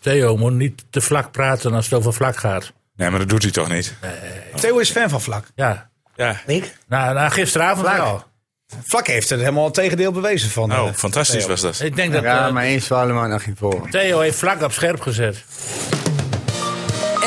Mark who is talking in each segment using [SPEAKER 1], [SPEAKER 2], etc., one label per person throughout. [SPEAKER 1] Theo moet niet te vlak praten als het over vlak gaat.
[SPEAKER 2] Nee, maar dat doet hij toch niet?
[SPEAKER 3] Theo is fan van Vlak.
[SPEAKER 1] Ja,
[SPEAKER 2] Ja.
[SPEAKER 3] Ik?
[SPEAKER 1] nou, nou, gisteravond
[SPEAKER 3] Vlak.
[SPEAKER 1] wel.
[SPEAKER 3] Vlak heeft er helemaal het tegendeel bewezen van.
[SPEAKER 2] Oh,
[SPEAKER 3] eh,
[SPEAKER 2] fantastisch
[SPEAKER 3] Theo.
[SPEAKER 2] was dat.
[SPEAKER 1] Ik denk dat
[SPEAKER 4] Ja,
[SPEAKER 1] eh,
[SPEAKER 4] maar één zwaluw maakt nog geen voor.
[SPEAKER 1] Theo heeft vlak op scherp gezet.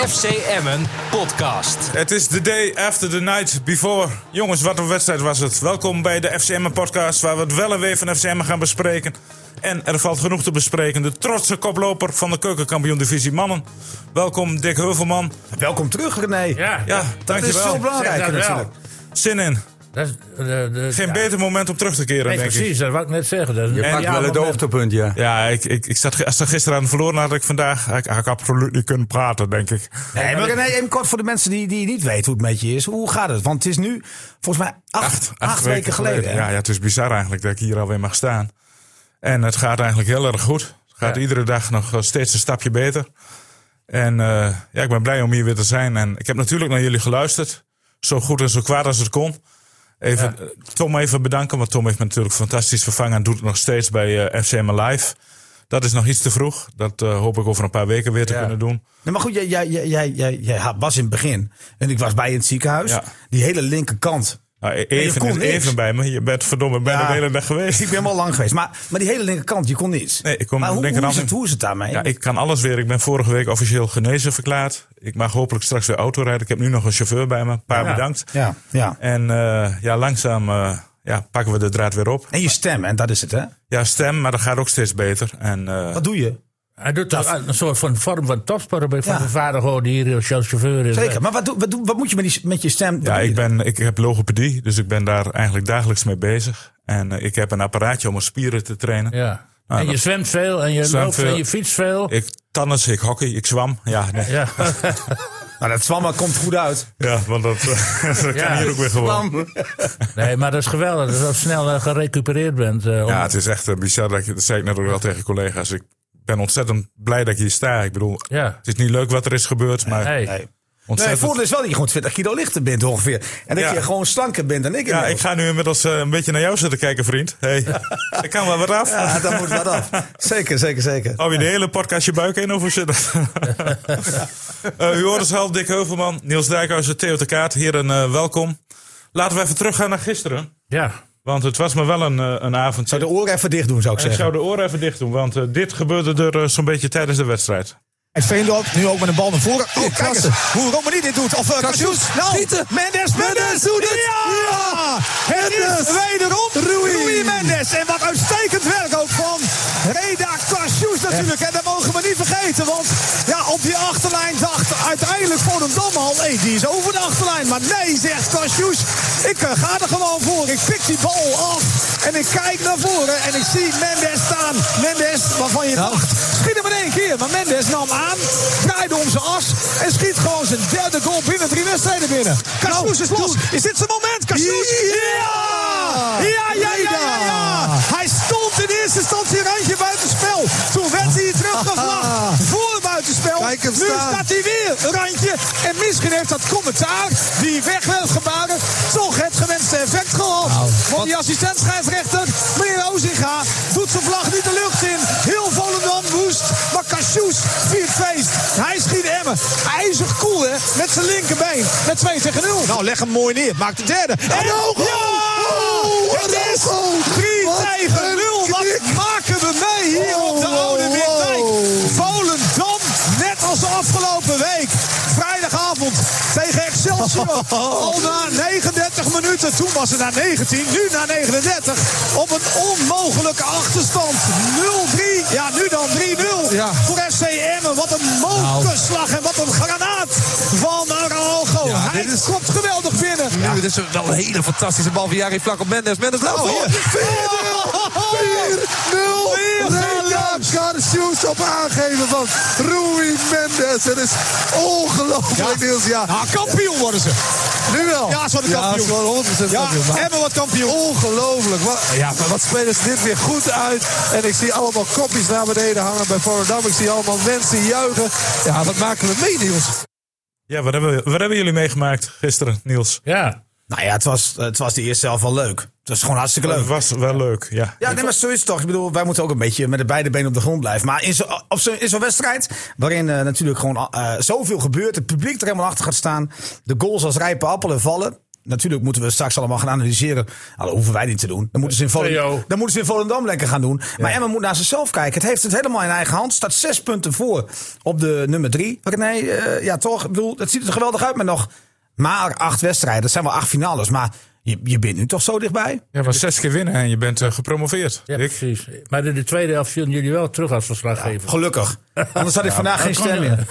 [SPEAKER 5] FC Emmen podcast.
[SPEAKER 2] Het is the day after the night before. Jongens, wat een wedstrijd was het. Welkom bij de FCM podcast waar we het wel en weer van FCM gaan bespreken. En er valt genoeg te bespreken. De trotse koploper van de keukenkampioen divisie mannen. Welkom Dick Heuvelman.
[SPEAKER 3] Welkom terug, René.
[SPEAKER 1] Ja,
[SPEAKER 2] Ja,
[SPEAKER 3] dat is veel
[SPEAKER 2] dankjewel.
[SPEAKER 3] belangrijker
[SPEAKER 1] Zeg dat wel.
[SPEAKER 3] natuurlijk.
[SPEAKER 2] Zin in.
[SPEAKER 1] Dat is, eh, de- de-
[SPEAKER 2] Geen
[SPEAKER 1] ja.
[SPEAKER 2] beter moment om terug te keren,
[SPEAKER 1] Nee,
[SPEAKER 2] denk ik.
[SPEAKER 1] precies, dat wou ik net zeggen. Dat is
[SPEAKER 4] Je
[SPEAKER 1] een
[SPEAKER 4] pakt
[SPEAKER 1] ideaal
[SPEAKER 4] wel het
[SPEAKER 1] moment.
[SPEAKER 4] hoogtepunt, ja.
[SPEAKER 2] Ja, ik, ik, ik zat, als ik gisteren aan verloren had ik vandaag... Had ik, had ik absoluut niet kunnen praten, denk ik.
[SPEAKER 3] Nee, maar René, even kort voor de mensen die, die niet weten hoe het met je is. Hoe gaat het? Want het is nu volgens mij acht, acht, weken, geleden. hè?
[SPEAKER 2] Ja, ja, het is bizar eigenlijk dat ik hier alweer mag staan. En het gaat eigenlijk heel erg goed. Het gaat iedere dag nog eh, steeds een stapje beter. En eh, ja, ik ben blij om hier weer te zijn. En ik heb natuurlijk naar jullie geluisterd. Zo goed en zo kwaad als het kon. Even, eh, Tom even bedanken, want Tom heeft me natuurlijk fantastisch vervangen. En doet het nog steeds bij eh FCM Live. Dat is nog iets te vroeg. Dat eh, hoop ik over een paar weken weer te kunnen doen.
[SPEAKER 3] Nee, maar goed, jij, jij, jij, jij, jij, jij had- was in het begin. En ik was bij je in het ziekenhuis.
[SPEAKER 2] Ja.
[SPEAKER 3] Die hele linkerkant.
[SPEAKER 2] Nou, e-
[SPEAKER 3] je
[SPEAKER 2] even,
[SPEAKER 3] kon
[SPEAKER 2] is
[SPEAKER 3] niks.
[SPEAKER 2] even bij me. Je bent verdomme bijna
[SPEAKER 3] Ja.
[SPEAKER 2] de hele dag geweest.
[SPEAKER 3] Ik ben wel lang geweest. Maar, maar die hele linkerkant, je kon niets.
[SPEAKER 2] Nee, ik kon
[SPEAKER 3] maar hoe,
[SPEAKER 2] linkerhand
[SPEAKER 3] hoe, is
[SPEAKER 2] in-
[SPEAKER 3] het, hoe is het daarmee?
[SPEAKER 2] Ja, ik kan alles weer. Ik ben vorige week officieel genezen verklaard. Ik mag hopelijk straks weer autorijden. Ik heb nu nog een chauffeur bij me. Een paar
[SPEAKER 1] Ja.
[SPEAKER 2] bedankt.
[SPEAKER 3] ja, ja.
[SPEAKER 2] En eh, ja, langzaam eh, ja, pakken we de draad weer op.
[SPEAKER 3] En je stem, en dat is het, hè?
[SPEAKER 2] Ja, stem, maar dat gaat ook steeds beter. En eh,
[SPEAKER 3] Wat doe je?
[SPEAKER 1] Hij doet toch een soort van vorm van topsporter bij van
[SPEAKER 3] Ja.
[SPEAKER 1] zijn vader gewoon die hier als chauffeur is. eh,
[SPEAKER 3] Zeker. Maar wat, doe, wat, doe, wat moet je met, die, met je stem
[SPEAKER 2] ja,
[SPEAKER 3] wat
[SPEAKER 2] ik,
[SPEAKER 3] doe je?
[SPEAKER 2] ben, ik heb logopedie, dus ik ben daar eigenlijk dagelijks mee bezig. En eh, ik heb een apparaatje om mijn spieren te trainen.
[SPEAKER 1] Ja.
[SPEAKER 2] Ah,
[SPEAKER 1] en je
[SPEAKER 2] dat-
[SPEAKER 1] zwemt veel en je
[SPEAKER 2] Zwemt
[SPEAKER 1] loopt
[SPEAKER 2] veel.
[SPEAKER 1] en je fietst veel.
[SPEAKER 2] Ik tennis, ik hockey, ik zwam. Ja, nee.
[SPEAKER 1] Ja.
[SPEAKER 3] Nou, dat zwammen komt goed uit.
[SPEAKER 2] ja want dat, dat kan
[SPEAKER 1] Ja.
[SPEAKER 2] hier ook weer gewoon.
[SPEAKER 1] Nee, maar dat is geweldig. Dat je zo snel eh, gerecupereerd bent. eh, om-
[SPEAKER 2] Ja, het is echt eh, bizar. Dat, ik, dat zei ik net ook wel tegen collega's. Ik ben ontzettend blij dat ik hier sta. Ik bedoel,
[SPEAKER 1] Ja.
[SPEAKER 2] het is niet leuk wat er is gebeurd, maar
[SPEAKER 1] Hey.
[SPEAKER 3] Nee. Nee, het
[SPEAKER 2] ontzettend...
[SPEAKER 3] voordeel is wel dat je gewoon 20 kilo lichter bent ongeveer. En dat
[SPEAKER 2] Ja.
[SPEAKER 3] je gewoon slanker bent dan ik.
[SPEAKER 2] ja, ik
[SPEAKER 3] inmiddels.
[SPEAKER 2] ga nu inmiddels eh, een beetje naar jou zitten kijken, vriend. Hey, ik kan wel wat af.
[SPEAKER 3] ja, dat Ah, moet wat af. Zeker, zeker, zeker.
[SPEAKER 2] Hou je de hele podcast je buik in of hoe zit dat? Eh, u hoort ons al, Dick Heuvelman, Niels Dijkhuizen, Theo de Kaat. Heren, eh, welkom. Laten we even teruggaan naar gisteren.
[SPEAKER 1] Ja.
[SPEAKER 2] Want het was me wel een, eh, een avond.
[SPEAKER 3] Zou de oren even dicht doen, zou ik
[SPEAKER 2] ik
[SPEAKER 3] zeggen.
[SPEAKER 2] zou de oren even dicht doen, want eh, dit gebeurde er eh, zo'n beetje tijdens de wedstrijd.
[SPEAKER 6] En Veendorp nu ook met een bal naar voren. Oh, kijk eens. Hoe Romani dit doet. Of uh, Nou,
[SPEAKER 3] Schieten.
[SPEAKER 6] Mendes, Mendes doet het. Ja! Het is wederom Rui. Mendes. En wat uitstekend werk ook van Reda Cassius natuurlijk. En dat mogen we niet vergeten. Want ja, op die achterlijn dacht uiteindelijk Volendam al... Hé, die is over de achterlijn. Maar nee, zegt Cassius. Ik eh, ga er gewoon voor. Ik pik die bal af. En ik kijk naar voren. En ik zie Mendes staan. Mendes, waarvan je dacht... Schiet hem in één keer. Maar Mendes nam aan, draaide om zijn as en schiet gewoon zijn derde goal binnen drie wedstrijden binnen. Cassius is los. Is dit zijn moment? Cassius? Ja! Ja, ja, ja, ja, ja. Hij stond in eerste instantie een randje buitenspel. Toen werd hij teruggevlacht voor buitenspel.
[SPEAKER 3] Kijk hem
[SPEAKER 6] nu
[SPEAKER 3] staan.
[SPEAKER 6] staat hij weer een randje. En misschien heeft dat commentaar, die wegwerpgebaren, toch het gewenste effect gehad. Want die assistent scheidsrechter, meneer Ozinga, doet zijn vlag niet de lucht in. Heel Volendam woest, maar Cassius viert feest. Hij schiet Emmen. IJzig cool, hè? Met zijn linkerbeen. Met 2 tegen 0. Nou, leg hem mooi neer. Maakt de derde. En Oh, ook ja! Het is 3 tegen 0. Wat maken we mee hier op de Oude Windwijk? Volendam, net als de afgelopen week. Vrijdagavond tegen Excelsior. Al na 39 minuten. Toen was het na 19, nu na 39. Op een onmogelijke achterstand. 0-3. Ja, nu dan 3-0
[SPEAKER 3] Ja.
[SPEAKER 6] voor FC Emmen. Wat een mokerslag en wat een granaat van Araujo. Hij
[SPEAKER 7] dit is-
[SPEAKER 6] komt geweldig binnen.
[SPEAKER 7] Nu, dit is wel een hele fantastische bal van Jari Vlak op Mendes. Mendes laat
[SPEAKER 6] Oh,
[SPEAKER 7] voor.
[SPEAKER 6] hier. Weer
[SPEAKER 7] Reda
[SPEAKER 6] geluk.
[SPEAKER 7] Garcius op aangeven van Rui Mendes. Het is ongelooflijk, Niels. Ja,
[SPEAKER 6] Ja, kampioen worden ze.
[SPEAKER 7] nu wel.
[SPEAKER 6] Ja, ze worden
[SPEAKER 7] Ja,
[SPEAKER 6] kampioen.
[SPEAKER 7] ze worden 100%
[SPEAKER 6] Ja,
[SPEAKER 7] kampioen. Maar
[SPEAKER 6] Emmen wordt kampioen.
[SPEAKER 7] Ongelooflijk. Wat, ja, maar wat spelen ze dit weer goed uit. En ik zie allemaal kopjes naar beneden hangen bij Volendam. Ik zie allemaal mensen juichen. Ja, wat maken we mee, Niels?
[SPEAKER 2] Ja, wat hebben, wat hebben jullie meegemaakt gisteren, Niels?
[SPEAKER 1] Ja.
[SPEAKER 6] Nou ja, het was, het was de eerste helft wel leuk. Het was gewoon hartstikke leuk.
[SPEAKER 2] Het was wel leuk, ja.
[SPEAKER 6] Ja, nee, maar zo is het toch. Ik bedoel, wij moeten ook een beetje met de beide benen op de grond blijven. Maar in zo'n op zo'n- in zo'n wedstrijd, waarin eh, natuurlijk gewoon eh, zoveel gebeurt, het publiek er helemaal achter gaat staan, de goals als rijpe appelen vallen. Natuurlijk moeten we straks allemaal gaan analyseren. Nou, dat hoeven wij niet te doen. Dan moeten ze in Volendam,
[SPEAKER 1] Theo.
[SPEAKER 6] dan moeten ze in Volendam lekker gaan doen. Maar Emma moet naar zichzelf kijken. Het heeft het helemaal in eigen hand. Staat zes punten voor op de nummer drie. Nee, eh, ja toch. Ik bedoel, het ziet er geweldig uit met nog maar acht wedstrijden. Dat zijn wel acht finales. Maar je, je bent nu toch zo dichtbij?
[SPEAKER 2] Ja, maar zes keer winnen en je bent eh, gepromoveerd.
[SPEAKER 1] Ja,
[SPEAKER 2] Dick.
[SPEAKER 1] precies. Maar in de tweede helft zullen jullie wel terug als verslaggever.
[SPEAKER 6] Gelukkig. Anders had ik vandaag geen stem meer.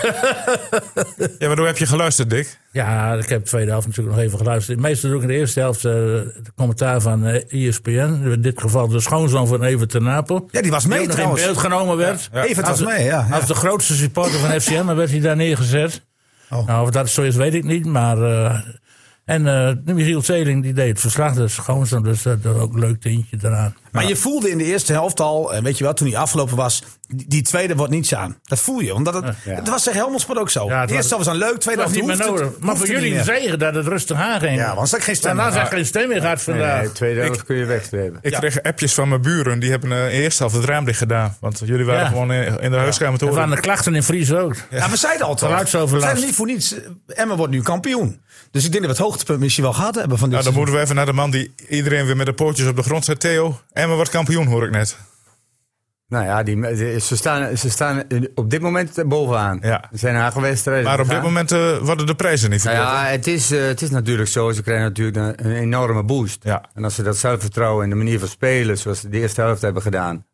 [SPEAKER 2] Ja, maar hoe heb je geluisterd, Dick?
[SPEAKER 1] Ja, ik heb de tweede helft natuurlijk nog even geluisterd. Meestal ook in de eerste helft eh het commentaar van eh ESPN. In dit geval de schoonzoon van Evert ten Napel.
[SPEAKER 6] Ja, die was
[SPEAKER 1] Die
[SPEAKER 6] mee
[SPEAKER 1] ook nog in
[SPEAKER 6] trouwens.
[SPEAKER 1] beeld genomen werd.
[SPEAKER 6] Evert was
[SPEAKER 1] Als-
[SPEAKER 6] mee, ja. ja.
[SPEAKER 1] Als de grootste supporter van FCM, dan werd hij daar neergezet.
[SPEAKER 6] Oh.
[SPEAKER 1] Nou, of dat zo is, weet ik niet. Maar, eh, en eh Michiel Zeling die deed het verslag, dus schoonzoon. Dus dat dat ook een leuk tintje eraan.
[SPEAKER 6] Maar je voelde in de eerste helft al, en weet je wel, toen hij afgelopen was, die, die tweede wordt niets aan. Dat voel je, want dat, het, het was tegen Helmelsport ook zo.
[SPEAKER 1] Ja, het
[SPEAKER 6] de eerste
[SPEAKER 1] was-
[SPEAKER 6] helft was dan leuk, tweede
[SPEAKER 1] Dat was
[SPEAKER 6] helft
[SPEAKER 1] niet meer
[SPEAKER 6] hoeft het-
[SPEAKER 1] nodig. maar
[SPEAKER 6] hoeft
[SPEAKER 1] voor
[SPEAKER 6] het
[SPEAKER 1] jullie een
[SPEAKER 6] niet meer.
[SPEAKER 1] zegen dat het rustig aanging.
[SPEAKER 6] Ja, want anders had ik geen stem.
[SPEAKER 1] Daarna
[SPEAKER 6] meer. Ah,
[SPEAKER 1] zag ik geen stem meer gehad
[SPEAKER 4] Nee,
[SPEAKER 1] vandaag.
[SPEAKER 4] nee, Eh, tweede helft kun je wegstrepen.
[SPEAKER 2] Ik kreeg appjes van mijn buren. Die hebben eh, in de eerste helft het raam dicht gedaan. Want jullie waren
[SPEAKER 1] Ja.
[SPEAKER 2] gewoon in, in de huiskamer te
[SPEAKER 1] Er
[SPEAKER 2] horen.
[SPEAKER 1] waren de klachten in Fries ook.
[SPEAKER 6] Ja, we zeiden al toch. We
[SPEAKER 1] Geluidsoverlast.
[SPEAKER 6] zeiden niet voor niets. eh, Emma wordt nu kampioen. Dus ik denk dat we het hoogtepunt misschien wel gehad hebben van dit
[SPEAKER 2] Nou, dan
[SPEAKER 6] seizoen.
[SPEAKER 2] moeten we even naar de man die iedereen weer met de pootjes op de grond zet. Theo, Emma wordt kampioen, hoor ik net.
[SPEAKER 4] Nou ja, die, me- die- ze, staan, ze staan op dit moment bovenaan.
[SPEAKER 2] Ja.
[SPEAKER 4] Er zijn eigen wedstrijden.
[SPEAKER 2] Maar op dit
[SPEAKER 4] gegaan.
[SPEAKER 2] moment eh, worden de prijzen niet
[SPEAKER 4] Nou
[SPEAKER 2] verdeeld.
[SPEAKER 4] ja, het is, eh, het is natuurlijk zo. Ze krijgen natuurlijk een, een enorme boost.
[SPEAKER 2] Ja.
[SPEAKER 4] En als ze dat zelfvertrouwen en de manier van spelen, zoals ze de eerste helft hebben gedaan.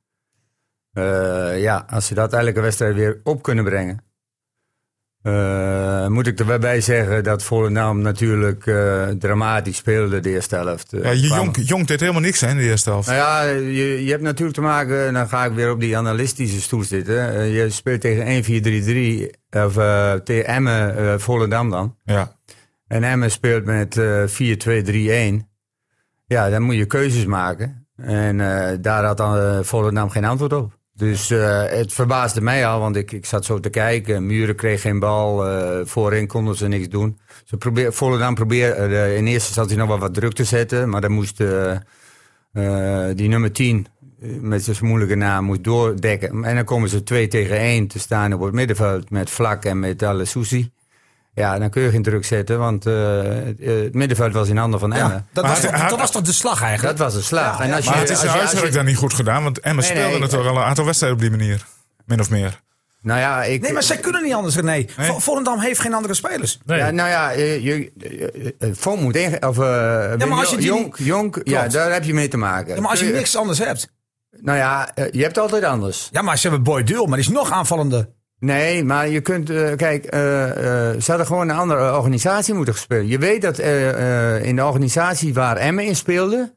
[SPEAKER 4] eh, ja, als ze dat elke wedstrijd weer op kunnen brengen. eh, moet ik er wel bij zeggen dat Volendam natuurlijk eh, dramatisch speelde de eerste helft. eh,
[SPEAKER 2] Ja, je
[SPEAKER 4] kwamen.
[SPEAKER 2] jong, jong deed helemaal niks hè, in de eerste helft.
[SPEAKER 4] Nou ja, je, je hebt natuurlijk te maken, en dan ga ik weer op die analistische stoel zitten. Eh, Je speelt tegen 1-4-3-3, of eh, tegen Emmen, eh, Volendam dan.
[SPEAKER 2] Ja.
[SPEAKER 4] En Emmen speelt met eh 4-2-3-1. Ja, dan moet je keuzes maken. En eh, daar had dan eh, Volendam geen antwoord op. Dus eh, het verbaasde mij al, want ik, ik zat zo te kijken. Muren kreeg geen bal, eh, voorin konden ze niks doen. Ze probeer, Volendam probeerde eh, in eerste instantie nog wel wat druk te zetten. Maar dan moest eh, eh, die nummer 10 eh, met zijn moeilijke naam moest doordekken. En dan komen ze 2 tegen 1 te staan op het middenveld met Vlak en met Alessouzi. Ja, dan kun je geen druk zetten, want eh, het- eh, het middenveld was in handen van Emmen.
[SPEAKER 6] Ja, dat,
[SPEAKER 2] Maar
[SPEAKER 6] was
[SPEAKER 2] hij-
[SPEAKER 6] toch, dat
[SPEAKER 2] hij-
[SPEAKER 6] was toch de slag eigenlijk?
[SPEAKER 4] Dat was een slag. en als je,
[SPEAKER 2] Maar het is
[SPEAKER 4] als
[SPEAKER 2] de
[SPEAKER 4] je- als je-
[SPEAKER 2] huiswerk dan niet goed gedaan, want Emma
[SPEAKER 4] Nee,
[SPEAKER 2] speelde
[SPEAKER 4] nee,
[SPEAKER 2] natuurlijk al een aantal wedstrijden op die manier. Min of meer.
[SPEAKER 4] Nou ja, ik,
[SPEAKER 6] Nee, maar zij kunnen niet anders, René.
[SPEAKER 2] Nee.
[SPEAKER 6] Vo- Volendam heeft geen andere spelers.
[SPEAKER 1] Nee.
[SPEAKER 4] Ja, nou ja, eh, je, eh, eh, Fong moet inge- Of, eh, Wim
[SPEAKER 6] als je die
[SPEAKER 4] Jonk, Jonk, ja,
[SPEAKER 6] Klopt.
[SPEAKER 4] daar heb je mee te maken.
[SPEAKER 6] Ja, maar als je
[SPEAKER 4] Kun
[SPEAKER 6] niks anders hebt.
[SPEAKER 4] Nou ja, eh, je hebt altijd anders.
[SPEAKER 6] Ja, maar ze hebben Boy Deul, maar die is nog aanvallender.
[SPEAKER 4] Nee, maar je kunt, eh, kijk, eh, eh, ze hadden gewoon een andere organisatie moeten spelen. Je weet dat eh, eh, in de organisatie waar Emmen in speelde,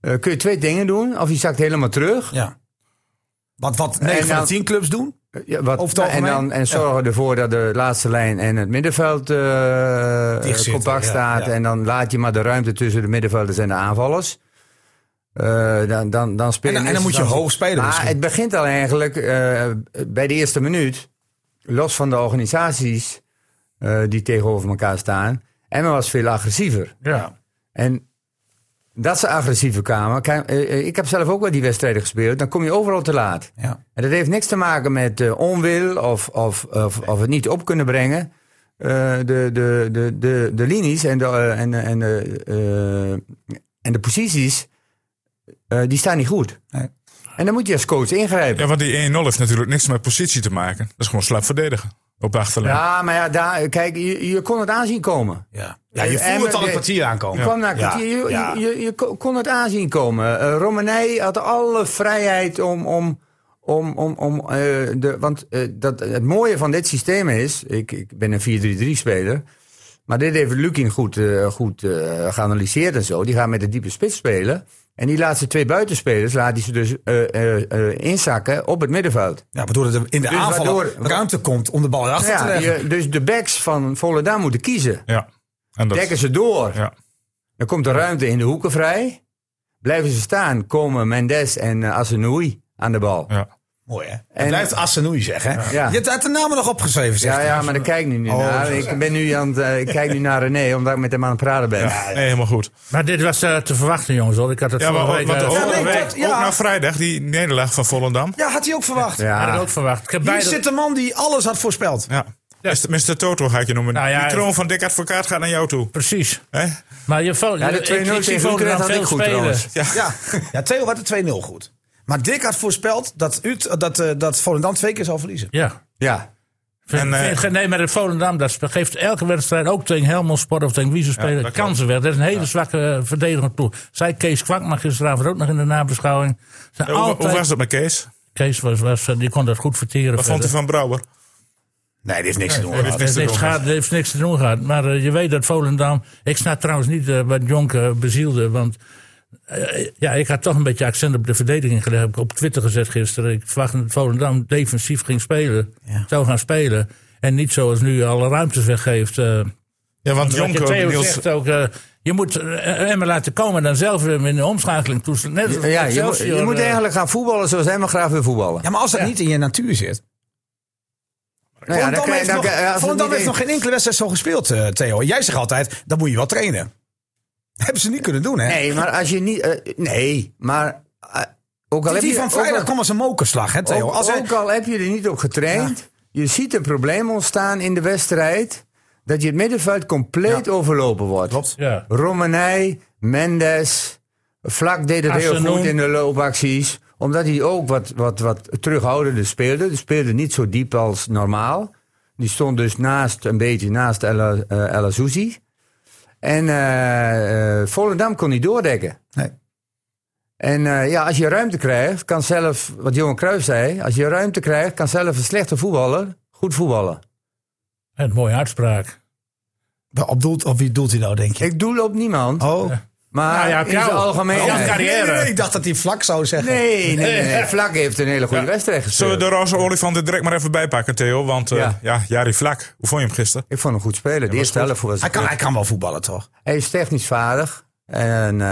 [SPEAKER 4] eh, kun je twee dingen doen. Of je zakt helemaal terug.
[SPEAKER 6] Ja. Want wat 9 van de
[SPEAKER 4] nou-
[SPEAKER 6] 10 clubs doen.
[SPEAKER 4] Ja, wat,
[SPEAKER 6] Over het
[SPEAKER 4] en,
[SPEAKER 6] algemeen?
[SPEAKER 4] dan, en zorgen ervoor dat de laatste lijn en het middenveld eh,
[SPEAKER 6] Dicht zitten,
[SPEAKER 4] compact
[SPEAKER 6] ja,
[SPEAKER 4] staat.
[SPEAKER 6] ja.
[SPEAKER 4] En dan laat je maar de ruimte tussen de middenvelders en de aanvallers. Eh, dan, dan, dan speel
[SPEAKER 6] En
[SPEAKER 4] je
[SPEAKER 6] dan- en
[SPEAKER 4] in
[SPEAKER 6] dan moet je
[SPEAKER 4] eerste
[SPEAKER 6] hoog spelen
[SPEAKER 4] Maar
[SPEAKER 6] misschien.
[SPEAKER 4] het begint al eigenlijk eh, bij de eerste minuut. Los van de organisaties eh, die tegenover elkaar staan. Emma was veel agressiever.
[SPEAKER 1] Ja.
[SPEAKER 4] En dat ze agressiever kwamen. Kijk, eh, eh, Ik heb zelf ook wel die wedstrijden gespeeld. Dan kom je overal te laat.
[SPEAKER 6] Ja.
[SPEAKER 4] En dat heeft niks te maken met eh, onwil of, of, of, of het niet op kunnen brengen. Eh, de, de, de, de, de linies en de, eh, en, en, de, eh, en de posities, eh, die staan niet goed.
[SPEAKER 6] Nee.
[SPEAKER 4] En dan moet je als coach ingrijpen.
[SPEAKER 2] Ja, want die 1-0 heeft natuurlijk niks met positie te maken. Dat is gewoon slap verdedigen op de achterlijn.
[SPEAKER 4] Ja, maar ja, daar, kijk, je, je kon het aanzien komen.
[SPEAKER 6] Ja, ja je
[SPEAKER 4] Eh, en
[SPEAKER 6] voelt het al
[SPEAKER 4] met-
[SPEAKER 6] een kwartier aankomen.
[SPEAKER 4] kwam naar
[SPEAKER 6] Ja,
[SPEAKER 4] kwartier. Je,
[SPEAKER 6] ja.
[SPEAKER 4] je, je, je ko- kon het aanzien komen. Eh Romanei had alle vrijheid om. om om, om, om eh, de, want eh, dat, het mooie van dit systeem is, ik, ik ben een 4-3-3 speler, maar dit heeft Lukin goed, eh, goed eh, geanalyseerd en zo. Die gaat met de diepe spits spelen en die laatste twee buitenspelers laat hij ze dus eh, eh, eh, inzakken op het middenveld.
[SPEAKER 6] Ja, waardoor er in de
[SPEAKER 4] Dus
[SPEAKER 6] aanval
[SPEAKER 4] waardoor-
[SPEAKER 6] ruimte komt om de bal erachter te
[SPEAKER 4] Ja,
[SPEAKER 6] leggen.
[SPEAKER 4] je- dus de backs van Volendam moeten kiezen.
[SPEAKER 2] Ja. En dat,
[SPEAKER 4] Dekken ze door.
[SPEAKER 2] ja.
[SPEAKER 4] Dan komt de ruimte in de hoeken vrij. Blijven ze staan, komen Mendes en eh, Assenoui aan de bal.
[SPEAKER 2] Ja.
[SPEAKER 6] Mooi hè? Het blijft Assenoui zeggen. hè?
[SPEAKER 4] Ja.
[SPEAKER 6] Je hebt de namen nog opgeschreven. zegt
[SPEAKER 4] Ja,
[SPEAKER 6] hij.
[SPEAKER 4] ja, maar daar kijk ik nu niet
[SPEAKER 6] Oh,
[SPEAKER 4] naar.
[SPEAKER 6] zo.
[SPEAKER 4] Ik, ben nu aan het, eh, ik kijk nu naar René, omdat ik met hem aan het praten ben.
[SPEAKER 2] Nee, helemaal goed.
[SPEAKER 1] Maar dit was eh, te verwachten, jongens. Hoor. Ik had het
[SPEAKER 2] Ja, maar
[SPEAKER 1] vorige week
[SPEAKER 2] ook, want
[SPEAKER 1] eh,
[SPEAKER 2] ook,
[SPEAKER 6] Ja, nee,
[SPEAKER 2] ook-
[SPEAKER 6] dat- ja.
[SPEAKER 2] ook na vrijdag, die nederlaag van Volendam.
[SPEAKER 6] Ja, had hij ook verwacht.
[SPEAKER 1] had ik
[SPEAKER 4] Ja,
[SPEAKER 1] ook verwacht. Ik heb
[SPEAKER 6] Hier
[SPEAKER 1] beide-
[SPEAKER 6] zit de man die alles had voorspeld.
[SPEAKER 2] Ja. Mr. Mr. Toto ga ik je noemen.
[SPEAKER 1] Nou ja,
[SPEAKER 2] die kroon van Dick Advocaat gaat naar jou toe.
[SPEAKER 1] Precies.
[SPEAKER 2] hè?
[SPEAKER 1] Maar je valt.
[SPEAKER 4] Ja, de
[SPEAKER 1] ik- ik
[SPEAKER 4] 2-0
[SPEAKER 1] zie
[SPEAKER 4] tegen Utrecht
[SPEAKER 1] Volendam
[SPEAKER 4] had
[SPEAKER 1] veel
[SPEAKER 4] ik goed
[SPEAKER 1] spelen.
[SPEAKER 4] trouwens.
[SPEAKER 2] Ja.
[SPEAKER 6] Ja, ja Theo had de 2-0 goed. Maar Dick had voorspeld dat, Ut, dat, eh, dat Volendam twee keer zou verliezen.
[SPEAKER 1] Ja.
[SPEAKER 4] ja.
[SPEAKER 1] Vind-
[SPEAKER 2] En, eh,
[SPEAKER 1] vind- nee, maar het Volendam dat spe- geeft elke wedstrijd, ook tegen Helmond Sport of tegen wie ze spelen,
[SPEAKER 2] dat klopt.
[SPEAKER 1] kansen weg. Dat is een hele zwakke eh, verdedigende ploeg. Zij Kees Kwankman gisteravond ook nog in de nabeschouwing. Zijn
[SPEAKER 2] Hoe,
[SPEAKER 1] altijd,
[SPEAKER 2] hoe was dat met Kees?
[SPEAKER 1] Kees was, was, eh, die kon dat goed verteren.
[SPEAKER 2] Wat vond hij
[SPEAKER 1] verder.
[SPEAKER 2] van Brouwer?
[SPEAKER 6] Nee, die heeft niks te doen.
[SPEAKER 2] Nee, dit
[SPEAKER 1] Het
[SPEAKER 2] is
[SPEAKER 1] heeft,
[SPEAKER 2] niks
[SPEAKER 1] gaat- het heeft niks te doen gehad. Maar eh, je weet dat Volendam. Ik snap trouwens niet eh, wat Jonk eh, bezielde. Want eh, ja, ik had toch een beetje accent op de verdediging gelegd. Heb ik op Twitter gezet gisteren. Ik verwachtte dat Volendam defensief ging spelen. Zou gaan spelen. En niet zoals nu alle ruimtes weggeeft. eh
[SPEAKER 2] Ja, want
[SPEAKER 1] wat je
[SPEAKER 2] Jonko,
[SPEAKER 1] Theo
[SPEAKER 2] Niels,
[SPEAKER 1] zegt ook. eh, je moet eh, Emmen laten komen en dan zelf hem in de omschakeling toestaan. Net als
[SPEAKER 4] ja je, moet-
[SPEAKER 1] Excelsior,
[SPEAKER 4] je moet
[SPEAKER 1] eh,
[SPEAKER 4] eigenlijk gaan voetballen zoals hij maar graag wil voetballen.
[SPEAKER 6] Ja, maar als dat niet in je natuur zit.
[SPEAKER 4] Nou ja, dan
[SPEAKER 6] Volendam
[SPEAKER 4] kan je-
[SPEAKER 6] heeft,
[SPEAKER 4] dan
[SPEAKER 6] nog,
[SPEAKER 4] kan- als het
[SPEAKER 6] Volendam
[SPEAKER 4] niet
[SPEAKER 6] heeft nog geen enkele wedstrijd zo gespeeld, eh, Theo. Jij zegt altijd, dat moet je wel trainen. Hebben ze niet kunnen doen, hè?
[SPEAKER 4] Nee, maar als je niet. eh, nee, maar. eh, ook
[SPEAKER 6] Dit
[SPEAKER 4] al heb
[SPEAKER 6] die
[SPEAKER 4] je
[SPEAKER 6] van
[SPEAKER 4] ook
[SPEAKER 6] vrijdag
[SPEAKER 4] al-
[SPEAKER 6] kwam als een mokerslag, hè, Theo?
[SPEAKER 4] Ook,
[SPEAKER 6] Als hij-
[SPEAKER 4] ook al heb je er niet op getraind, je ziet een probleem ontstaan in de wedstrijd. Dat je het middenveld compleet overlopen wordt. Klopt.
[SPEAKER 1] Ja.
[SPEAKER 4] Romanij, Mendes, Vlak deed het heel
[SPEAKER 1] Asenoen.
[SPEAKER 4] goed in de loopacties. Omdat hij ook wat, wat, wat terughoudender speelde. Hij speelde niet zo diep als normaal. Die stond dus naast, een beetje naast El, eh, El Azouzi. En eh, eh, Volendam kon niet doordekken.
[SPEAKER 6] Nee.
[SPEAKER 4] En eh, ja, als je ruimte krijgt, kan zelf, wat Johan Cruijff zei, als je ruimte krijgt, kan zelf een slechte voetballer goed voetballen.
[SPEAKER 1] Een mooie uitspraak.
[SPEAKER 6] Wel, Op, doelt, op wie doelt hij nou, denk je?
[SPEAKER 4] Ik doel op niemand,
[SPEAKER 6] Oh.
[SPEAKER 4] maar
[SPEAKER 1] Nou ja, op
[SPEAKER 4] in zijn
[SPEAKER 1] jou. Op
[SPEAKER 4] algemeenheid.
[SPEAKER 1] elkaar.
[SPEAKER 6] Nee, nee, nee,
[SPEAKER 1] carrière.
[SPEAKER 6] ik dacht dat hij vlak zou zeggen.
[SPEAKER 4] Nee, nee, nee, nee. Vlak heeft een hele goede wedstrijd
[SPEAKER 2] Zullen
[SPEAKER 4] gespeeld.
[SPEAKER 2] we de roze olifant er direct maar even bij pakken, Theo? Want eh,
[SPEAKER 4] Ja.
[SPEAKER 2] ja, Jari Vlak, hoe vond je hem gisteren?
[SPEAKER 4] Ik vond hem goed spelen. De eerste helft was
[SPEAKER 6] Hij kan, hij kan wel voetballen, toch?
[SPEAKER 4] Hij is technisch vaardig en eh,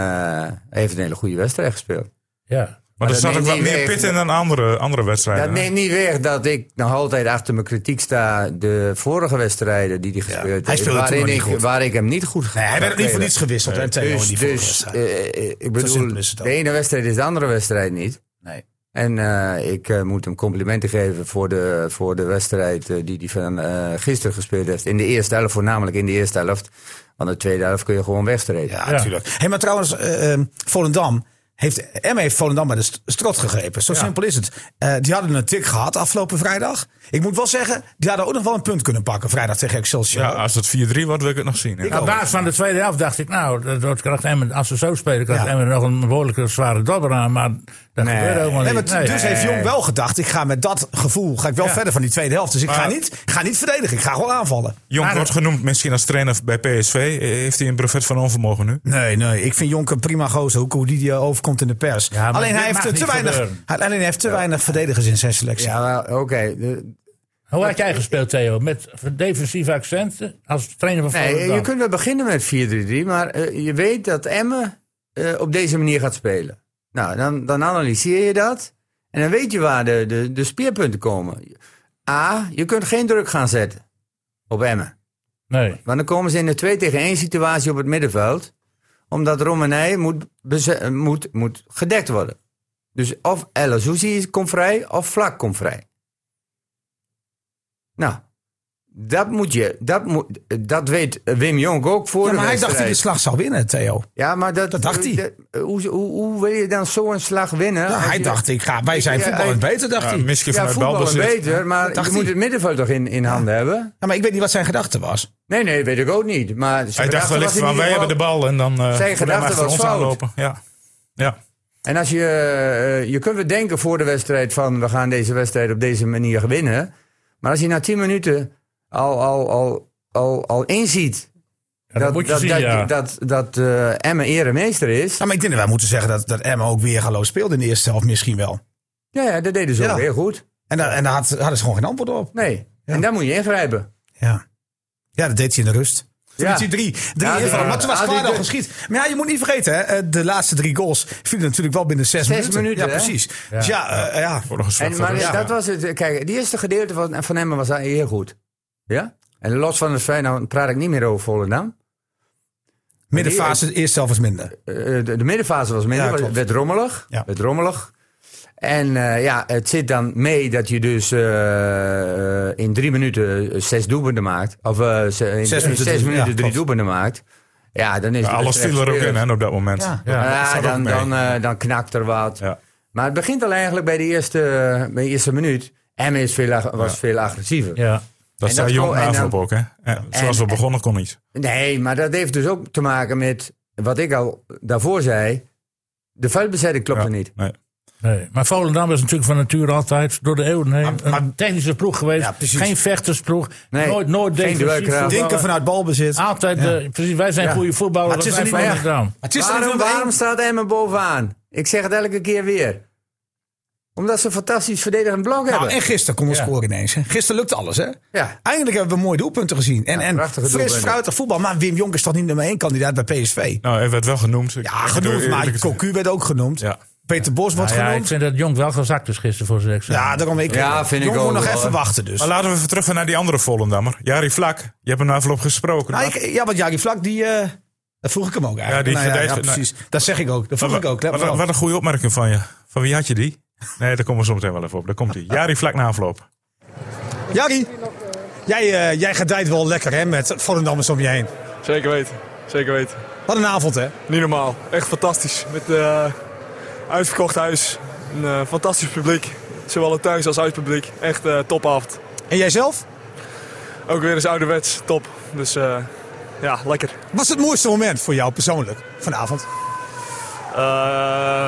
[SPEAKER 4] hij heeft een hele goede wedstrijd gespeeld.
[SPEAKER 1] Ja.
[SPEAKER 2] Maar, er
[SPEAKER 4] dat
[SPEAKER 2] zat ook
[SPEAKER 4] neemt
[SPEAKER 2] wat
[SPEAKER 4] niet
[SPEAKER 2] meer
[SPEAKER 4] weg.
[SPEAKER 2] pit in dan andere, andere wedstrijden.
[SPEAKER 4] Dat
[SPEAKER 2] hè?
[SPEAKER 4] neemt niet weg dat ik nog altijd achter mijn kritiek sta. De vorige wedstrijden die hij gespeeld heeft,
[SPEAKER 6] hij speelde toen
[SPEAKER 4] waarin
[SPEAKER 6] nog niet
[SPEAKER 4] ik,
[SPEAKER 6] goed.
[SPEAKER 4] waar ik hem niet goed ga.
[SPEAKER 6] Nee, hij werd niet voor niets gewisseld, hè, Theo?
[SPEAKER 4] Dus,
[SPEAKER 6] in die vorige
[SPEAKER 4] dus
[SPEAKER 6] wedstrijd.
[SPEAKER 4] eh, eh, ik
[SPEAKER 6] simpel
[SPEAKER 4] bedoel,
[SPEAKER 6] is het ook.
[SPEAKER 4] de ene wedstrijd is de andere wedstrijd niet.
[SPEAKER 6] Nee.
[SPEAKER 4] En eh, ik eh, moet hem complimenten geven voor de, voor de wedstrijd eh, die hij van eh, gisteren gespeeld heeft. In de eerste helft, voornamelijk in de eerste helft. Want de tweede helft kun je gewoon wegstrepen.
[SPEAKER 6] Ja, natuurlijk. Hey, maar trouwens, eh, eh, Volendam heeft, Emme heeft Volendam bij de st- strot gegrepen. Zo simpel is het. Eh, die hadden een tik gehad afgelopen vrijdag. Ik moet wel zeggen, die hadden ook nog wel een punt kunnen pakken vrijdag tegen Excelsior.
[SPEAKER 2] Ja, als het 4-3 wordt, wil ik het nog zien. hè.
[SPEAKER 1] Op basis van de tweede helft dacht ik, nou, dat, dat krijgt Emmen, als ze zo spelen, krijgt
[SPEAKER 6] Ja.
[SPEAKER 1] Emmen nog een behoorlijke zware dobber aan. Maar dat gebeurt helemaal
[SPEAKER 6] Nee,
[SPEAKER 1] niet.
[SPEAKER 6] maar t-
[SPEAKER 1] Nee.
[SPEAKER 6] dus heeft Jong wel gedacht, ik ga met dat gevoel ga ik wel verder van die tweede helft. Dus ik ga,
[SPEAKER 2] Maar-
[SPEAKER 6] niet, ik ga niet verdedigen, ik ga gewoon aanvallen.
[SPEAKER 2] Jong
[SPEAKER 1] Maar-
[SPEAKER 2] wordt genoemd misschien als trainer bij PSV. Heeft hij een brevet van onvermogen nu?
[SPEAKER 6] Nee, nee, ik vind Jonk een prima gozer, ook hoe die die overkomt in de pers.
[SPEAKER 1] Ja, maar
[SPEAKER 6] alleen,
[SPEAKER 1] dit
[SPEAKER 6] hij heeft
[SPEAKER 1] mag
[SPEAKER 6] te
[SPEAKER 1] niet
[SPEAKER 6] weinig,
[SPEAKER 1] gebeuren.
[SPEAKER 6] hij- alleen hij heeft te weinig verdedigers in zijn selectie.
[SPEAKER 4] Ja, wel, oké. de-
[SPEAKER 1] Eh, Hoe had jij gespeeld, Theo? Met defensieve accenten als trainer van
[SPEAKER 4] Nee,
[SPEAKER 1] Volendam?
[SPEAKER 4] je kunt wel beginnen met 4-3-3, maar eh, je weet dat Emmen eh, op deze manier gaat spelen. Nou, dan, dan analyseer je dat en dan weet je waar de, de, de speerpunten komen. A, je kunt geen druk gaan zetten op Emmen.
[SPEAKER 1] Nee.
[SPEAKER 4] Want dan komen ze in de 2 tegen 1 situatie op het middenveld. Omdat Romanei moet, beze- eh, moet, moet gedekt worden. Dus of El Azouzi komt vrij of Vlak komt vrij. Nou, dat moet je. Dat, moet, dat weet Wim Jong ook voor
[SPEAKER 6] Ja,
[SPEAKER 4] de
[SPEAKER 6] maar hij dacht dat hij de
[SPEAKER 4] wedstrijd.
[SPEAKER 6] slag zou winnen, Theo.
[SPEAKER 4] Ja, maar dat,
[SPEAKER 6] Dat dacht hij.
[SPEAKER 4] dat- hoe, hoe, hoe wil je dan zo'n slag winnen?
[SPEAKER 6] Ja,
[SPEAKER 4] als
[SPEAKER 6] hij
[SPEAKER 4] je-
[SPEAKER 6] dacht, ik ga, wij zijn
[SPEAKER 4] Ja,
[SPEAKER 6] voetballend
[SPEAKER 4] hij-
[SPEAKER 6] beter, dacht
[SPEAKER 2] Ja,
[SPEAKER 6] hij.
[SPEAKER 2] misschien
[SPEAKER 4] Ja,
[SPEAKER 2] vanuit
[SPEAKER 4] voetballen
[SPEAKER 2] balbezit.
[SPEAKER 4] beter, maar
[SPEAKER 6] dacht
[SPEAKER 4] je
[SPEAKER 6] hij.
[SPEAKER 4] moet het middenveld toch in, in handen hebben?
[SPEAKER 6] Ja, maar ik weet niet wat zijn gedachte was.
[SPEAKER 4] Nee, nee, weet ik ook niet. Maar zijn
[SPEAKER 2] Hij dacht
[SPEAKER 4] gedachte
[SPEAKER 2] wellicht
[SPEAKER 4] was in
[SPEAKER 2] van,
[SPEAKER 4] ieder
[SPEAKER 2] wij hebben de
[SPEAKER 4] geval-
[SPEAKER 2] bal en dan eh
[SPEAKER 4] Zijn
[SPEAKER 2] moet
[SPEAKER 4] gedachte
[SPEAKER 2] hem achter
[SPEAKER 4] was
[SPEAKER 2] ons
[SPEAKER 4] fout.
[SPEAKER 2] aanlopen. Ja. Ja.
[SPEAKER 4] En als je, eh, je kunt wel denken voor de wedstrijd van we gaan deze wedstrijd op deze manier winnen. Maar als je na 10 minuten al, al, al, al, al inziet
[SPEAKER 1] Ja, dat, moet je zien,
[SPEAKER 4] dat,
[SPEAKER 1] ja.
[SPEAKER 4] dat, dat eh Emmen eremeester is.
[SPEAKER 6] Ja, maar ik denk dat wij moeten zeggen dat, dat Emma ook weer galoos speelde in de eerste helft misschien wel.
[SPEAKER 4] Ja, ja dat deden ze
[SPEAKER 6] Ja.
[SPEAKER 4] ook heel goed.
[SPEAKER 6] En daar, en daar had, hadden ze gewoon geen antwoord op.
[SPEAKER 4] Nee, en daar moet je ingrijpen.
[SPEAKER 6] Ja. ja, dat deed hij in de rust. Toen
[SPEAKER 4] Ja.
[SPEAKER 6] liet hij drie, drie
[SPEAKER 4] Ja, die-
[SPEAKER 6] invallen. Maar toen was
[SPEAKER 4] ja, die-
[SPEAKER 6] Klaar al geschiet. Maar ja, je moet niet vergeten, hè, eh, de laatste drie goals vielen natuurlijk wel binnen zes,
[SPEAKER 4] Zes minuten,
[SPEAKER 6] Ja,
[SPEAKER 4] hè?
[SPEAKER 6] precies. Dus ja, eh, ja.
[SPEAKER 2] Voor nog een
[SPEAKER 4] En,
[SPEAKER 2] zwak
[SPEAKER 4] maar
[SPEAKER 2] verhaal.
[SPEAKER 4] dat was het. Kijk, die eerste gedeelte van, van hem was hij heel goed. Ja? En los van het feit, nou praat ik niet meer over Volendam.
[SPEAKER 6] middenfase, de eerste helft was minder.
[SPEAKER 4] Eh, de, de middenfase was
[SPEAKER 6] Ja,
[SPEAKER 4] minder,
[SPEAKER 6] klopt.
[SPEAKER 4] werd rommelig.
[SPEAKER 6] Ja.
[SPEAKER 4] Werd rommelig. En eh, ja, het zit dan mee dat je dus eh, eh, in drie minuten zes doelpunten maakt. Of eh, ze- in
[SPEAKER 6] Zes
[SPEAKER 4] zes,
[SPEAKER 6] minuten,
[SPEAKER 4] minuten,
[SPEAKER 6] ja,
[SPEAKER 4] drie
[SPEAKER 6] klopt.
[SPEAKER 4] doelpunten maakt. Ja, dan is
[SPEAKER 2] Ja,
[SPEAKER 4] het
[SPEAKER 2] alles viel er ook in hè, op dat moment.
[SPEAKER 6] Ja.
[SPEAKER 4] Ja,
[SPEAKER 2] dat zat ook
[SPEAKER 4] dan,
[SPEAKER 2] mee.
[SPEAKER 4] dan, eh, dan knakt er wat.
[SPEAKER 2] Ja.
[SPEAKER 4] Maar het begint al eigenlijk bij de eerste, eh, bij de eerste minuut. Emmen is veel, ag- was veel agressiever.
[SPEAKER 1] Ja.
[SPEAKER 2] Dat
[SPEAKER 4] En
[SPEAKER 2] zei
[SPEAKER 4] dat
[SPEAKER 2] Jong
[SPEAKER 4] kon- en
[SPEAKER 2] na afloop
[SPEAKER 4] dan-
[SPEAKER 2] ook, hè? En zoals we
[SPEAKER 4] en-
[SPEAKER 2] begonnen kon niet.
[SPEAKER 4] Nee, maar dat heeft dus ook te maken met wat ik al daarvoor zei. De vuilbezetting klopte
[SPEAKER 2] Ja,
[SPEAKER 4] niet.
[SPEAKER 2] Nee.
[SPEAKER 1] Nee, maar Volendam is natuurlijk van nature altijd door de eeuwen heen een technische ploeg geweest.
[SPEAKER 6] Ja, precies.
[SPEAKER 1] geen vechtersploeg.
[SPEAKER 4] Nee,
[SPEAKER 1] nooit, nooit
[SPEAKER 4] geen
[SPEAKER 1] defensief
[SPEAKER 4] duelkracht.
[SPEAKER 1] voetballen.
[SPEAKER 6] Denken vanuit balbezit.
[SPEAKER 1] Altijd, eh, precies, wij zijn goede voetballers.
[SPEAKER 6] Maar het is
[SPEAKER 1] wij
[SPEAKER 6] er
[SPEAKER 1] van
[SPEAKER 4] niet meer.
[SPEAKER 1] Volendam.
[SPEAKER 6] Het is
[SPEAKER 4] Waarom, waarom staat Emmen bovenaan? Ik zeg het elke keer weer. Omdat ze een fantastisch verdedigend blok
[SPEAKER 6] Nou,
[SPEAKER 4] hebben.
[SPEAKER 6] en gisteren kon ons
[SPEAKER 1] Ja.
[SPEAKER 6] scoren ineens. hè. Gisteren lukte alles, hè?
[SPEAKER 4] Ja.
[SPEAKER 6] Eindelijk hebben we mooie doelpunten gezien. En, en
[SPEAKER 4] prachtige
[SPEAKER 6] fris,
[SPEAKER 4] doelpunten.
[SPEAKER 6] fruitig voetbal. Maar Wim Jonk is toch niet nummer één kandidaat bij PSV?
[SPEAKER 2] Nou, hij werd wel genoemd. Ik-
[SPEAKER 6] Ja,
[SPEAKER 2] ik-
[SPEAKER 6] genoemd.
[SPEAKER 2] ik-
[SPEAKER 6] Maar
[SPEAKER 2] ik-
[SPEAKER 6] Cocu werd ook genoemd.
[SPEAKER 2] Ja.
[SPEAKER 6] Peter Bos wordt
[SPEAKER 1] Nou ja, ik
[SPEAKER 6] genoemd.
[SPEAKER 1] vind dat Jong wel gezakt is gisteren voor zijn examen.
[SPEAKER 6] Ja, daarom ik.
[SPEAKER 4] Ja, vind ik
[SPEAKER 6] Jong moet
[SPEAKER 4] ook
[SPEAKER 6] nog
[SPEAKER 4] wel,
[SPEAKER 6] even
[SPEAKER 4] hoor.
[SPEAKER 6] wachten dus.
[SPEAKER 2] Maar laten we even terug gaan naar die andere Volendammer. Jari Vlak. Je hebt hem na afloop gesproken.
[SPEAKER 6] Nou,
[SPEAKER 2] Maar-
[SPEAKER 6] ik- ja, want Jari Vlak, die, eh, dat vroeg ik hem ook eigenlijk.
[SPEAKER 2] die
[SPEAKER 6] Nou ja,
[SPEAKER 2] verdedigt-
[SPEAKER 6] ja, precies. Dat zeg ik ook. Dat vroeg ik ook.
[SPEAKER 2] Wat,
[SPEAKER 6] Let maar
[SPEAKER 2] wat,
[SPEAKER 6] op.
[SPEAKER 2] wat een goede opmerking van je. Van wie had je die? Nee, daar komen we zometeen wel even op. Daar komt hij. Jari Vlak na afloop.
[SPEAKER 6] Jari, jij, eh, jij gedijt wel lekker hè, met Volendammers om je heen.
[SPEAKER 8] Zeker weten, zeker weten.
[SPEAKER 6] Wat een avond, hè?
[SPEAKER 8] Niet normaal, echt fantastisch. Met eh, uitverkocht huis, een eh, fantastisch publiek. Zowel het thuis- als uitpubliek. Echt eh, topavond.
[SPEAKER 6] En jijzelf?
[SPEAKER 8] Ook weer eens ouderwets, top. Dus eh, ja, lekker.
[SPEAKER 6] Wat is het mooiste moment voor jou persoonlijk vanavond?
[SPEAKER 8] Eh,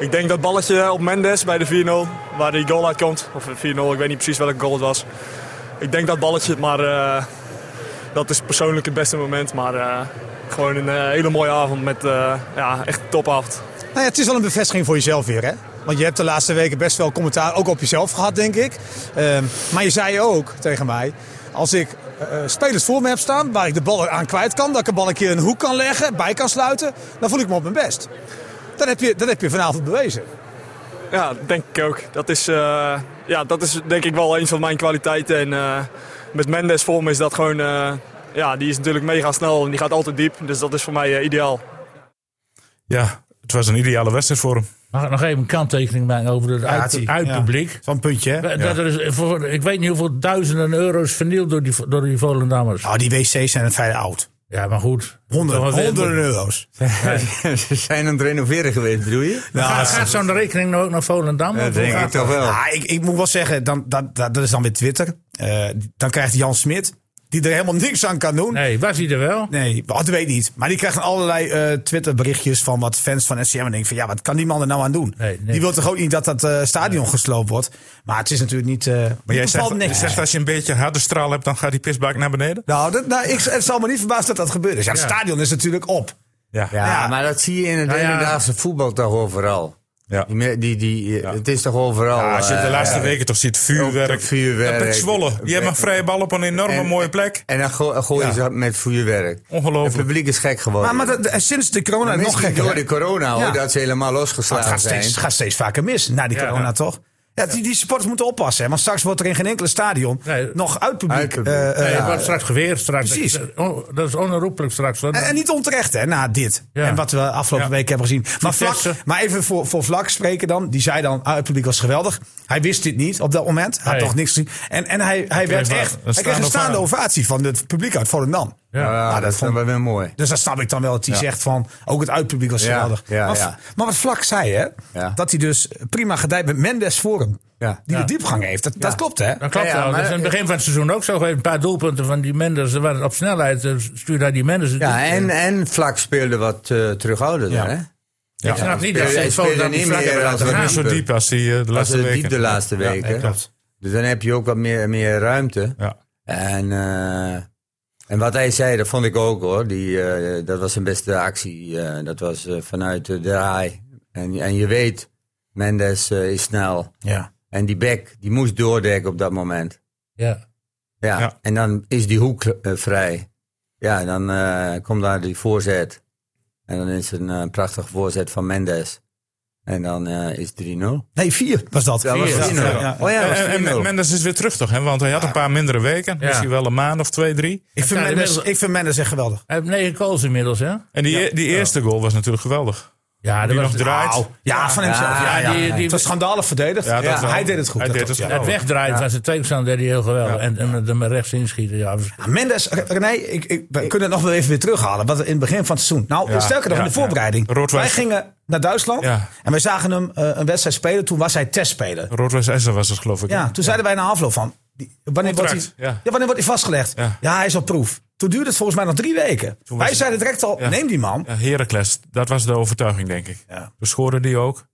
[SPEAKER 8] ik denk dat balletje op Mendes bij de 4-0, waar die goal uitkomt. Of 4-0, ik weet niet precies welke goal het was. Ik denk dat balletje, maar eh, dat is persoonlijk het beste moment. Maar eh, gewoon een eh, hele mooie avond met eh, ja, echt een topavond.
[SPEAKER 6] Nou ja, het is wel een bevestiging voor jezelf weer, hè? Want je hebt de laatste weken best wel commentaar ook op jezelf gehad, denk ik. Ehm, maar je zei ook tegen mij, als ik eh, spelers voor me heb staan waar ik de bal aan kwijt kan, dat ik de bal een keer in een hoek kan leggen, bij kan sluiten, dan voel ik me op mijn best. Dat heb je, dat heb je vanavond bewezen.
[SPEAKER 8] Ja, denk ik ook. Dat is, eh, ja, dat is denk ik wel een van mijn kwaliteiten. En eh, met Mendes voor me is dat gewoon... eh, ja, die is natuurlijk mega snel en die gaat altijd diep. Dus dat is voor mij eh, ideaal.
[SPEAKER 2] Ja, het was een ideale wedstrijd voor hem.
[SPEAKER 1] Mag ik nog even een kanttekening maken over het uit,
[SPEAKER 6] die-
[SPEAKER 1] uitpubliek?
[SPEAKER 6] Zo'n puntje, hè?
[SPEAKER 1] Eh, Dat er is voor, ik weet niet hoeveel duizenden euro's vernield door die, door die Volendammers.
[SPEAKER 6] Nou, die wc's zijn vrij oud.
[SPEAKER 1] Ja, maar goed.
[SPEAKER 6] Honderden,
[SPEAKER 1] Toch wel weer-
[SPEAKER 6] honderden euro's.
[SPEAKER 4] ze zijn aan het renoveren geweest, bedoel je?
[SPEAKER 1] Gaat, gaat zo'n rekening nou ook naar Volendam? Of
[SPEAKER 4] Dat
[SPEAKER 1] hoe
[SPEAKER 4] denk ik
[SPEAKER 1] gaat
[SPEAKER 4] toch wel.
[SPEAKER 6] Ah, ik, ik moet wel zeggen, dan, dat, dat, dat is dan weer Twitter. Eh, dan krijgt Jan Smit, die er helemaal niks aan kan doen.
[SPEAKER 1] Nee, was hij er wel?
[SPEAKER 6] Nee, dat weet ik niet. Maar die krijgt allerlei eh Twitter-berichtjes van wat fans van SCM. En denk ik van, ja, wat kan die man er nou aan doen?
[SPEAKER 1] Nee, niks.
[SPEAKER 6] Die wil toch ook niet dat dat eh, stadion gesloopt wordt? Maar het is natuurlijk niet... eh
[SPEAKER 2] Maar jij zegt,
[SPEAKER 6] niks.
[SPEAKER 2] je zegt als je een beetje harde straal hebt, dan gaat die pisbak naar beneden.
[SPEAKER 6] Nou, dat, nou ik, het zal me niet verbaasd dat dat gebeurt. Dus ja, het
[SPEAKER 1] Ja.
[SPEAKER 6] stadion is natuurlijk op.
[SPEAKER 2] Ja.
[SPEAKER 4] Ja,
[SPEAKER 6] Ja.
[SPEAKER 4] maar dat zie je in het
[SPEAKER 1] Nou ja.
[SPEAKER 4] hedendaagse voetbal toch overal.
[SPEAKER 2] Ja.
[SPEAKER 4] Die, me- die, die, eh, Het is toch overal.
[SPEAKER 2] Ja, als je de
[SPEAKER 4] eh,
[SPEAKER 2] laatste weken toch ziet,
[SPEAKER 4] Ook
[SPEAKER 2] vuurwerk.
[SPEAKER 4] dat vuurwerk.
[SPEAKER 2] Dat Pek Zwolle. Je hebt een vrije bal op een enorme
[SPEAKER 4] En-
[SPEAKER 2] mooie plek.
[SPEAKER 4] En dan go- gooi je
[SPEAKER 6] Ja.
[SPEAKER 4] ze met vuurwerk.
[SPEAKER 2] Ongelooflijk.
[SPEAKER 4] Het publiek is gek geworden.
[SPEAKER 6] Maar, maar dat- eh, sinds de corona nog
[SPEAKER 4] Misschien
[SPEAKER 6] gekker.
[SPEAKER 4] door
[SPEAKER 6] hè?
[SPEAKER 4] de corona hoor,
[SPEAKER 6] Ja.
[SPEAKER 4] dat ze helemaal
[SPEAKER 6] Maar het
[SPEAKER 4] losgeslagen
[SPEAKER 6] gaat
[SPEAKER 4] zijn.
[SPEAKER 6] steeds, het gaat steeds vaker mis na die
[SPEAKER 1] Ja,
[SPEAKER 6] corona,
[SPEAKER 1] ja.
[SPEAKER 6] toch? Ja, die, die supporters moeten oppassen. Hè? Want straks wordt er in geen enkele stadion
[SPEAKER 1] Nee.
[SPEAKER 6] nog uitpubliek.
[SPEAKER 4] Uitpubliek.
[SPEAKER 6] eh, eh,
[SPEAKER 1] Nee, het wordt straks geweer. Straks.
[SPEAKER 6] Precies.
[SPEAKER 1] Oh, Dat is onherroepelijk straks. hoor.
[SPEAKER 6] En, en niet onterecht, hè, na dit.
[SPEAKER 1] Ja.
[SPEAKER 6] En wat we afgelopen
[SPEAKER 1] Ja.
[SPEAKER 6] week hebben gezien. Maar, vlak,
[SPEAKER 1] Vitesse.
[SPEAKER 6] maar even voor, voor Vlak spreken dan. Die zei dan, ah, het publiek was geweldig. Hij wist dit niet op dat moment. Had
[SPEAKER 1] Nee.
[SPEAKER 6] toch niks gezien. En, en hij, hij werd
[SPEAKER 2] wat-
[SPEAKER 6] echt...
[SPEAKER 2] een
[SPEAKER 6] Hij kreeg een
[SPEAKER 2] staande
[SPEAKER 6] staande
[SPEAKER 2] ovatie.
[SPEAKER 6] ovatie van het publiek uit Volendam.
[SPEAKER 4] Ja,
[SPEAKER 1] ja.
[SPEAKER 4] dat,
[SPEAKER 6] dat
[SPEAKER 4] vond ik wel mooi.
[SPEAKER 6] Dus dat snap ik dan wel, dat hij zegt van, ook het uitpubliek was
[SPEAKER 4] Ja,
[SPEAKER 6] geweldig.
[SPEAKER 4] ja,
[SPEAKER 6] maar,
[SPEAKER 4] ja.
[SPEAKER 6] maar wat Vlak zei, hè,
[SPEAKER 4] Ja.
[SPEAKER 6] dat hij dus prima gedijt met Mendes voor hem.
[SPEAKER 4] Ja.
[SPEAKER 6] Die
[SPEAKER 1] Ja.
[SPEAKER 6] de diepgang heeft. Dat, dat klopt, hè?
[SPEAKER 1] Dat klopt
[SPEAKER 4] Ja, ja,
[SPEAKER 1] wel.
[SPEAKER 4] maar-
[SPEAKER 1] dat is in het begin van het seizoen ook zo geweest. Een paar doelpunten van die Menders. Er waren op snelheid eh, stuurde hij die Menders.
[SPEAKER 4] Ja, en, en Vlak speelde wat eh terughoudend.
[SPEAKER 6] Ja.
[SPEAKER 4] Hè?
[SPEAKER 1] ik snap niet
[SPEAKER 4] Speel-
[SPEAKER 1] dat
[SPEAKER 4] speel
[SPEAKER 1] ze
[SPEAKER 4] je
[SPEAKER 1] Volendam
[SPEAKER 4] niet
[SPEAKER 1] die vlak
[SPEAKER 4] meer
[SPEAKER 1] hebben
[SPEAKER 4] als
[SPEAKER 1] laten
[SPEAKER 4] we
[SPEAKER 1] gaan.
[SPEAKER 2] Niet zo diep als die eh, de
[SPEAKER 4] Dat
[SPEAKER 2] laatste
[SPEAKER 4] was
[SPEAKER 2] weken.
[SPEAKER 4] diep de laatste weken. dus dan heb je ook wat meer, meer ruimte.
[SPEAKER 2] Ja.
[SPEAKER 4] En, eh, en wat hij zei, dat vond ik ook hoor. Die, eh, dat was zijn beste actie. eh, dat was eh, vanuit de draai. En, en je weet, Mendes eh, is snel.
[SPEAKER 6] Ja.
[SPEAKER 4] En die bek, die moest doordekken op dat moment.
[SPEAKER 1] Ja.
[SPEAKER 4] Ja.
[SPEAKER 2] Ja.
[SPEAKER 4] En dan is die hoek eh, vrij. Ja, en dan eh, komt daar die voorzet. En dan is het een eh, prachtige voorzet van Mendes. En dan eh, is het 3-0.
[SPEAKER 6] Nee, vier was dat.
[SPEAKER 4] Dat was 3-0. Oh ja,
[SPEAKER 2] En,
[SPEAKER 4] dat
[SPEAKER 2] en,
[SPEAKER 4] was 3-0.
[SPEAKER 2] Mendes is weer terug toch, hè? Want hij had een paar mindere weken. Misschien wel een maand of twee, drie.
[SPEAKER 6] Ik vind,
[SPEAKER 1] Ja,
[SPEAKER 6] Mendes,
[SPEAKER 1] inmiddels-
[SPEAKER 6] ik vind Mendes echt geweldig.
[SPEAKER 1] Hij heeft negen goals inmiddels, hè?
[SPEAKER 2] En die, e- die eerste goal was natuurlijk geweldig.
[SPEAKER 1] Ja,
[SPEAKER 2] Die
[SPEAKER 1] dat was
[SPEAKER 2] nog draait.
[SPEAKER 1] Au.
[SPEAKER 6] Ja, van hemzelf. Ja, ja,
[SPEAKER 1] die-
[SPEAKER 6] ja.
[SPEAKER 1] die-
[SPEAKER 6] het was schandalig verdedigd.
[SPEAKER 2] Ja, dat wel.
[SPEAKER 6] hij deed het goed.
[SPEAKER 2] Hij
[SPEAKER 6] dat
[SPEAKER 2] deed
[SPEAKER 6] klopt,
[SPEAKER 2] het
[SPEAKER 6] ja.
[SPEAKER 1] Het wegdraaien van zijn tegenstander deed hij heel geweldig. En, en met hem rechts inschieten. Ja, was-
[SPEAKER 6] Ja, Mendes, R- René, ik, ik, we kunnen het nog wel even weer terughalen. Wat in het begin van het seizoen. Nou,
[SPEAKER 2] Ja,
[SPEAKER 6] sterker nog,
[SPEAKER 2] ja,
[SPEAKER 6] in de voorbereiding.
[SPEAKER 2] ja. Roodwijk-
[SPEAKER 6] Wij gingen naar Duitsland
[SPEAKER 2] Ja.
[SPEAKER 6] en wij zagen hem eh, een wedstrijd spelen. Toen was hij testspeler.
[SPEAKER 2] Roodwijs Essen was het, geloof ik.
[SPEAKER 6] Ja, toen zeiden wij na afloop van... die- Wanneer wordt, hij,
[SPEAKER 2] Contract,
[SPEAKER 6] ja.
[SPEAKER 2] ja.
[SPEAKER 6] wanneer wordt hij vastgelegd? Ja.
[SPEAKER 2] Ja.
[SPEAKER 6] hij is op proef. Toen duurde het volgens mij nog drie weken.
[SPEAKER 2] was
[SPEAKER 6] Wij
[SPEAKER 2] het-
[SPEAKER 6] zeiden direct al,
[SPEAKER 2] Ja.
[SPEAKER 6] neem die man.
[SPEAKER 2] Ja, Heracles, dat was de overtuiging, denk ik.
[SPEAKER 6] Ja.
[SPEAKER 2] We scoorden die ook.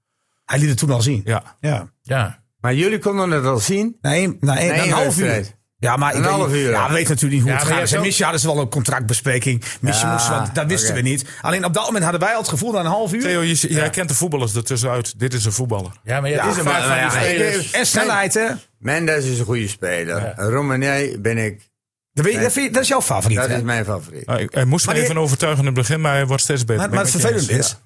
[SPEAKER 6] Hij liet het toen al zien.
[SPEAKER 2] Ja.
[SPEAKER 6] Ja.
[SPEAKER 1] ja.
[SPEAKER 4] Maar jullie konden het al zien.
[SPEAKER 6] Na een, na een, na een
[SPEAKER 4] één
[SPEAKER 6] half uur.
[SPEAKER 4] wedstrijd.
[SPEAKER 6] Ja, maar ik
[SPEAKER 4] Een
[SPEAKER 6] weet
[SPEAKER 4] half
[SPEAKER 6] niet-
[SPEAKER 4] uur.
[SPEAKER 6] Ja, we weten natuurlijk niet hoe
[SPEAKER 1] Ja,
[SPEAKER 6] het
[SPEAKER 1] maar
[SPEAKER 6] gaat.
[SPEAKER 1] je hebt
[SPEAKER 6] En misschien hadden ze wel een contractbespreking. Misschien
[SPEAKER 4] Ja,
[SPEAKER 6] moesten we, dat wisten
[SPEAKER 4] oké.
[SPEAKER 6] we niet. Alleen op dat moment hadden wij al het gevoel na een half uur.
[SPEAKER 2] Theo, je, jij kent de voetballers ertussenuit. Dit is een voetballer.
[SPEAKER 1] ja, maar je hebt
[SPEAKER 4] is
[SPEAKER 1] vaak
[SPEAKER 4] maar-
[SPEAKER 1] van die
[SPEAKER 4] maar ja,
[SPEAKER 1] spelers.
[SPEAKER 6] En snelheid, hè?
[SPEAKER 4] Mendes is een goede speler.
[SPEAKER 1] Ja.
[SPEAKER 4] Romanier ben ik.
[SPEAKER 6] Dat, weet je- dat, vind je- dat is jouw favoriet.
[SPEAKER 4] Dat
[SPEAKER 6] hè?
[SPEAKER 4] is mijn favoriet.
[SPEAKER 2] Hij, Nou, hij moest me
[SPEAKER 6] die-
[SPEAKER 2] even overtuigen in het begin, maar hij wordt steeds beter.
[SPEAKER 6] maar, maar het
[SPEAKER 2] Ben ik met je
[SPEAKER 6] vervelend is,
[SPEAKER 2] eens.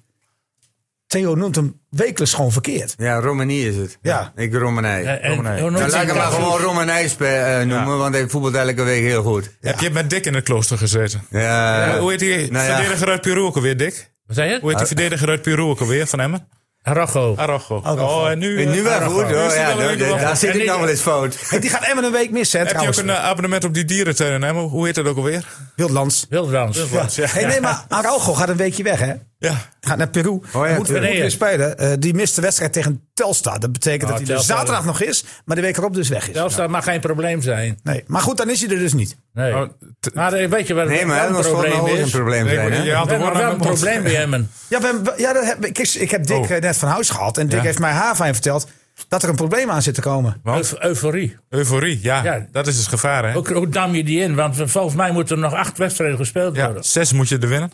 [SPEAKER 6] Theo noemt hem wekelijks gewoon verkeerd.
[SPEAKER 4] Ja, Romanier is het.
[SPEAKER 6] Ja.
[SPEAKER 4] Ik Romanier.
[SPEAKER 1] En- en-
[SPEAKER 2] Dominee.
[SPEAKER 1] en-
[SPEAKER 4] Nou, laat ik hem maar gewoon Romanier spe- eh, noemen, want hij voetbalt elke week heel goed.
[SPEAKER 2] Heb je met Dick in het klooster gezeten?
[SPEAKER 4] Ja,
[SPEAKER 2] Eh, hoe heet die
[SPEAKER 4] Nou ja. Ah.
[SPEAKER 2] verdediger uit Peru ook alweer, Dick?
[SPEAKER 1] Wat zei
[SPEAKER 2] Hoe
[SPEAKER 1] je?
[SPEAKER 2] heet die verdediger uit Peru ook alweer van Emmen?
[SPEAKER 1] Arrojo.
[SPEAKER 2] Arrojo. Oh, en nu... eh,
[SPEAKER 4] nu wel
[SPEAKER 2] Araujo.
[SPEAKER 4] goed
[SPEAKER 2] Nu
[SPEAKER 4] hoor.
[SPEAKER 2] is hij
[SPEAKER 4] Ja,
[SPEAKER 2] wel
[SPEAKER 4] daar-
[SPEAKER 2] weer wel
[SPEAKER 4] daar
[SPEAKER 2] goed.
[SPEAKER 4] zit
[SPEAKER 2] En
[SPEAKER 4] ik
[SPEAKER 2] die-
[SPEAKER 4] nog wel eens fout.
[SPEAKER 6] Hey, die gaat Emmen een week missen, hè,
[SPEAKER 2] Heb je ook
[SPEAKER 6] trouwens.
[SPEAKER 2] een eh, abonnement op die dierentuin in Emmen? Hoe heet dat ook alweer?
[SPEAKER 6] Wildlands.
[SPEAKER 1] Wilderans.
[SPEAKER 2] Ja.
[SPEAKER 6] Hey, nee, maar Araujo gaat een weekje weg, hè?
[SPEAKER 2] Ja.
[SPEAKER 6] Gaat naar Peru.
[SPEAKER 4] ja,
[SPEAKER 6] moet, weer- moet
[SPEAKER 1] tuurlijk.
[SPEAKER 6] weer spelen. Eh, die mist de wedstrijd tegen Telstar. Dat betekent dat hij er
[SPEAKER 1] Telstar.
[SPEAKER 6] zaterdag nog is, maar de week erop dus weg is.
[SPEAKER 1] Zelfs dat mag geen probleem zijn.
[SPEAKER 6] Nee. Maar goed, dan is hij er dus niet.
[SPEAKER 1] Nee.
[SPEAKER 2] Oh, t-
[SPEAKER 1] Maar eh, weet je wat
[SPEAKER 4] Nee, maar
[SPEAKER 1] wat
[SPEAKER 4] dat was voor mij
[SPEAKER 1] probleem
[SPEAKER 4] ook een
[SPEAKER 1] is?
[SPEAKER 4] probleem
[SPEAKER 2] Nee,
[SPEAKER 4] zijn. hè?
[SPEAKER 2] je haalt de
[SPEAKER 1] We
[SPEAKER 2] woorden
[SPEAKER 1] hebben wel een
[SPEAKER 2] uit mijn mond.
[SPEAKER 1] probleem bij Emmen.
[SPEAKER 6] Ja, we, we- ja dat heb, ik, ik heb Dick
[SPEAKER 2] Oh.
[SPEAKER 6] eh, net van huis gehad. En Dick
[SPEAKER 2] Ja.
[SPEAKER 6] heeft mij haven verteld dat er een probleem aan zit te komen.
[SPEAKER 2] Want?
[SPEAKER 1] Eu- euforie.
[SPEAKER 2] Euforie, ja.
[SPEAKER 1] Ja.
[SPEAKER 2] Dat is het gevaar, hè?
[SPEAKER 1] Ook, hoe dam je die in? Want we- volgens mij moeten er nog acht wedstrijden gespeeld
[SPEAKER 2] Ja,
[SPEAKER 1] worden.
[SPEAKER 2] zes moet je er winnen.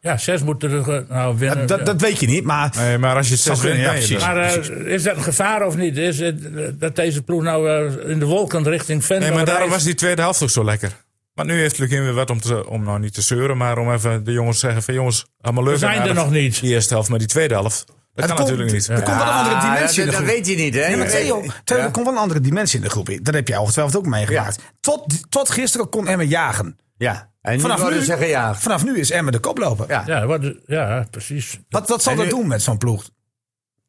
[SPEAKER 1] Ja, zes moeten er ge- nou, winnen.
[SPEAKER 6] Dat, dat, dat weet je niet, maar
[SPEAKER 2] Nee, maar als je zes
[SPEAKER 6] kunnen,
[SPEAKER 2] wint, ben je
[SPEAKER 6] ja, precies.
[SPEAKER 2] er.
[SPEAKER 1] maar eh, is dat een gevaar of niet? Is het, eh, dat deze ploeg nou eh, in de wolken richting Venlo
[SPEAKER 2] Nee, maar daarom
[SPEAKER 1] reist?
[SPEAKER 2] was die tweede helft ook zo lekker. Maar nu heeft Lukien weer wat om, te, om nou niet te zeuren, maar om even de jongens te zeggen van jongens, allemaal leuk.
[SPEAKER 1] We
[SPEAKER 2] en
[SPEAKER 1] zijn er
[SPEAKER 2] aardig.
[SPEAKER 1] nog niet.
[SPEAKER 2] Die eerste helft, maar die tweede helft, dat kan
[SPEAKER 6] komt-
[SPEAKER 2] natuurlijk niet.
[SPEAKER 6] er komt wel een andere
[SPEAKER 4] Ah,
[SPEAKER 6] dimensie in
[SPEAKER 4] dat,
[SPEAKER 6] de
[SPEAKER 4] dat
[SPEAKER 6] groep.
[SPEAKER 4] weet je niet, hè?
[SPEAKER 6] Nee, maar Theo, Theo, er komt wel een andere dimensie in de groep. Dat heb jij ongetwijfeld ook meegemaakt. Tot, tot gisteren kon Emmen jagen.
[SPEAKER 4] Ja. En nu
[SPEAKER 6] Vanaf
[SPEAKER 4] worden
[SPEAKER 6] nu,
[SPEAKER 4] ze gejaagd.
[SPEAKER 6] vanaf nu is Emmen de koploper.
[SPEAKER 4] Ja.
[SPEAKER 1] Ja, wat, ja, precies.
[SPEAKER 6] Wat, wat zal
[SPEAKER 4] En
[SPEAKER 6] dat
[SPEAKER 4] nu-
[SPEAKER 6] doen met zo'n ploeg?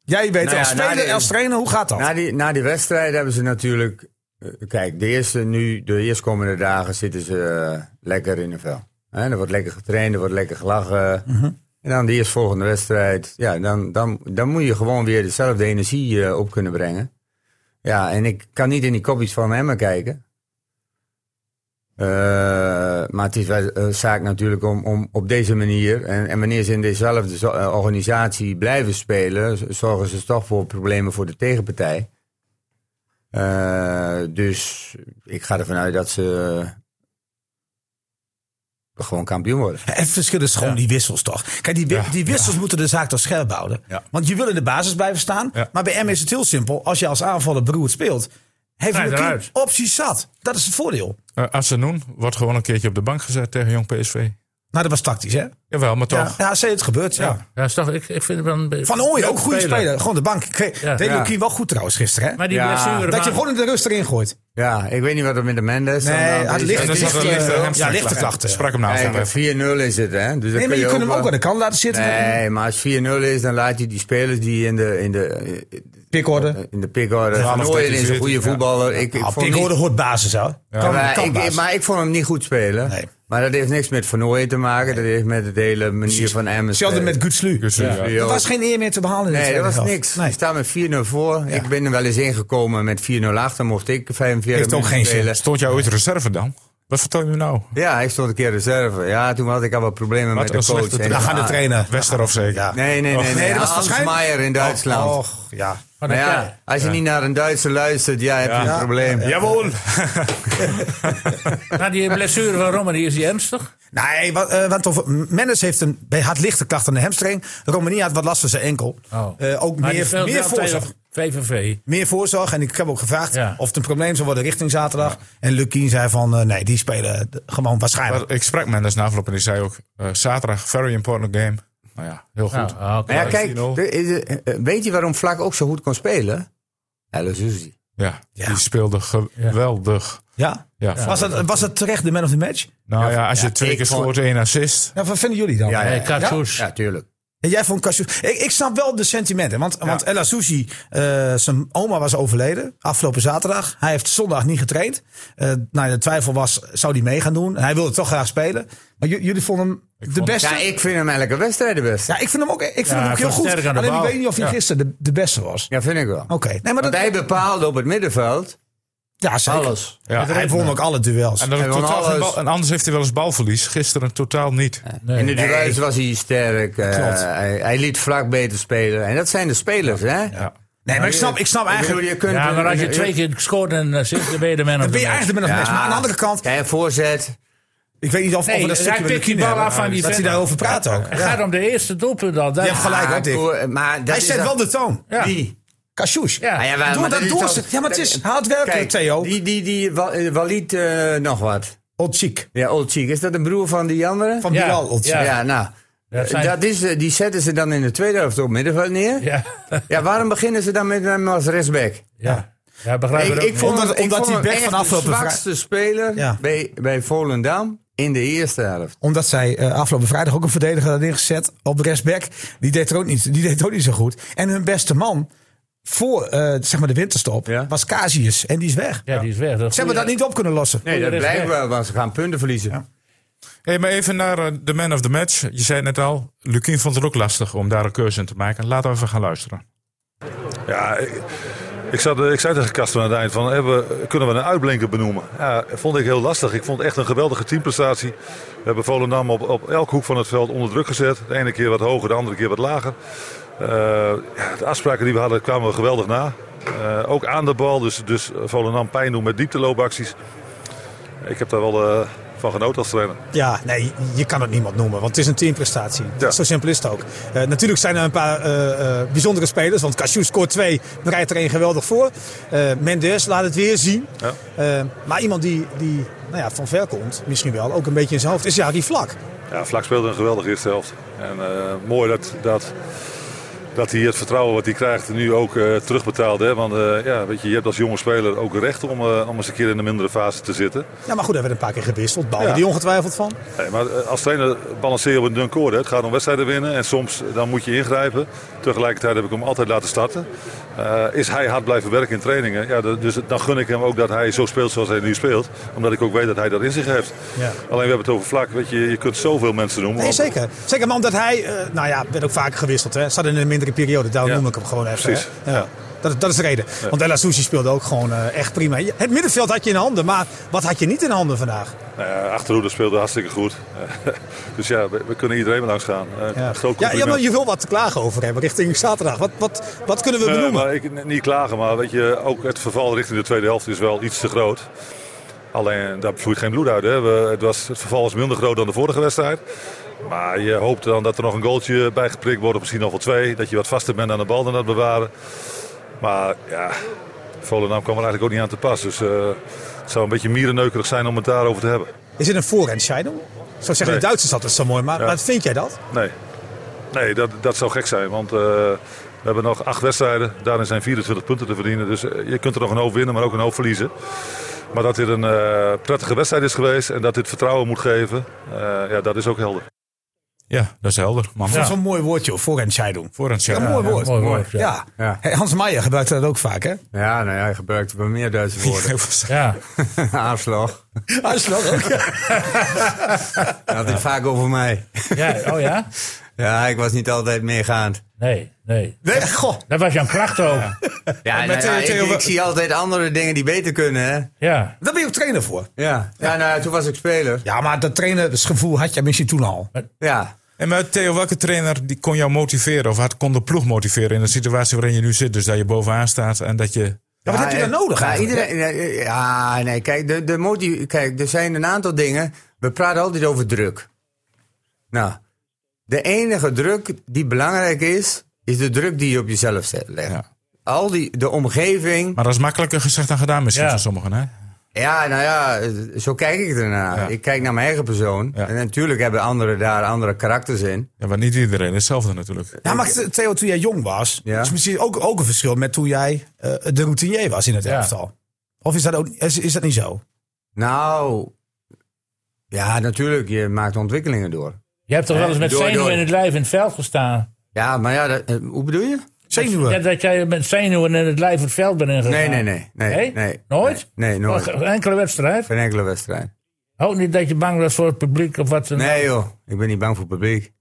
[SPEAKER 6] Jij weet
[SPEAKER 4] Nou ja,
[SPEAKER 6] als,
[SPEAKER 4] na
[SPEAKER 6] speler,
[SPEAKER 4] de-
[SPEAKER 6] als trainer, hoe gaat dat?
[SPEAKER 4] Na die, na die wedstrijd hebben ze natuurlijk. eh, Kijk, de, eerste, nu, de eerstkomende dagen zitten ze eh, lekker in de vel. Hè, er wordt lekker getraind, er wordt lekker gelachen. En dan de eerstvolgende wedstrijd. Ja, dan, dan, dan moet je gewoon weer dezelfde energie eh, op kunnen brengen. Ja, en ik kan niet in die kopjes van Emmen kijken. Eh, maar het is wel een zaak natuurlijk om, om op deze manier. En, en wanneer ze in dezelfde zo- eh, organisatie blijven spelen. z- zorgen ze toch voor problemen voor de tegenpartij. Eh, dus ik ga ervan uit dat ze. eh, gewoon kampioen worden.
[SPEAKER 6] Het verschil is gewoon die wissels toch. Kijk, die, wi- die wissels moeten de zaak toch scherp houden.
[SPEAKER 2] Ja.
[SPEAKER 6] Want je wil in de basis blijven staan.
[SPEAKER 2] Ja.
[SPEAKER 6] Maar bij M is het heel simpel. Als je als aanvaller beroerd speelt, heeft
[SPEAKER 1] Ga je
[SPEAKER 6] je
[SPEAKER 1] eruit.
[SPEAKER 6] opties zat. Dat is het voordeel.
[SPEAKER 2] Eh, Assenoen wordt gewoon een keertje op de bank gezet tegen Jong PSV.
[SPEAKER 6] Nou, dat was tactisch, hè?
[SPEAKER 2] Jawel, maar
[SPEAKER 6] Ja,
[SPEAKER 2] toch.
[SPEAKER 6] ja zie je, het gebeurt. Ja.
[SPEAKER 1] Ja, is toch, ik, ik vind het wel een beetje-
[SPEAKER 6] Van Ooyen, ook
[SPEAKER 1] leuk
[SPEAKER 6] goede speler. Gewoon de bank. Deed
[SPEAKER 1] Ja.
[SPEAKER 6] Lukien
[SPEAKER 4] Ja.
[SPEAKER 6] wel goed trouwens gisteren, hè?
[SPEAKER 1] Maar die
[SPEAKER 4] Ja.
[SPEAKER 1] blessure...
[SPEAKER 6] Dat je
[SPEAKER 1] maakt-
[SPEAKER 6] gewoon in de rust erin gooit.
[SPEAKER 4] Ja, ik weet niet wat er met de Mendes.
[SPEAKER 6] Nee,
[SPEAKER 4] aan de hand
[SPEAKER 6] hij
[SPEAKER 4] is. eh,
[SPEAKER 6] ligt-
[SPEAKER 2] En dan
[SPEAKER 6] lichte-
[SPEAKER 2] zat er een lichte
[SPEAKER 6] ja,
[SPEAKER 2] hamstring.
[SPEAKER 6] lichte klachten.
[SPEAKER 2] Sprak hem nou
[SPEAKER 4] Kijk,
[SPEAKER 2] even.
[SPEAKER 4] 4-0 is het, hè? Dus dan
[SPEAKER 6] Nee, maar je kunt hem ook
[SPEAKER 4] wel-
[SPEAKER 6] aan de kant laten zitten.
[SPEAKER 4] Nee, maar als 4-0 is, dan laat je die spelers die in de, in de,
[SPEAKER 6] Pikorde.
[SPEAKER 4] Eh, in de pikorde.
[SPEAKER 2] Ja,
[SPEAKER 4] Van
[SPEAKER 2] of
[SPEAKER 4] Ooyen
[SPEAKER 2] dat
[SPEAKER 4] is
[SPEAKER 2] hij
[SPEAKER 4] een goede
[SPEAKER 2] zit, ja.
[SPEAKER 4] voetballer. Ik, ik
[SPEAKER 6] Nou,
[SPEAKER 4] vond
[SPEAKER 6] pikorde
[SPEAKER 4] niet-
[SPEAKER 6] hoort basis, hè? Kan,
[SPEAKER 4] maar,
[SPEAKER 6] kan
[SPEAKER 4] ik,
[SPEAKER 6] basis.
[SPEAKER 4] maar ik vond hem niet goed spelen.
[SPEAKER 6] Nee.
[SPEAKER 4] Maar dat heeft niks met Van Ooyen te maken. Dat heeft met de hele manier van Emmen.
[SPEAKER 6] Hetzelfde
[SPEAKER 4] spelen.
[SPEAKER 6] met Gutslu.
[SPEAKER 2] Dus, eh, ja.
[SPEAKER 4] Ja.
[SPEAKER 6] Er was geen eer meer te behalen in de
[SPEAKER 4] Nee, dat
[SPEAKER 6] tweede
[SPEAKER 4] was
[SPEAKER 6] helft.
[SPEAKER 4] niks.
[SPEAKER 6] Nee.
[SPEAKER 4] Ik sta met 4-0 voor. Ik ben er wel eens ingekomen met 4-0 achter. Mocht ik 45
[SPEAKER 6] Heeft ook
[SPEAKER 4] minuten
[SPEAKER 6] geen zin.
[SPEAKER 4] spelen.
[SPEAKER 2] eh, Stond jij ooit reserve dan? Wat vertel je me nou?
[SPEAKER 4] Ja, ik stond een keer reserve. Ja, toen had ik al wat problemen
[SPEAKER 2] Wat
[SPEAKER 4] met
[SPEAKER 2] een
[SPEAKER 4] de coach.
[SPEAKER 2] slechte
[SPEAKER 4] En-
[SPEAKER 6] Dan gaan de
[SPEAKER 4] Ah,
[SPEAKER 6] trainer.
[SPEAKER 2] Westerhof zeker?
[SPEAKER 6] Ja.
[SPEAKER 4] Nee, nee, nee.
[SPEAKER 2] Och.
[SPEAKER 4] nee,
[SPEAKER 6] Nee, dat was
[SPEAKER 4] Hans
[SPEAKER 6] waarschijnlijk- Oh,
[SPEAKER 4] Meijer in Duitsland.
[SPEAKER 6] Och, Ja.
[SPEAKER 1] Maar
[SPEAKER 4] Maar
[SPEAKER 1] dat-
[SPEAKER 4] ja, als je niet naar een Duitser luistert, ja, heb je een probleem.
[SPEAKER 2] Jawohl!
[SPEAKER 1] Na die blessure van Romani is die ernstig?
[SPEAKER 6] Nee, wat, eh, want of, Mendes heeft een, bij had lichte klachten aan de hamstring. Romania had wat last van zijn enkel.
[SPEAKER 1] Oh.
[SPEAKER 6] Eh, ook
[SPEAKER 1] Maar die
[SPEAKER 6] meer,
[SPEAKER 1] speelt
[SPEAKER 6] meer
[SPEAKER 1] wel
[SPEAKER 6] voorzorg.
[SPEAKER 1] tegen VVV.
[SPEAKER 6] Meer voorzorg. En ik heb ook gevraagd
[SPEAKER 1] Ja.
[SPEAKER 6] of het een probleem zou worden richting zaterdag. En Lukien zei van, eh, nee, die spelen d- gewoon waarschijnlijk.
[SPEAKER 2] Maar ik sprak Mendes na afloop en die zei ook... eh, zaterdag, very important game. Nou ja, heel goed.
[SPEAKER 1] Nou, oké.
[SPEAKER 4] Maar
[SPEAKER 2] Ja,
[SPEAKER 4] ja, kijk,
[SPEAKER 2] 10-0.
[SPEAKER 4] er is- eh, weet je waarom Vlak ook zo goed kon spelen? El Azizi.
[SPEAKER 2] Ja, die speelde geweldig.
[SPEAKER 6] ja.
[SPEAKER 2] Ja,
[SPEAKER 6] Was, dat, was dat terecht de man of the match?
[SPEAKER 2] Nou ja, als je twee
[SPEAKER 4] ik
[SPEAKER 2] keer
[SPEAKER 4] vond-
[SPEAKER 2] scoort, één assist.
[SPEAKER 6] Ja, wat vinden jullie dan?
[SPEAKER 4] Ja,
[SPEAKER 1] Nee, Katsous.
[SPEAKER 4] Ja, tuurlijk.
[SPEAKER 6] En jij vond Cashew. Ik, ik snap wel de sentimenten. Want, want Ella Sushi, eh, zijn oma was overleden afgelopen zaterdag. Hij heeft zondag niet getraind. Eh, nou, de twijfel was, zou hij mee gaan doen? En hij wilde toch graag spelen. Maar j- jullie vonden hem de beste.
[SPEAKER 4] Ja, ik vind hem elke wedstrijd de beste.
[SPEAKER 6] Ja, ik vind hem ook, ik vind hem ook
[SPEAKER 1] hij
[SPEAKER 6] heel
[SPEAKER 1] was
[SPEAKER 6] goed.
[SPEAKER 1] sterk aan de
[SPEAKER 6] Alleen ik
[SPEAKER 1] bal.
[SPEAKER 6] weet niet of hij gisteren de, de beste was.
[SPEAKER 4] Ja, vind ik wel.
[SPEAKER 6] Oké. Nee, maar dat,
[SPEAKER 4] Want hij bepaalde op het middenveld
[SPEAKER 6] ja, zeker.
[SPEAKER 4] alles.
[SPEAKER 2] Ja.
[SPEAKER 6] Hij won ook alle duels.
[SPEAKER 2] En, dat
[SPEAKER 4] En dan
[SPEAKER 2] totaal geen
[SPEAKER 4] alles-
[SPEAKER 2] bal- en anders heeft hij wel eens balverlies. Gisteren totaal niet.
[SPEAKER 4] In de duels was hij sterk. eh, hij, hij liet Vlak beter spelen. En dat zijn de spelers, hè?
[SPEAKER 6] nee, maar ik snap, ik snap
[SPEAKER 4] Ik bedoel,
[SPEAKER 6] eigenlijk...
[SPEAKER 4] je kunt
[SPEAKER 1] Ja, maar als je
[SPEAKER 4] een-
[SPEAKER 1] twee keer scoort en eh, zit, dan ben je de man of
[SPEAKER 6] Dan
[SPEAKER 1] the
[SPEAKER 6] ben je
[SPEAKER 1] match.
[SPEAKER 6] eigenlijk de man of the match. Maar aan de andere kant,
[SPEAKER 4] Ja, een voorzet.
[SPEAKER 6] ik weet niet of, of
[SPEAKER 1] Nee,
[SPEAKER 6] we dat
[SPEAKER 1] hij
[SPEAKER 6] stukje
[SPEAKER 1] pikt die
[SPEAKER 6] kunnen
[SPEAKER 1] bal
[SPEAKER 6] hebben.
[SPEAKER 1] af van die
[SPEAKER 6] Dat hij
[SPEAKER 1] vent.
[SPEAKER 6] daarover praat ook.
[SPEAKER 1] Het gaat om de eerste doelpunt al. Daar.
[SPEAKER 6] Je hebt gelijk
[SPEAKER 4] Ah,
[SPEAKER 6] ook, Dick.
[SPEAKER 4] voor- maar dat
[SPEAKER 6] Hij
[SPEAKER 4] is
[SPEAKER 6] zet
[SPEAKER 4] dan-
[SPEAKER 6] wel de toon.
[SPEAKER 1] Ja.
[SPEAKER 4] Wie?
[SPEAKER 6] Cashews.
[SPEAKER 1] Ja.
[SPEAKER 4] Ah, wel,
[SPEAKER 6] Doe
[SPEAKER 4] maar
[SPEAKER 6] dat
[SPEAKER 4] is
[SPEAKER 6] doorzetten.
[SPEAKER 4] toch-
[SPEAKER 6] Ja, maar het is
[SPEAKER 4] dat-
[SPEAKER 6] hard werken,
[SPEAKER 4] Kijk,
[SPEAKER 6] Theo.
[SPEAKER 4] Die, die, die Wa- eh, Walid eh, nog wat.
[SPEAKER 6] Old Chic.
[SPEAKER 4] Ja, Old Cheek. Is dat een broer van die andere?
[SPEAKER 6] Van
[SPEAKER 1] Ja.
[SPEAKER 6] Bilal Old Chic.
[SPEAKER 4] ja.
[SPEAKER 1] Ja.
[SPEAKER 4] nou.
[SPEAKER 1] Dat zijn-
[SPEAKER 4] Dat is, eh, die zetten ze dan in de tweede helft op middenveld neer. Ja.
[SPEAKER 1] Ja,
[SPEAKER 4] waarom beginnen ze dan met hem als rechtsback?
[SPEAKER 1] ja. ja begrijp
[SPEAKER 4] Ik,
[SPEAKER 1] het ook
[SPEAKER 4] ik
[SPEAKER 1] niet.
[SPEAKER 4] vond
[SPEAKER 6] Omdat-
[SPEAKER 4] hem- ik
[SPEAKER 6] omdat
[SPEAKER 4] vond
[SPEAKER 6] die
[SPEAKER 4] hem
[SPEAKER 6] back
[SPEAKER 4] echt
[SPEAKER 6] van afgelopen
[SPEAKER 4] de
[SPEAKER 6] vrij-
[SPEAKER 4] zwakste speler
[SPEAKER 6] Ja.
[SPEAKER 4] bij, bij Volendam in de eerste helft.
[SPEAKER 6] Omdat zij eh, afgelopen vrijdag ook een verdediger had ingezet op de rechtsback. Die deed er ook niet, die deed ook niet zo goed. En hun beste man voor eh, zeg maar de winterstop
[SPEAKER 4] Ja.
[SPEAKER 6] was Casius. En die is weg.
[SPEAKER 1] Ja, die is weg.
[SPEAKER 6] Ze hebben dat niet op kunnen lossen.
[SPEAKER 4] Nee, dat
[SPEAKER 1] dat is
[SPEAKER 4] blijkt wel, want ze gaan punten verliezen.
[SPEAKER 2] Hey, maar even naar eh, de man of the match. Je zei het net al, Lukien vond het ook lastig om daar een keuze in te maken. Laten we even gaan luisteren.
[SPEAKER 9] Ja, ik, ik, zat, ik zei tegen Kasten aan het eind van, hebben, kunnen we een uitblinker benoemen? Ja, vond ik heel lastig. Ik vond het echt een geweldige teamprestatie. We hebben Volendam op, op elk hoek van het veld onder druk gezet. De ene keer wat hoger, de andere keer wat lager. Eh, ja, de afspraken die we hadden kwamen we geweldig na. Eh, ook aan de bal, dus, dus Volendam pijn doen met diepteloopacties. Ik heb daar wel eh, van genoten als trainer.
[SPEAKER 6] Ja, nee, je kan het niemand noemen, want het is een teamprestatie.
[SPEAKER 9] Ja.
[SPEAKER 6] Zo simpel is het ook. Eh, natuurlijk zijn er een paar eh, eh, bijzondere spelers, want Cashew scoort twee, rijdt er één geweldig voor. Eh, Mendes laat het weer zien.
[SPEAKER 9] Ja.
[SPEAKER 6] Eh, maar iemand die, die nou ja, van ver komt, misschien wel, ook een beetje in zijn hoofd, is Jari Vlak.
[SPEAKER 9] Ja, Vlak speelde een geweldige eerste helft. En eh, mooi dat, dat, dat hij het vertrouwen wat hij krijgt nu ook eh terugbetaalt. Hè? Want eh, ja, weet je, je hebt als jonge speler ook recht om, eh, om eens een keer in de mindere fase te zitten.
[SPEAKER 6] Ja, maar goed, hij werd een paar keer gewisseld. Bal
[SPEAKER 9] Ja.
[SPEAKER 6] die ongetwijfeld van.
[SPEAKER 9] Nee, maar eh, als trainer balanceer je op een dun koord. hè. Het gaat om wedstrijden winnen en soms dan moet je ingrijpen. Tegelijkertijd heb ik hem altijd laten starten. Eh, is hij hard blijven werken in trainingen? Ja, d- dus dan gun ik hem ook dat hij zo speelt zoals hij nu speelt. Omdat ik ook weet dat hij dat in zich heeft.
[SPEAKER 6] Ja.
[SPEAKER 9] Alleen we hebben het over vlak. Weet je, je kunt zoveel mensen noemen.
[SPEAKER 6] Nee,
[SPEAKER 9] want-
[SPEAKER 6] zeker. Zeker, maar omdat hij, eh, nou ja, werd ook vaker gewisseld. Hè. Zat in een mindere periode, daar
[SPEAKER 9] Ja.
[SPEAKER 6] noem ik hem gewoon even.
[SPEAKER 9] Precies.
[SPEAKER 6] hè. Ja. Dat, dat is de reden. Want Ella Sushi speelde ook gewoon eh, echt prima. Je- Het middenveld had je in handen, maar wat had je niet in handen vandaag?
[SPEAKER 9] Nou ja, Achterhoede speelde hartstikke goed. dus ja, we, we kunnen iedereen wel langs gaan. Eh,
[SPEAKER 6] Ja.
[SPEAKER 9] een
[SPEAKER 6] Ja,
[SPEAKER 9] Groot
[SPEAKER 6] ja,
[SPEAKER 9] compliment.
[SPEAKER 6] maar je wil wat te klagen over hebben richting zaterdag. Wat, wat, wat kunnen we
[SPEAKER 9] Eh,
[SPEAKER 6] benoemen?
[SPEAKER 9] maar ik, n- niet klagen, maar weet je, ook het verval richting de tweede helft is wel iets te groot. Alleen, daar vloeit geen bloed uit. Hè. We, het, was, het verval was minder groot dan de vorige wedstrijd. Maar je hoopt dan dat er nog een goaltje bij geprikt wordt, of misschien nog wel twee. Dat je wat vaster bent aan de bal dan dat bewaren. Maar ja, Volendam kwam er eigenlijk ook niet aan te pas. Dus eh, het zou een beetje mierenneukerig zijn om het daarover te hebben.
[SPEAKER 6] Is het een voorentscheiding? Zo zeggen
[SPEAKER 9] Nee.
[SPEAKER 6] de Duitsers altijd zo mooi, maar
[SPEAKER 9] Ja.
[SPEAKER 6] wat vind jij dat?
[SPEAKER 9] Nee, nee dat, dat zou gek zijn. Want eh, we hebben nog acht wedstrijden. Daarin zijn 24 punten te verdienen. Dus eh, je kunt er nog een hoop winnen, maar ook een hoop verliezen. Maar dat dit een eh, prettige wedstrijd is geweest en dat dit vertrouwen moet geven, eh, ja, dat is ook helder.
[SPEAKER 2] Ja, dat is helder. Maar
[SPEAKER 6] Dat is
[SPEAKER 2] voor-
[SPEAKER 6] een mooi woordje, hoor, voorentscheiding.
[SPEAKER 2] voor een
[SPEAKER 6] Ja,
[SPEAKER 2] ja,
[SPEAKER 6] mooi woord.
[SPEAKER 1] mooi woord,
[SPEAKER 6] ja.
[SPEAKER 1] ja.
[SPEAKER 4] Ja.
[SPEAKER 6] Hey, Hans Meijer gebruikt dat ook vaak, hè?
[SPEAKER 4] Ja, nou ja, hij gebruikt wel meer Duitse woorden.
[SPEAKER 1] Ja.
[SPEAKER 4] Aanslag.
[SPEAKER 6] Hartstikke ook.
[SPEAKER 4] Dat had hij vaak over mij.
[SPEAKER 1] ja, oh ja?
[SPEAKER 4] Ja, ik was niet altijd meegaand.
[SPEAKER 1] Nee, nee.
[SPEAKER 6] Nee, goh.
[SPEAKER 1] Dat was Jan Kracht ook.
[SPEAKER 4] Ja, nou ja, ik, ik zie altijd andere dingen die beter kunnen, hè?
[SPEAKER 1] Ja.
[SPEAKER 6] Daar ben je ook trainer voor.
[SPEAKER 4] Ja, ja nou ja, toen was ik speler.
[SPEAKER 6] Ja, maar dat trainersgevoel had je misschien toen al.
[SPEAKER 4] Ja.
[SPEAKER 2] En maar Theo, welke trainer die kon jou motiveren of had, kon de ploeg motiveren in de situatie waarin je nu zit? Dus dat je bovenaan staat en dat je.
[SPEAKER 6] Ja, wat heb je
[SPEAKER 4] eh,
[SPEAKER 6] dan nodig
[SPEAKER 4] ja,
[SPEAKER 6] eigenlijk?
[SPEAKER 4] iedereen, eh, ja, nee, kijk, de, de motie, kijk, er zijn een aantal dingen. We praten altijd over druk. Nou, de enige druk die belangrijk is, is de druk die je op jezelf zet, legt.
[SPEAKER 2] Ja.
[SPEAKER 4] Al die, de omgeving.
[SPEAKER 2] Maar dat is makkelijker gezegd dan gedaan misschien
[SPEAKER 1] Ja.
[SPEAKER 2] voor sommigen. Hè?
[SPEAKER 4] Ja, nou ja, eh, zo kijk ik ernaar.
[SPEAKER 2] Ja.
[SPEAKER 4] Ik kijk naar mijn eigen persoon.
[SPEAKER 2] Ja.
[SPEAKER 4] En natuurlijk hebben anderen daar andere karakters in.
[SPEAKER 2] Ja, maar niet iedereen is hetzelfde natuurlijk.
[SPEAKER 6] Ja, maar Theo, toen jij jong was,
[SPEAKER 4] Ja.
[SPEAKER 6] is misschien ook, ook een verschil met toen jij eh, de routinier was in het elftal. Of is dat, ook, is, is dat niet zo?
[SPEAKER 4] Nou, ja, natuurlijk, je maakt ontwikkelingen door.
[SPEAKER 1] Je hebt toch wel eens met
[SPEAKER 4] door,
[SPEAKER 1] zenuwen
[SPEAKER 4] door.
[SPEAKER 1] in het lijf in het veld gestaan?
[SPEAKER 4] Ja, maar ja, dat- eh, hoe bedoel je?
[SPEAKER 6] Zenuwen.
[SPEAKER 1] Ja, dat jij met zenuwen in het lijf het veld bent ingegaan?
[SPEAKER 4] Nee, nee, nee. Nee,
[SPEAKER 1] Nee?
[SPEAKER 4] nee,
[SPEAKER 1] Nooit?
[SPEAKER 4] Nee, nee, nooit.
[SPEAKER 1] Geen enkele wedstrijd?
[SPEAKER 4] Geen enkele wedstrijd.
[SPEAKER 1] Ook niet dat je bang was voor het publiek of wat dan ook?
[SPEAKER 4] Nee joh, ik ben niet bang voor het publiek.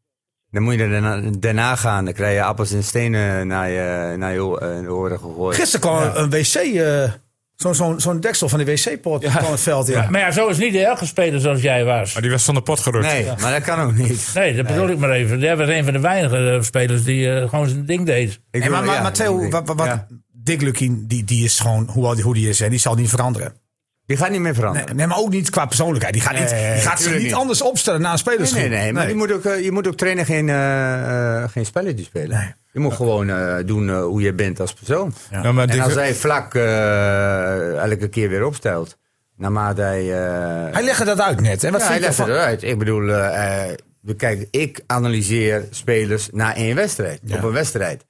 [SPEAKER 4] Dan moet je er daarna, daarna gaan. Dan krijg je appels en stenen naar je, naar je o- eh, oren gegooid.
[SPEAKER 6] Gisteren kwam een wc, eh, zo- zo'n zo'n deksel van de wc-poort kwam het veld in.
[SPEAKER 1] Maar ja, zo is niet elke speler zoals jij was.
[SPEAKER 2] Maar die was van de pot gerukt.
[SPEAKER 4] Nee, maar dat kan ook niet.
[SPEAKER 1] Nee, dat bedoel ik maar even. Jij was een van de weinige eh, spelers die eh, gewoon zijn ding deed.
[SPEAKER 4] Ik
[SPEAKER 6] Nee, maar,
[SPEAKER 4] wil-
[SPEAKER 6] maar,
[SPEAKER 4] ja,
[SPEAKER 6] maar Theo,
[SPEAKER 4] ik-
[SPEAKER 6] wat, wat, wat-
[SPEAKER 4] ja.
[SPEAKER 6] Dick Lukien, die, die is gewoon hoe, oud- hoe die is en die zal niet veranderen.
[SPEAKER 4] Die gaat niet meer veranderen.
[SPEAKER 6] Nee, maar ook niet qua persoonlijkheid. Die gaat, niet, die gaat zich niet,
[SPEAKER 4] tuurlijk niet.
[SPEAKER 6] anders opstellen na een
[SPEAKER 4] Nee,
[SPEAKER 6] spelersgroep.
[SPEAKER 4] nee, nee. Maar Je, moet ook, eh, je moet ook trainen geen, eh, eh, geen spelletje spelen. Je moet gewoon eh, doen eh, hoe je bent als persoon.
[SPEAKER 2] Ja, maar
[SPEAKER 4] En
[SPEAKER 2] die-
[SPEAKER 4] als hij vlak eh, elke keer weer opstelt, naarmate hij... eh,
[SPEAKER 6] Hij legde dat uit net. En wat
[SPEAKER 4] ja, hij
[SPEAKER 6] vind je
[SPEAKER 4] legt het
[SPEAKER 6] ervan?
[SPEAKER 4] eruit. Ik bedoel, eh, eh, kijk, ik analyseer spelers na één wedstrijd. Op een wedstrijd.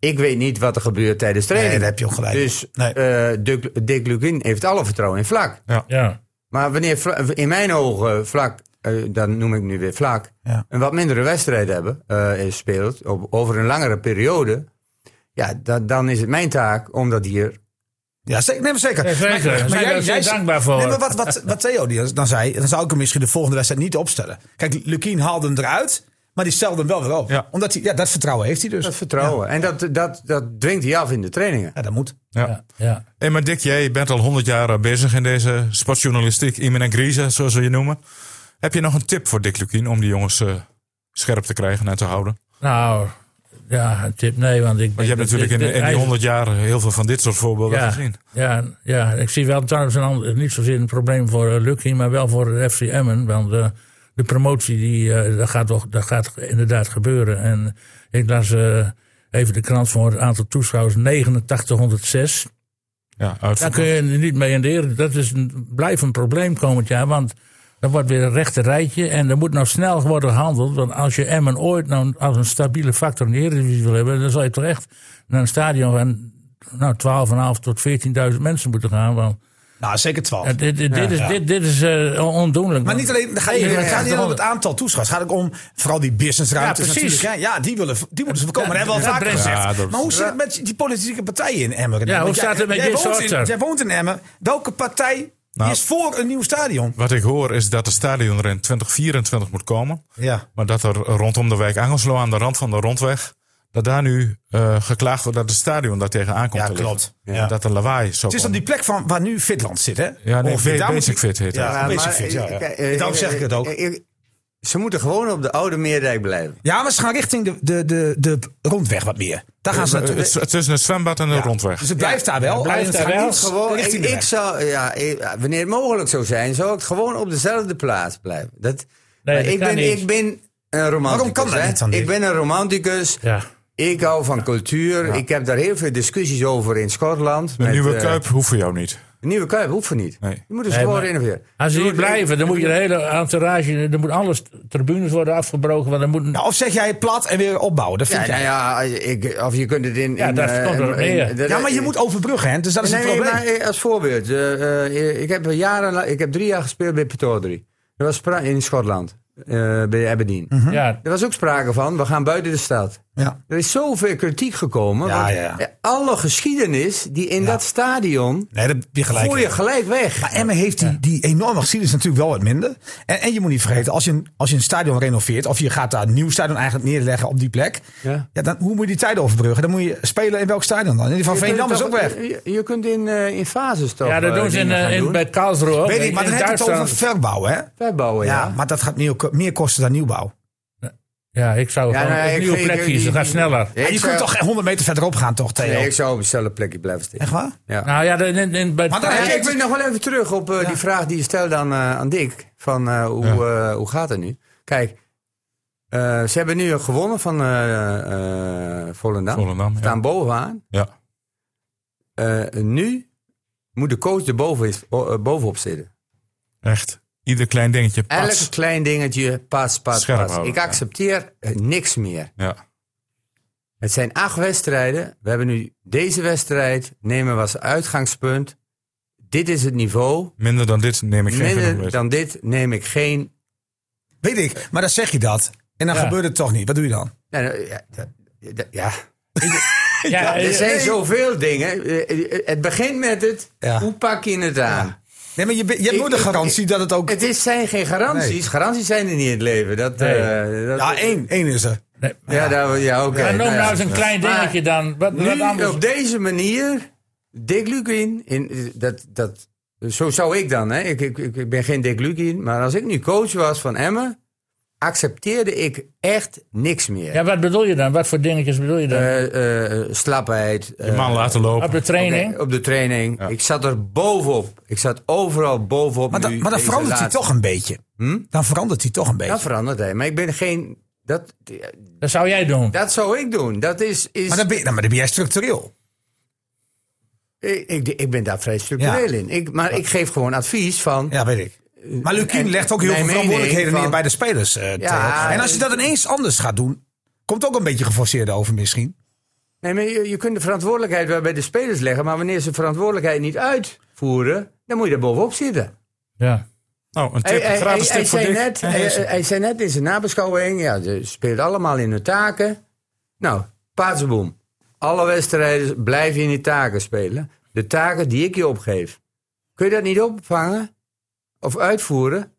[SPEAKER 4] Ik weet niet wat er gebeurt tijdens training.
[SPEAKER 6] Nee, daar heb je ook gelijk.
[SPEAKER 4] Dus
[SPEAKER 6] Nee.
[SPEAKER 4] eh, Dick, Dick Lukien heeft alle vertrouwen in Vlak.
[SPEAKER 1] Ja.
[SPEAKER 4] Maar wanneer Vla- in mijn ogen Vlak, eh, dat noem ik nu weer Vlak,
[SPEAKER 6] Ja.
[SPEAKER 4] een wat mindere wedstrijd hebben eh, is speelt op, over een langere periode. Ja, da- dan is het mijn taak om dat hier
[SPEAKER 6] Ja, zeker. Nee, maar zeker.
[SPEAKER 1] Ja, zeker.
[SPEAKER 6] Maar- Maar,
[SPEAKER 1] Zijn
[SPEAKER 6] jij,
[SPEAKER 1] daar
[SPEAKER 6] jij
[SPEAKER 1] zeer dankbaar voor.
[SPEAKER 6] Nee, maar wat, wat, wat Theo die dan zei, dan zou ik hem misschien de volgende wedstrijd niet opstellen. Kijk, Lukien haalde hem eruit, maar die stelde hem wel weer op.
[SPEAKER 2] Ja.
[SPEAKER 6] Omdat hij, ja, dat vertrouwen heeft hij dus.
[SPEAKER 4] dat vertrouwen. En dat, dat, dat dwingt hij af in de trainingen.
[SPEAKER 6] Ja, dat moet.
[SPEAKER 2] Ja.
[SPEAKER 1] Ja. ja.
[SPEAKER 2] Hey, maar Dick, jij bent al 100 jaar eh, bezig in deze sportjournalistiek, iemand en Grieze, zoals we je noemen. Heb je nog een tip voor Dick Lukien om die jongens eh, scherp te krijgen en te houden?
[SPEAKER 1] Nou, ja, een tip nee, want ik...
[SPEAKER 2] Want je hebt natuurlijk in, in die 100 jaar heel veel van dit soort voorbeelden
[SPEAKER 1] ja,
[SPEAKER 2] gezien.
[SPEAKER 1] ja, ja, ik zie wel trouwens een ander, niet zozeer een probleem voor eh, Lucky, maar wel voor FC Emmen. Want eh, de promotie, die, eh, dat, gaat toch, dat gaat inderdaad gebeuren. En ik las eh, even de krant voor het aantal toeschouwers, 8906.
[SPEAKER 2] Ja, uit
[SPEAKER 1] Daar kun je niet mee in de Eredivisie. Dat is een, blijft een probleem komend jaar. Want er wordt weer een rechte rijtje. En er moet nou snel worden gehandeld. Want als je Emmen ooit nou als een stabiele factor in de Eredivisie wil hebben... dan zal je toch echt naar een stadion van nou, 12.5 tot 14.000 mensen moeten gaan. Want
[SPEAKER 6] Nou, zeker 12.
[SPEAKER 1] eh, dit, dit, dit is, dit, dit is eh, on- ondoenlijk.
[SPEAKER 6] maar niet alleen, dan ga je,
[SPEAKER 1] Nee,
[SPEAKER 6] het
[SPEAKER 1] ja,
[SPEAKER 6] gaat niet alleen om
[SPEAKER 1] ja,
[SPEAKER 6] het aantal toeschouwers. Het gaat ook om vooral die businessruimtes.
[SPEAKER 1] Ja, precies.
[SPEAKER 6] natuurlijk. Ja, ja, die, willen, die moeten ze voorkomen.
[SPEAKER 1] Ja,
[SPEAKER 6] dat hebben we al
[SPEAKER 1] dat
[SPEAKER 6] vaker
[SPEAKER 1] brengt-
[SPEAKER 6] gezegd.
[SPEAKER 2] Ja, dat-
[SPEAKER 6] maar hoe zit het met die politieke partijen in Emmen?
[SPEAKER 1] Ja, hoe
[SPEAKER 6] Want jij-
[SPEAKER 1] staat het met
[SPEAKER 6] jij
[SPEAKER 1] Jesse
[SPEAKER 6] woont in-
[SPEAKER 1] Otter?
[SPEAKER 6] Jij woont in Emmen. Welke partij
[SPEAKER 2] Nou.
[SPEAKER 6] is voor een nieuw stadion?
[SPEAKER 2] Wat ik hoor is dat de stadion er in 2024 moet komen.
[SPEAKER 6] Ja.
[SPEAKER 2] Maar dat er rondom de wijk Angelslo aan de rand van de rondweg. dat daar nu eh, geklaagd wordt dat het stadion daar tegenaan komt.
[SPEAKER 6] Ja,
[SPEAKER 2] te liggen.
[SPEAKER 6] klopt.
[SPEAKER 2] En
[SPEAKER 6] Ja.
[SPEAKER 2] Dat er lawaai zo.
[SPEAKER 6] Het is dan die plek van, waar nu Fitland zit, hè?
[SPEAKER 2] Ja, nee,
[SPEAKER 6] Ongeveer,
[SPEAKER 2] Be-
[SPEAKER 6] daar moet je-
[SPEAKER 2] Basic Fit heet dat.
[SPEAKER 6] Ja,
[SPEAKER 4] maar,
[SPEAKER 6] Basic Fit, ja,
[SPEAKER 4] eh,
[SPEAKER 6] ja.
[SPEAKER 4] kijk, eh,
[SPEAKER 6] Daarom zeg ik het ook.
[SPEAKER 4] eh, eh, Ze moeten gewoon op de oude Meerdijk blijven.
[SPEAKER 6] Ja, maar ze gaan richting de, de, de, de rondweg wat meer. Daar gaan ze
[SPEAKER 2] Eh, Het
[SPEAKER 6] naartoe.
[SPEAKER 2] is Tussen het zwembad en de
[SPEAKER 6] Ja.
[SPEAKER 2] rondweg.
[SPEAKER 6] Dus het blijft daar wel.
[SPEAKER 1] blijft
[SPEAKER 6] alleen het
[SPEAKER 1] daar
[SPEAKER 6] gaat
[SPEAKER 1] wel.
[SPEAKER 6] niet
[SPEAKER 4] Gewoon, ik,
[SPEAKER 6] richting de
[SPEAKER 4] ik
[SPEAKER 6] weg.
[SPEAKER 4] zou, ja, eh, wanneer het mogelijk zou zijn, zou ik gewoon op dezelfde plaats blijven. Dat,
[SPEAKER 1] Nee,
[SPEAKER 4] maar
[SPEAKER 1] dat
[SPEAKER 4] ik,
[SPEAKER 1] kan
[SPEAKER 4] ben,
[SPEAKER 1] niet.
[SPEAKER 4] ik ben een romanticus.
[SPEAKER 6] Waarom kan dat
[SPEAKER 4] hè?
[SPEAKER 6] niet dan, Dick?
[SPEAKER 4] Ik ben een romanticus.
[SPEAKER 1] Ja.
[SPEAKER 4] Ik hou van cultuur. Ik heb daar heel veel discussies over in Schotland.
[SPEAKER 2] Een
[SPEAKER 4] met,
[SPEAKER 2] nieuwe
[SPEAKER 4] eh,
[SPEAKER 2] Kuip hoeft voor jou niet.
[SPEAKER 4] Een nieuwe Kuip hoeft er niet.
[SPEAKER 2] Nee.
[SPEAKER 4] Je moet dus
[SPEAKER 1] Nee,
[SPEAKER 4] gewoon
[SPEAKER 1] maar-
[SPEAKER 4] renoveren.
[SPEAKER 1] Als ze
[SPEAKER 4] Je
[SPEAKER 1] hier
[SPEAKER 4] moet-
[SPEAKER 1] blijven, dan moet je de hele entourage... Er moet alles, tribunes worden afgebroken. Want er moet,
[SPEAKER 6] Nou, of zeg jij plat en weer opbouwen? Dat vind
[SPEAKER 4] Ja,
[SPEAKER 6] jij.
[SPEAKER 4] nou ja, ik, of je kunt het in...
[SPEAKER 1] Ja,
[SPEAKER 4] in,
[SPEAKER 1] daar
[SPEAKER 4] eh,
[SPEAKER 1] komt het op
[SPEAKER 4] in-
[SPEAKER 1] neer.
[SPEAKER 4] dat-
[SPEAKER 6] Ja, maar je moet overbruggen, hè? Dus dat is
[SPEAKER 4] Nee,
[SPEAKER 6] het
[SPEAKER 4] eh, nee,
[SPEAKER 6] probleem.
[SPEAKER 4] maar eh, als voorbeeld. eh, eh, ik, heb jaren, la- ik heb drie jaar gespeeld bij Petoldry. Dat was spra- in Schotland, eh, bij Aberdeen.
[SPEAKER 6] Mhm.
[SPEAKER 1] ja,
[SPEAKER 4] Er was ook sprake van, we gaan buiten de stad.
[SPEAKER 6] Ja.
[SPEAKER 4] Er is zoveel kritiek gekomen.
[SPEAKER 6] Ja,
[SPEAKER 4] want
[SPEAKER 6] ja, ja.
[SPEAKER 4] eh, Alle geschiedenis die in dat stadion,
[SPEAKER 6] Nee, dat heb je gelijk.
[SPEAKER 4] gooi je gelijk weg.
[SPEAKER 6] Maar Emmen heeft die, die enorme geschiedenis natuurlijk wel wat minder. En, en je moet niet vergeten, als je, een, als je een stadion renoveert... of je gaat daar een nieuw stadion eigenlijk neerleggen op die plek... Ja.
[SPEAKER 4] Ja.
[SPEAKER 6] dan, hoe moet je die tijd overbruggen? Dan moet je spelen in welk stadion dan? En die van
[SPEAKER 4] Je kunt
[SPEAKER 6] Veendam is
[SPEAKER 4] toch-
[SPEAKER 6] ook weg.
[SPEAKER 4] Je, je kunt in, eh, in fases toch
[SPEAKER 1] ja, dat
[SPEAKER 4] eh,
[SPEAKER 1] doen ze in,
[SPEAKER 4] dingen
[SPEAKER 1] eh,
[SPEAKER 4] gaan
[SPEAKER 1] in,
[SPEAKER 4] doen.
[SPEAKER 1] bij Karlsruhe ook.
[SPEAKER 6] Weet ik, maar
[SPEAKER 1] In
[SPEAKER 6] dan heb je het
[SPEAKER 1] Duitsland.
[SPEAKER 6] over verbouw, hè?
[SPEAKER 4] Wij bouwen, ja.
[SPEAKER 6] Ja, maar dat gaat meer, meer kosten dan nieuwbouw.
[SPEAKER 1] Ja, ik zou
[SPEAKER 4] Ja,
[SPEAKER 1] gewoon
[SPEAKER 4] nou,
[SPEAKER 1] een
[SPEAKER 4] ik-
[SPEAKER 1] nieuwe
[SPEAKER 4] ik-
[SPEAKER 1] plek
[SPEAKER 4] ik-
[SPEAKER 1] kiezen. Ga
[SPEAKER 4] ik-
[SPEAKER 1] sneller.
[SPEAKER 4] Nee,
[SPEAKER 6] Ja, je
[SPEAKER 4] ik
[SPEAKER 6] kunt
[SPEAKER 4] zou-
[SPEAKER 6] toch geen 100 meter verderop gaan, toch, Theo?
[SPEAKER 4] Nee, ik zou op hetzelfde plekje blijven staan.
[SPEAKER 6] Echt waar?
[SPEAKER 4] Ja.
[SPEAKER 1] Nou ja, in, in, in- bij
[SPEAKER 6] Maar dan-
[SPEAKER 4] Ja,
[SPEAKER 6] Kijk,
[SPEAKER 4] Nou, ik wil nog wel even terug op eh, die vraag die je stelde aan, eh, aan Dick. Van eh, hoe, eh, hoe gaat het nu? Kijk, eh, ze hebben nu gewonnen van eh, eh, Volendam.
[SPEAKER 2] Volendam, ja.
[SPEAKER 4] Staan bovenaan.
[SPEAKER 2] Ja.
[SPEAKER 4] Eh, nu moet de coach er boven is, o- eh, bovenop zitten.
[SPEAKER 2] Echt. Ieder klein dingetje.
[SPEAKER 4] Elk
[SPEAKER 2] Pas.
[SPEAKER 4] klein dingetje, pas, pas,
[SPEAKER 2] Scherp
[SPEAKER 4] pas.
[SPEAKER 2] houden,
[SPEAKER 4] Ik
[SPEAKER 2] ja.
[SPEAKER 4] accepteer eh, niks meer.
[SPEAKER 2] Ja.
[SPEAKER 4] Het zijn acht wedstrijden. We hebben nu deze wedstrijd. Nemen we als uitgangspunt. Dit is het niveau.
[SPEAKER 2] Minder dan dit neem ik geen genoegen
[SPEAKER 4] Minder
[SPEAKER 2] met.
[SPEAKER 4] dan dit neem ik geen
[SPEAKER 6] Weet ik, maar dan zeg je dat. En dan
[SPEAKER 1] Ja.
[SPEAKER 6] gebeurt het toch niet. Wat doe je dan?
[SPEAKER 4] Nou, nou, ja, ja, ja, ja.
[SPEAKER 1] ja,
[SPEAKER 4] er
[SPEAKER 1] eh,
[SPEAKER 4] zijn
[SPEAKER 6] nee.
[SPEAKER 4] zoveel dingen. Eh, eh, Het begint met het,
[SPEAKER 6] Ja.
[SPEAKER 4] hoe pak je het aan?
[SPEAKER 6] Nee, maar je, be- je hebt
[SPEAKER 4] Ik-
[SPEAKER 6] nooit de
[SPEAKER 4] ik-
[SPEAKER 6] garantie dat het ook...
[SPEAKER 4] Het is, zijn geen garanties.
[SPEAKER 6] Nee.
[SPEAKER 4] Garanties zijn er niet in het leven. Dat, eh, dat-
[SPEAKER 6] Ja, één, één is er.
[SPEAKER 1] nee,
[SPEAKER 4] Ja, daar, ja oké.
[SPEAKER 1] maar noem
[SPEAKER 4] Nou ja.
[SPEAKER 1] nou eens een klein
[SPEAKER 4] Maar
[SPEAKER 1] dingetje dan. Wat, wat
[SPEAKER 4] Nu
[SPEAKER 1] anders?
[SPEAKER 4] op deze manier, Dick Lucin, in, dat, dat, zo zou ik dan, hè? Ik, ik, ik ik ben geen Dick Lucin, maar als ik nu coach was van Emmen, accepteerde ik echt niks meer.
[SPEAKER 1] Ja, wat bedoel je dan? Wat voor dingetjes bedoel je dan?
[SPEAKER 4] Eh, eh, slapheid.
[SPEAKER 2] Je man laten
[SPEAKER 1] op
[SPEAKER 2] lopen.
[SPEAKER 1] de training?
[SPEAKER 4] Oké, op de training. Ik zat er bovenop. Ik zat overal bovenop.
[SPEAKER 6] Maar, dan-
[SPEAKER 4] nu
[SPEAKER 6] maar dan
[SPEAKER 4] deze
[SPEAKER 6] verandert hij
[SPEAKER 4] laatste- Hm?
[SPEAKER 6] toch een beetje. Dan verandert hij toch een beetje.
[SPEAKER 4] Dat verandert hij. Maar ik ben geen. Dat,
[SPEAKER 1] Dat zou jij doen.
[SPEAKER 4] dat zou ik doen. Dat is. is
[SPEAKER 6] Maar dan ben, je- nou, maar dan ben jij structureel.
[SPEAKER 4] ik, ik, ik ben daar vrij structureel
[SPEAKER 6] Ja.
[SPEAKER 4] in. Ik, maar ik geef gewoon advies van.
[SPEAKER 6] Ja, weet ik. Maar Lukien
[SPEAKER 4] en
[SPEAKER 6] legt ook heel
[SPEAKER 4] mijn
[SPEAKER 6] veel
[SPEAKER 4] mening
[SPEAKER 6] verantwoordelijkheden
[SPEAKER 4] van- eh,
[SPEAKER 6] neer bij de spelers. eh, Theo. En als je dat ineens anders gaat doen, komt ook een beetje geforceerd over misschien.
[SPEAKER 4] Nee, maar je, je kunt de verantwoordelijkheid wel bij de spelers leggen. Maar wanneer ze verantwoordelijkheid niet uitvoeren, dan moet je er bovenop zitten.
[SPEAKER 1] Ja.
[SPEAKER 2] Nou, een
[SPEAKER 4] Hij,
[SPEAKER 2] tip.
[SPEAKER 4] hij-
[SPEAKER 2] een gratis
[SPEAKER 4] hij-
[SPEAKER 2] tip
[SPEAKER 4] hij
[SPEAKER 2] voor
[SPEAKER 4] zei
[SPEAKER 2] Dick.
[SPEAKER 4] net,
[SPEAKER 2] En
[SPEAKER 4] hij,
[SPEAKER 2] Hees.
[SPEAKER 4] hij zei net in zijn nabeschouwing, ja, ze speelt allemaal in hun taken. Nou, paasboom. Alle wedstrijden blijven in die taken spelen. De taken die ik je opgeef. Kun je dat niet opvangen of uitvoeren?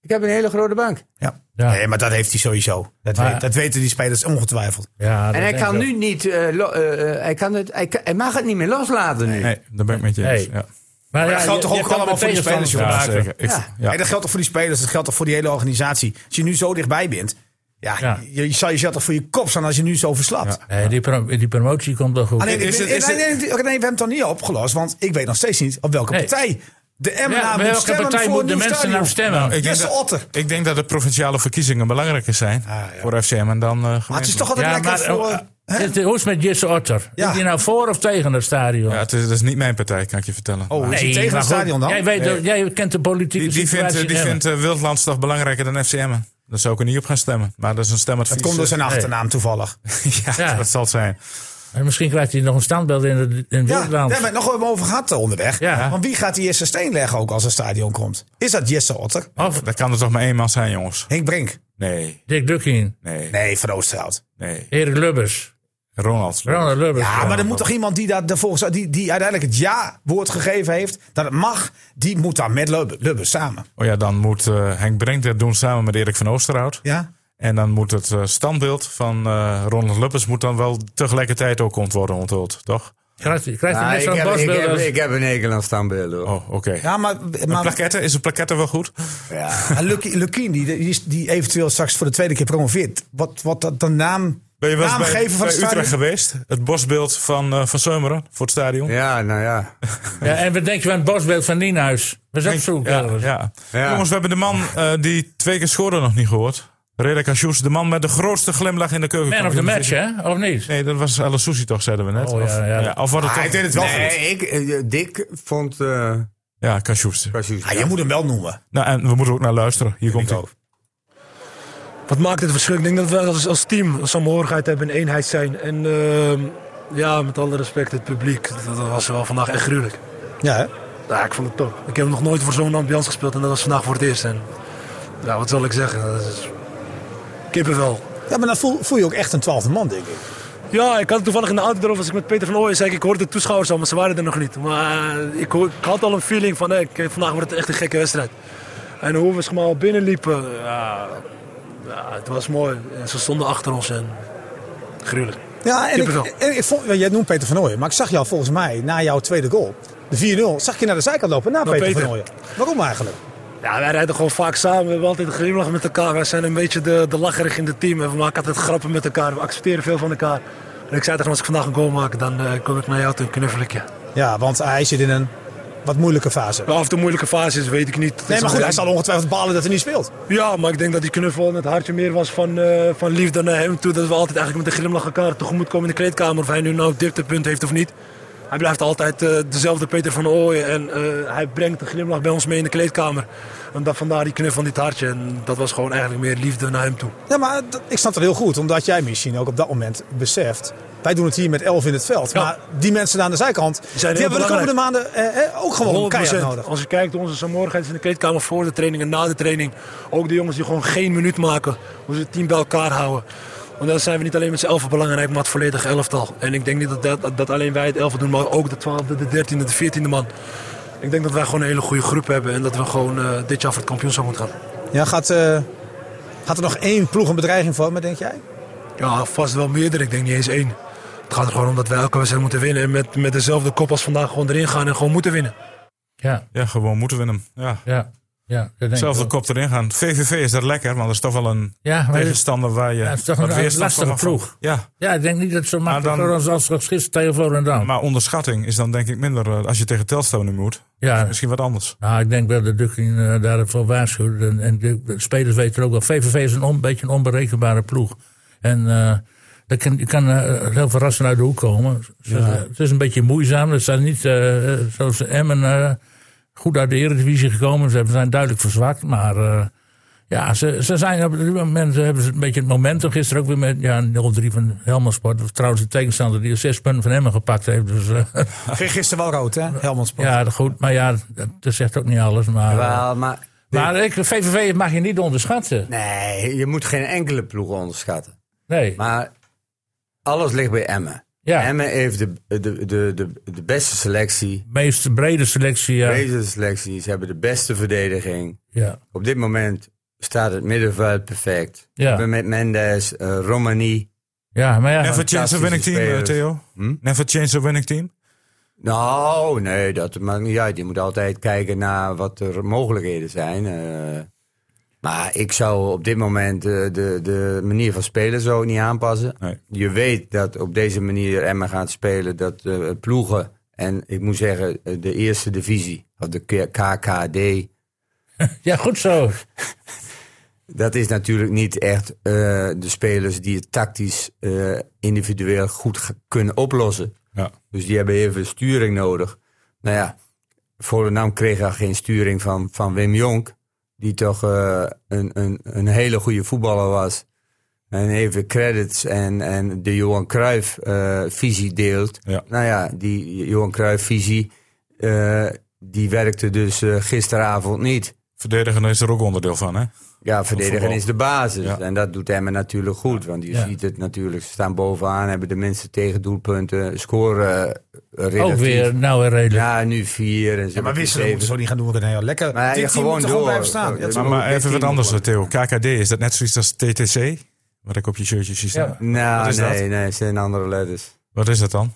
[SPEAKER 4] Ik heb een hele grote bank.
[SPEAKER 6] Ja.
[SPEAKER 1] Ja.
[SPEAKER 6] Nee, maar dat heeft hij sowieso. Dat,
[SPEAKER 1] Maar-
[SPEAKER 6] weet- dat weten die spelers ongetwijfeld.
[SPEAKER 1] ja dat
[SPEAKER 4] en hij
[SPEAKER 1] denk
[SPEAKER 4] kan
[SPEAKER 1] ik
[SPEAKER 4] nu niet, eh, lo- eh, eh, hij, kan het, hij, kan- hij mag het niet meer loslaten nu.
[SPEAKER 2] Nee, daar ben ik met je eens.
[SPEAKER 1] Nee.
[SPEAKER 2] Ja.
[SPEAKER 1] ook. Maar, ja,
[SPEAKER 6] dat geldt
[SPEAKER 1] je-
[SPEAKER 6] toch
[SPEAKER 1] je
[SPEAKER 6] ook
[SPEAKER 1] kan
[SPEAKER 6] allemaal
[SPEAKER 1] met
[SPEAKER 6] voor die spelers,
[SPEAKER 1] tegenstanders-
[SPEAKER 6] joh.
[SPEAKER 2] Ja,
[SPEAKER 6] Maken.
[SPEAKER 2] zeker. Ik-
[SPEAKER 4] Ja.
[SPEAKER 2] ja.
[SPEAKER 6] En dat geldt toch voor die spelers, dat geldt toch voor die hele organisatie. Als je nu zo dichtbij bent, ja,
[SPEAKER 1] Ja.
[SPEAKER 6] Je, je zal jezelf toch voor je kop staan als je nu zo verslapt.
[SPEAKER 1] Nee, die, pro- die promotie komt wel goed.
[SPEAKER 6] Alleen, ik
[SPEAKER 2] Is
[SPEAKER 6] ben-
[SPEAKER 2] het- is
[SPEAKER 6] nee, nee, nee, nee, we hebben het dan niet opgelost, want ik weet nog steeds niet op welke
[SPEAKER 1] Nee.
[SPEAKER 6] partij de MNA
[SPEAKER 1] ja,
[SPEAKER 6] moet
[SPEAKER 1] welke
[SPEAKER 6] stemmen
[SPEAKER 1] partij
[SPEAKER 6] voor
[SPEAKER 1] moeten de
[SPEAKER 6] een nieuw
[SPEAKER 1] mensen
[SPEAKER 6] stadion.
[SPEAKER 1] nou stemmen?
[SPEAKER 2] Ik denk
[SPEAKER 6] Jesse
[SPEAKER 2] dat-
[SPEAKER 6] Otter. Ah,
[SPEAKER 2] Ik denk dat de provinciale verkiezingen belangrijker zijn voor FCM en dan eh
[SPEAKER 6] Maar het is
[SPEAKER 2] gemeentelijk.
[SPEAKER 6] toch altijd
[SPEAKER 1] ja,
[SPEAKER 6] lekker
[SPEAKER 1] maar
[SPEAKER 6] voor...
[SPEAKER 1] eh,
[SPEAKER 6] hè?
[SPEAKER 1] het- hoe is het met Jesse Otter?
[SPEAKER 6] Ja.
[SPEAKER 1] Is die nou voor of tegen het stadion?
[SPEAKER 2] Ja, het is, dat is niet mijn partij, kan ik je vertellen.
[SPEAKER 6] Oh, is hij tegen
[SPEAKER 1] maar
[SPEAKER 6] het
[SPEAKER 1] goed,
[SPEAKER 6] stadion dan?
[SPEAKER 1] Jij, weet,
[SPEAKER 2] Nee.
[SPEAKER 1] jij kent de politieke
[SPEAKER 2] Die, die vindt,
[SPEAKER 1] situatie.
[SPEAKER 2] eh, die
[SPEAKER 1] in
[SPEAKER 2] vindt eh, Wildlands toch belangrijker dan FCM. en. Daar zou ik er niet op gaan stemmen. Maar dat is een stemadvies.
[SPEAKER 6] Dat komt door zijn
[SPEAKER 2] eh,
[SPEAKER 6] achternaam toevallig.
[SPEAKER 2] ja,
[SPEAKER 1] Ja.
[SPEAKER 2] dat zal het zijn.
[SPEAKER 1] Emmen. En misschien krijgt hij nog een standbeeld in, het- in
[SPEAKER 6] Ja, daar
[SPEAKER 1] Wildland.
[SPEAKER 6] hebben we het nog wel over gehad eh, onderweg.
[SPEAKER 1] Ja.
[SPEAKER 6] Want wie gaat die eerste steen leggen ook als een stadion komt? Is dat Jesse Otter?
[SPEAKER 1] Of
[SPEAKER 2] Dat kan er toch maar één man zijn, jongens.
[SPEAKER 6] Henk Brink?
[SPEAKER 2] Nee,
[SPEAKER 1] Dick Dukkin,
[SPEAKER 2] nee,
[SPEAKER 6] Nee, Van Oosterhout.
[SPEAKER 2] nee.
[SPEAKER 1] Erik Lubbers,
[SPEAKER 2] Ronald.
[SPEAKER 1] Ronald Lubbers.
[SPEAKER 6] Ja, Ah, maar er moet toch iemand die, daar, de volgens, die, die uiteindelijk het ja-woord gegeven heeft... dat het mag, die moet dan met Lubbe, Lubbe samen.
[SPEAKER 2] Oh ja, dan moet eh, Henk Brink dat doen samen met Erik van Oosterhout.
[SPEAKER 6] Ja?
[SPEAKER 2] En dan moet het eh, standbeeld van eh, Ronald Lubbers moet dan wel tegelijkertijd ook ont- worden onthuld, toch?
[SPEAKER 1] Krijgt, hij- krijgt hij
[SPEAKER 4] Ah,
[SPEAKER 1] net
[SPEAKER 4] ik,
[SPEAKER 1] zo'n
[SPEAKER 4] heb, ik,
[SPEAKER 1] borstbeeld
[SPEAKER 4] heb,
[SPEAKER 1] als-
[SPEAKER 4] ik heb een hekel aan standbeelden. hoor.
[SPEAKER 2] Oh, oké.
[SPEAKER 6] Ja, maar,
[SPEAKER 2] Maar
[SPEAKER 6] maar
[SPEAKER 2] plaketten, is een plaquette wel goed?
[SPEAKER 6] maar Lucky- Lukien, die, die, is- die eventueel straks voor de tweede keer promoveert... wat, wat dat de naam,
[SPEAKER 2] Ben je wel eens
[SPEAKER 6] naam
[SPEAKER 2] bij,
[SPEAKER 6] geven van
[SPEAKER 2] bij
[SPEAKER 6] het
[SPEAKER 2] Utrecht
[SPEAKER 6] stadion...
[SPEAKER 2] geweest? Het bosbeeld van, eh van Seumeren voor het stadion?
[SPEAKER 4] Ja, nou ja.
[SPEAKER 1] Ja, en wat denk je van het borstbeeld van Nienhuis? We zijn op zoek.
[SPEAKER 2] Ja,
[SPEAKER 1] Elvis.
[SPEAKER 2] ja.
[SPEAKER 4] Ja.
[SPEAKER 2] Jongens, we hebben de man eh, die twee keer scoorde nog niet gehoord. Reda Kajous, de man met de grootste glimlach in de keuken.
[SPEAKER 1] Man of the match, hè? Of niet?
[SPEAKER 2] Nee, dat was Alain Soussi toch, zeiden we net.
[SPEAKER 1] Oh, ja,
[SPEAKER 2] of,
[SPEAKER 1] ja.
[SPEAKER 2] of wat het toch...
[SPEAKER 6] Ah, deed het wel
[SPEAKER 4] Nee, ik, eh, Dick vond. eh
[SPEAKER 2] Ja, Kajous.
[SPEAKER 4] precies.
[SPEAKER 6] Ah, je moet hem wel noemen.
[SPEAKER 2] Nou, en we moeten ook naar luisteren. Hier komt hij.
[SPEAKER 10] Wat maakt het verschil? Ik denk dat we als, als team samenhorigheid hebben en eenheid zijn. En ehm, ja, met alle respect, het publiek. Dat, dat was wel vandaag echt gruwelijk.
[SPEAKER 6] Ja, hè?
[SPEAKER 10] Ja, ik vond het top. Ik heb nog nooit voor zo'n ambiance gespeeld en dat was vandaag voor het eerst. En, ja, wat zal ik zeggen? Dat is kippenvel.
[SPEAKER 6] Ja, maar dan voel, voel je ook echt een twaalfde man, denk ik.
[SPEAKER 10] Ja, ik had het toevallig in de auto erover als ik met Peter van Ooyen zei. ik, Ik hoorde de toeschouwers al, maar ze waren er nog niet. Maar eh, ik, hoor- ik had al een feeling van, hey, kijk, vandaag wordt het echt een gekke wedstrijd. En hoe we zeg maar, al binnenliepen, ja, ja, het was mooi. En ze stonden achter ons en gruwelijk.
[SPEAKER 6] Ja, en ik,
[SPEAKER 10] Kippenvel.
[SPEAKER 6] en ik vond, ja, jij noemt Peter van Ooyen, maar ik zag jou volgens mij na jouw tweede goal, de 4-0, zag ik je naar de zijkant lopen na Peter,
[SPEAKER 10] Peter.
[SPEAKER 6] van Ooyen. Waarom eigenlijk?
[SPEAKER 10] Ja, wij rijden gewoon vaak samen. We hebben altijd een glimlach met elkaar. Wij zijn een beetje de, de lacherig in het team. En we maken altijd grappen met elkaar. We accepteren veel van elkaar. En ik zei tegen hem, als ik vandaag een goal maak, dan eh, kom ik naar jou toe en knuffel ik je.
[SPEAKER 6] Ja, want hij zit in een wat moeilijke fase.
[SPEAKER 10] Maar Of het een moeilijke fase is, weet ik niet.
[SPEAKER 6] Nee, maar goed, hij zal ongetwijfeld balen dat hij niet speelt.
[SPEAKER 10] Ja, maar ik denk dat die knuffel en het hartje meer was van, eh, van liefde naar hem toe. Dat we altijd eigenlijk met een glimlach elkaar tegemoet komen in de kleedkamer. Of hij nu nou dieptepunt heeft of niet. Hij blijft altijd eh, dezelfde Peter van Ooyen. En eh, hij brengt een glimlach bij ons mee in de kleedkamer. En dat, vandaar die knuffel en dit hartje. En dat was gewoon eigenlijk meer liefde naar hem toe.
[SPEAKER 6] Ja, maar dat- ik snap dat heel goed, omdat jij misschien ook op dat moment beseft. Wij doen het hier met 11 in het veld. Maar die mensen aan de zijkant,
[SPEAKER 10] zijn
[SPEAKER 6] die
[SPEAKER 10] heel
[SPEAKER 6] hebben we de komende
[SPEAKER 10] belangrijk.
[SPEAKER 6] maanden eh, eh, ook gewoon keihard
[SPEAKER 10] 100%.
[SPEAKER 6] nodig.
[SPEAKER 10] Als je kijkt, onze samorigheid in de kleedkamer voor de training en na de training. Ook de jongens die gewoon geen minuut maken. Hoe ze het team bij elkaar houden. Want dan zijn we niet alleen met z'n elfen belangrijk, maar het volledige elftal. En ik denk niet dat, dat, dat alleen wij het elftal doen, maar ook de twaalfde, de dertiende, de veertiende man. Ik denk dat wij gewoon een hele goede groep hebben en dat we gewoon eh, dit jaar voor het kampioenschap moeten gaan.
[SPEAKER 6] Ja, gaat, eh, gaat er nog één ploeg een bedreiging voor me, denk jij?
[SPEAKER 10] Ja, vast wel meerdere. Ik denk niet eens één. Het gaat er gewoon om dat wij elke wedstrijd moeten winnen. En met, met dezelfde kop als vandaag gewoon erin gaan en gewoon moeten winnen.
[SPEAKER 1] Ja,
[SPEAKER 2] Ja, gewoon moeten we hem. Ja.
[SPEAKER 1] ja, ja. dat denk ik
[SPEAKER 2] Zelfde
[SPEAKER 1] wel.
[SPEAKER 2] kop erin gaan. VVV is dat lekker, want dat is toch wel een
[SPEAKER 1] Ja, maar-
[SPEAKER 2] tegenstander waar je
[SPEAKER 1] Ja, het is toch
[SPEAKER 2] wat
[SPEAKER 1] een
[SPEAKER 2] weerstand
[SPEAKER 1] lastige
[SPEAKER 2] van mag-
[SPEAKER 1] ploeg.
[SPEAKER 2] Ja,
[SPEAKER 1] Ja, ik denk niet dat het zo makkelijk
[SPEAKER 2] Ah, dan-
[SPEAKER 1] voor ons als als gisteren tegen Volendam.
[SPEAKER 2] maar onderschatting is dan denk ik minder eh, als je tegen Telstar nu moet.
[SPEAKER 1] Ja.
[SPEAKER 2] Misschien wat anders.
[SPEAKER 1] Nou, ik denk wel dat Dukkin eh, daarvoor waarschuwt. En, en de, de spelers weten ook wel. VVV is een on- beetje een onberekenbare ploeg. En eh dat kan, je kan eh, heel verrassend uit de hoek komen. Ze- Het is een beetje moeizaam. Ze zijn niet, eh, eh, zoals Emmen, eh, goed uit de Eredivisie gekomen. Ze zijn duidelijk verzwakt, maar... eh, ja, ze, ze zijn op dit moment ze hebben ze een beetje het momentum. Gisteren ook weer met ja, 0-3 van Helmersport. Dat was Trouwens, de tegenstander die zes punten van Emmen gepakt heeft. Dus, eh,
[SPEAKER 6] Kreeg gisteren wel rood, hè? Helmond Sport.
[SPEAKER 1] ja, goed. Maar ja, dat, dat zegt ook niet alles. Maar, eh,
[SPEAKER 4] Wel, maar
[SPEAKER 1] maar ik, VVV mag je niet onderschatten.
[SPEAKER 4] nee, je moet geen enkele ploeg onderschatten.
[SPEAKER 1] Nee.
[SPEAKER 4] Maar alles ligt bij Emmen.
[SPEAKER 1] Ja.
[SPEAKER 4] Emmen heeft de, de, de, de, de beste selectie,
[SPEAKER 1] meest brede selectie. Ja.
[SPEAKER 4] de beste selectie. Ze hebben de beste verdediging.
[SPEAKER 1] Ja.
[SPEAKER 4] Op dit moment staat het middenveld perfect.
[SPEAKER 1] Ja.
[SPEAKER 4] We hebben met Mendes, eh Romani.
[SPEAKER 1] ja, maar ja.
[SPEAKER 2] Never change a winning team, eh,
[SPEAKER 4] spelers.
[SPEAKER 2] Theo. Never change a winning team.
[SPEAKER 4] Nou, nee, dat maakt niet uit. Je moet altijd kijken naar wat er mogelijkheden zijn. eh. maar ik zou op dit moment eh, de, de manier van spelen zo niet aanpassen.
[SPEAKER 2] Nee.
[SPEAKER 4] Je weet dat op deze manier Emma gaat spelen, dat eh, ploegen... En ik moet zeggen, eh, de eerste divisie, of de K- KKD...
[SPEAKER 1] ja, goed zo.
[SPEAKER 4] Dat is natuurlijk niet echt eh, de spelers die het tactisch eh, individueel goed ge- kunnen oplossen.
[SPEAKER 2] Ja.
[SPEAKER 4] Dus die hebben even sturing nodig. Nou ja, Volendam kreeg al geen sturing van, van Wim Jonk. Die toch eh, een, een, een hele goede voetballer was. En even credits en, en de Johan Cruijff eh, visie deelt.
[SPEAKER 2] Ja.
[SPEAKER 4] Nou ja, die Johan Cruijff visie, eh, die werkte dus eh, gisteravond niet.
[SPEAKER 2] Verdedigen is er ook onderdeel van, hè?
[SPEAKER 4] Ja, verdedigen
[SPEAKER 2] voetbal.
[SPEAKER 4] is de basis.
[SPEAKER 2] Ja.
[SPEAKER 4] En dat doet Emmen natuurlijk goed. Want je
[SPEAKER 1] Ja.
[SPEAKER 4] ziet het natuurlijk. Ze staan bovenaan, hebben de minste tegendoelpunten. Scoren eh, relatief.
[SPEAKER 1] Ook weer nou en redelijk.
[SPEAKER 4] Ja, nu vier. En
[SPEAKER 6] Ja, maar
[SPEAKER 4] ze
[SPEAKER 6] wisselen
[SPEAKER 4] hebben
[SPEAKER 6] moeten
[SPEAKER 4] zeven.
[SPEAKER 6] we zo niet gaan doen, René. Lekker.
[SPEAKER 4] Maar ja,
[SPEAKER 6] Dit team
[SPEAKER 4] gewoon
[SPEAKER 6] moet er gewoon
[SPEAKER 4] door.
[SPEAKER 6] blijven staan. Ja,
[SPEAKER 4] Ja,
[SPEAKER 2] Maar, maar
[SPEAKER 4] dit
[SPEAKER 2] even wat
[SPEAKER 4] team
[SPEAKER 2] anders, eh,
[SPEAKER 4] wordt-
[SPEAKER 2] Theo. KKD, is dat net zoiets als TTC? Wat ik op je shirtje zie staan. Wat
[SPEAKER 4] Nou,
[SPEAKER 2] is
[SPEAKER 4] nee,
[SPEAKER 2] dat?
[SPEAKER 4] nee, het zijn andere letters.
[SPEAKER 2] Wat is dat dan?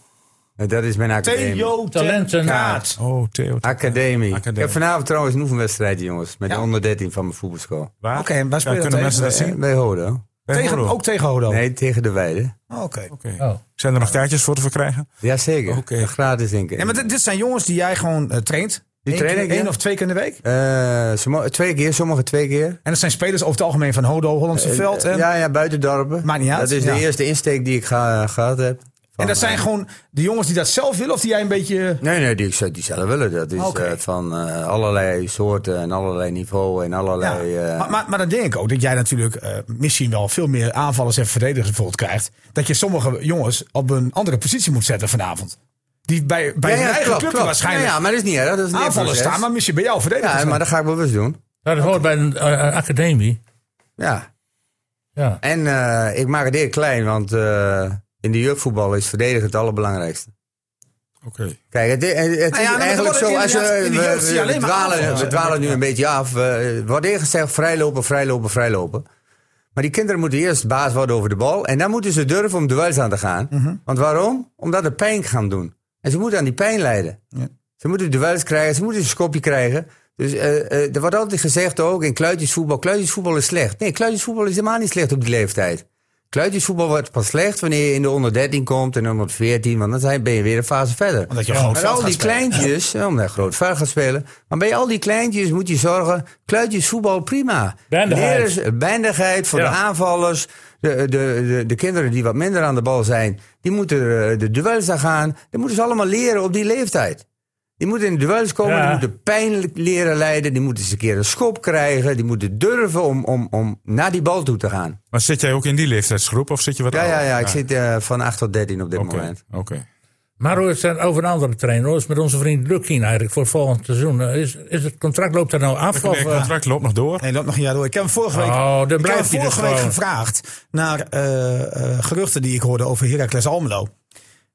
[SPEAKER 4] En Dat is mijn academie.
[SPEAKER 6] Theo
[SPEAKER 1] Talenten.
[SPEAKER 6] Kaat.
[SPEAKER 2] Oh, Theo.
[SPEAKER 4] Academie. Ik
[SPEAKER 2] Academie.
[SPEAKER 4] heb vanavond trouwens een oefenwedstrijd, jongens. Met
[SPEAKER 6] Ja.
[SPEAKER 4] de onder 13 van mijn voetbalschool.
[SPEAKER 2] Waar?
[SPEAKER 6] Oké, en waar spelen
[SPEAKER 2] kunnen
[SPEAKER 6] we
[SPEAKER 2] mensen dat
[SPEAKER 4] Eh,
[SPEAKER 2] zien?
[SPEAKER 4] Bij Hodo.
[SPEAKER 2] Bij
[SPEAKER 6] Tegen,
[SPEAKER 2] Rodo?
[SPEAKER 6] ook tegen Hodo.
[SPEAKER 4] Nee, tegen de Weide.
[SPEAKER 6] Oh, Oké.
[SPEAKER 2] Oké.
[SPEAKER 1] Oh.
[SPEAKER 2] Zijn er nog kaartjes voor te verkrijgen?
[SPEAKER 4] Jazeker.
[SPEAKER 2] Oké.
[SPEAKER 4] Gratis, denk ik.
[SPEAKER 6] Ja, maar dit, dit zijn jongens die jij gewoon eh, traint. Eén
[SPEAKER 4] train
[SPEAKER 6] keer-
[SPEAKER 4] ik, ja.
[SPEAKER 6] één of twee keer in de week.
[SPEAKER 4] Eh, sommo- twee keer, sommige twee keer.
[SPEAKER 6] En dat zijn spelers over het algemeen van Hodo, Hollandse Veld. eh. En,
[SPEAKER 4] Eh, Ja, ja, buitendorpen.
[SPEAKER 6] Maakt niet uit,
[SPEAKER 4] Dat is
[SPEAKER 6] ja.
[SPEAKER 4] de eerste insteek die ik ga, gehad heb.
[SPEAKER 6] en
[SPEAKER 4] Van,
[SPEAKER 6] dat zijn
[SPEAKER 4] eh,
[SPEAKER 6] gewoon de jongens die dat zelf willen of die jij een beetje... eh,
[SPEAKER 4] Nee, nee, die, ik zou- die zelf willen. Dat is
[SPEAKER 6] Oké.
[SPEAKER 4] eh, van eh, allerlei soorten en allerlei niveau en
[SPEAKER 6] Ja.
[SPEAKER 4] allerlei... eh,
[SPEAKER 6] maar, maar, maar dan denk ik ook dat jij natuurlijk eh, misschien wel veel meer aanvallers en verdedigers bijvoorbeeld krijgt. Dat je sommige jongens op een andere positie moet zetten vanavond. Die bij, bij
[SPEAKER 4] Ja,
[SPEAKER 6] hun
[SPEAKER 4] ja,
[SPEAKER 6] eigen
[SPEAKER 4] klopt,
[SPEAKER 6] club
[SPEAKER 4] klopt.
[SPEAKER 6] waarschijnlijk
[SPEAKER 4] Ja, ja, maar dat is niet erg. Dat is niet
[SPEAKER 6] aanvallers staan, maar misschien bij jou verdedigers.
[SPEAKER 4] Ja, maar dat ga ik bewust doen.
[SPEAKER 1] Nou, dat hoort bij een eh, eh, academie.
[SPEAKER 4] Ja.
[SPEAKER 1] Ja.
[SPEAKER 4] En eh, ik maak het heel klein, want eh, in de jeugdvoetbal is verdedigen het allerbelangrijkste.
[SPEAKER 2] Oké.
[SPEAKER 4] Kijk, het, het- het
[SPEAKER 6] Nou ja,
[SPEAKER 4] is
[SPEAKER 6] maar
[SPEAKER 4] eigenlijk
[SPEAKER 6] er worden
[SPEAKER 4] zo. Als je,
[SPEAKER 6] inderdaad
[SPEAKER 4] we,
[SPEAKER 6] in de jeugd zie je
[SPEAKER 4] we,
[SPEAKER 6] alleen maar
[SPEAKER 4] dwalen,
[SPEAKER 6] aanvallers.
[SPEAKER 4] we dwalen nu een beetje af. We we worden ingesteld vrijlopen, vrijlopen, vrijlopen. Maar die kinderen moeten eerst baas worden over de bal. En dan moeten ze durven om duels aan te gaan.
[SPEAKER 6] Mhm.
[SPEAKER 4] Want waarom? Omdat ze pijn gaan doen. En ze moeten aan die pijn lijden. Ze moeten duels krijgen, ze moeten een schopje krijgen. Dus eh, eh, er wordt altijd gezegd ook in kluitjesvoetbal, kluitjesvoetbal is slecht. Nee, kluitjesvoetbal is helemaal niet slecht op die leeftijd. Kluitjesvoetbal wordt pas slecht wanneer je in de onder 13 komt en onder 14, want dan zijn, ben je weer een fase verder.
[SPEAKER 6] Omdat je gewoon
[SPEAKER 4] Maar
[SPEAKER 6] veld
[SPEAKER 4] al
[SPEAKER 6] gaat
[SPEAKER 4] die
[SPEAKER 6] spelen.
[SPEAKER 4] kleintjes, ja, omdat je groot vuil gaat spelen, maar bij al die kleintjes moet je zorgen, kluitjesvoetbal prima.
[SPEAKER 1] Behendigheid.
[SPEAKER 4] Leren ze- behendigheid voor
[SPEAKER 1] Ja.
[SPEAKER 4] de aanvallers, de, de, de, de kinderen die wat minder aan de bal zijn, die moeten eh, de duels aan gaan. Dat moeten ze allemaal leren op die leeftijd. Die moeten in duels komen,
[SPEAKER 1] Ja.
[SPEAKER 4] die moeten pijnlijk leren leiden, die moeten eens een keer een schop krijgen, die moeten durven om, om, om naar die bal toe te gaan.
[SPEAKER 2] Maar zit jij ook in die leeftijdsgroep of zit je wat
[SPEAKER 4] Ja, ja,
[SPEAKER 2] ouder?
[SPEAKER 6] Oh.
[SPEAKER 4] ja, ik zit eh, van 8 tot 13 op dit
[SPEAKER 2] Oké,
[SPEAKER 4] moment.
[SPEAKER 2] oké.
[SPEAKER 1] Maar hoe is het over een andere trainer? Hoe is het met onze vriend Lukien eigenlijk voor volgend seizoen? Eh, Is, is het contract, loopt dat nou af?
[SPEAKER 2] Het
[SPEAKER 1] Of, eh,
[SPEAKER 2] contract loopt nog door.
[SPEAKER 6] Nee, loopt nog een jaar door. Ik heb hem vorige week,
[SPEAKER 1] Oh, dan
[SPEAKER 6] ik heb
[SPEAKER 1] blijft
[SPEAKER 6] hem
[SPEAKER 1] hij dus
[SPEAKER 6] vorige week
[SPEAKER 1] gewoon.
[SPEAKER 6] gevraagd naar eh, eh, geruchten die ik hoorde over Heracles Almelo.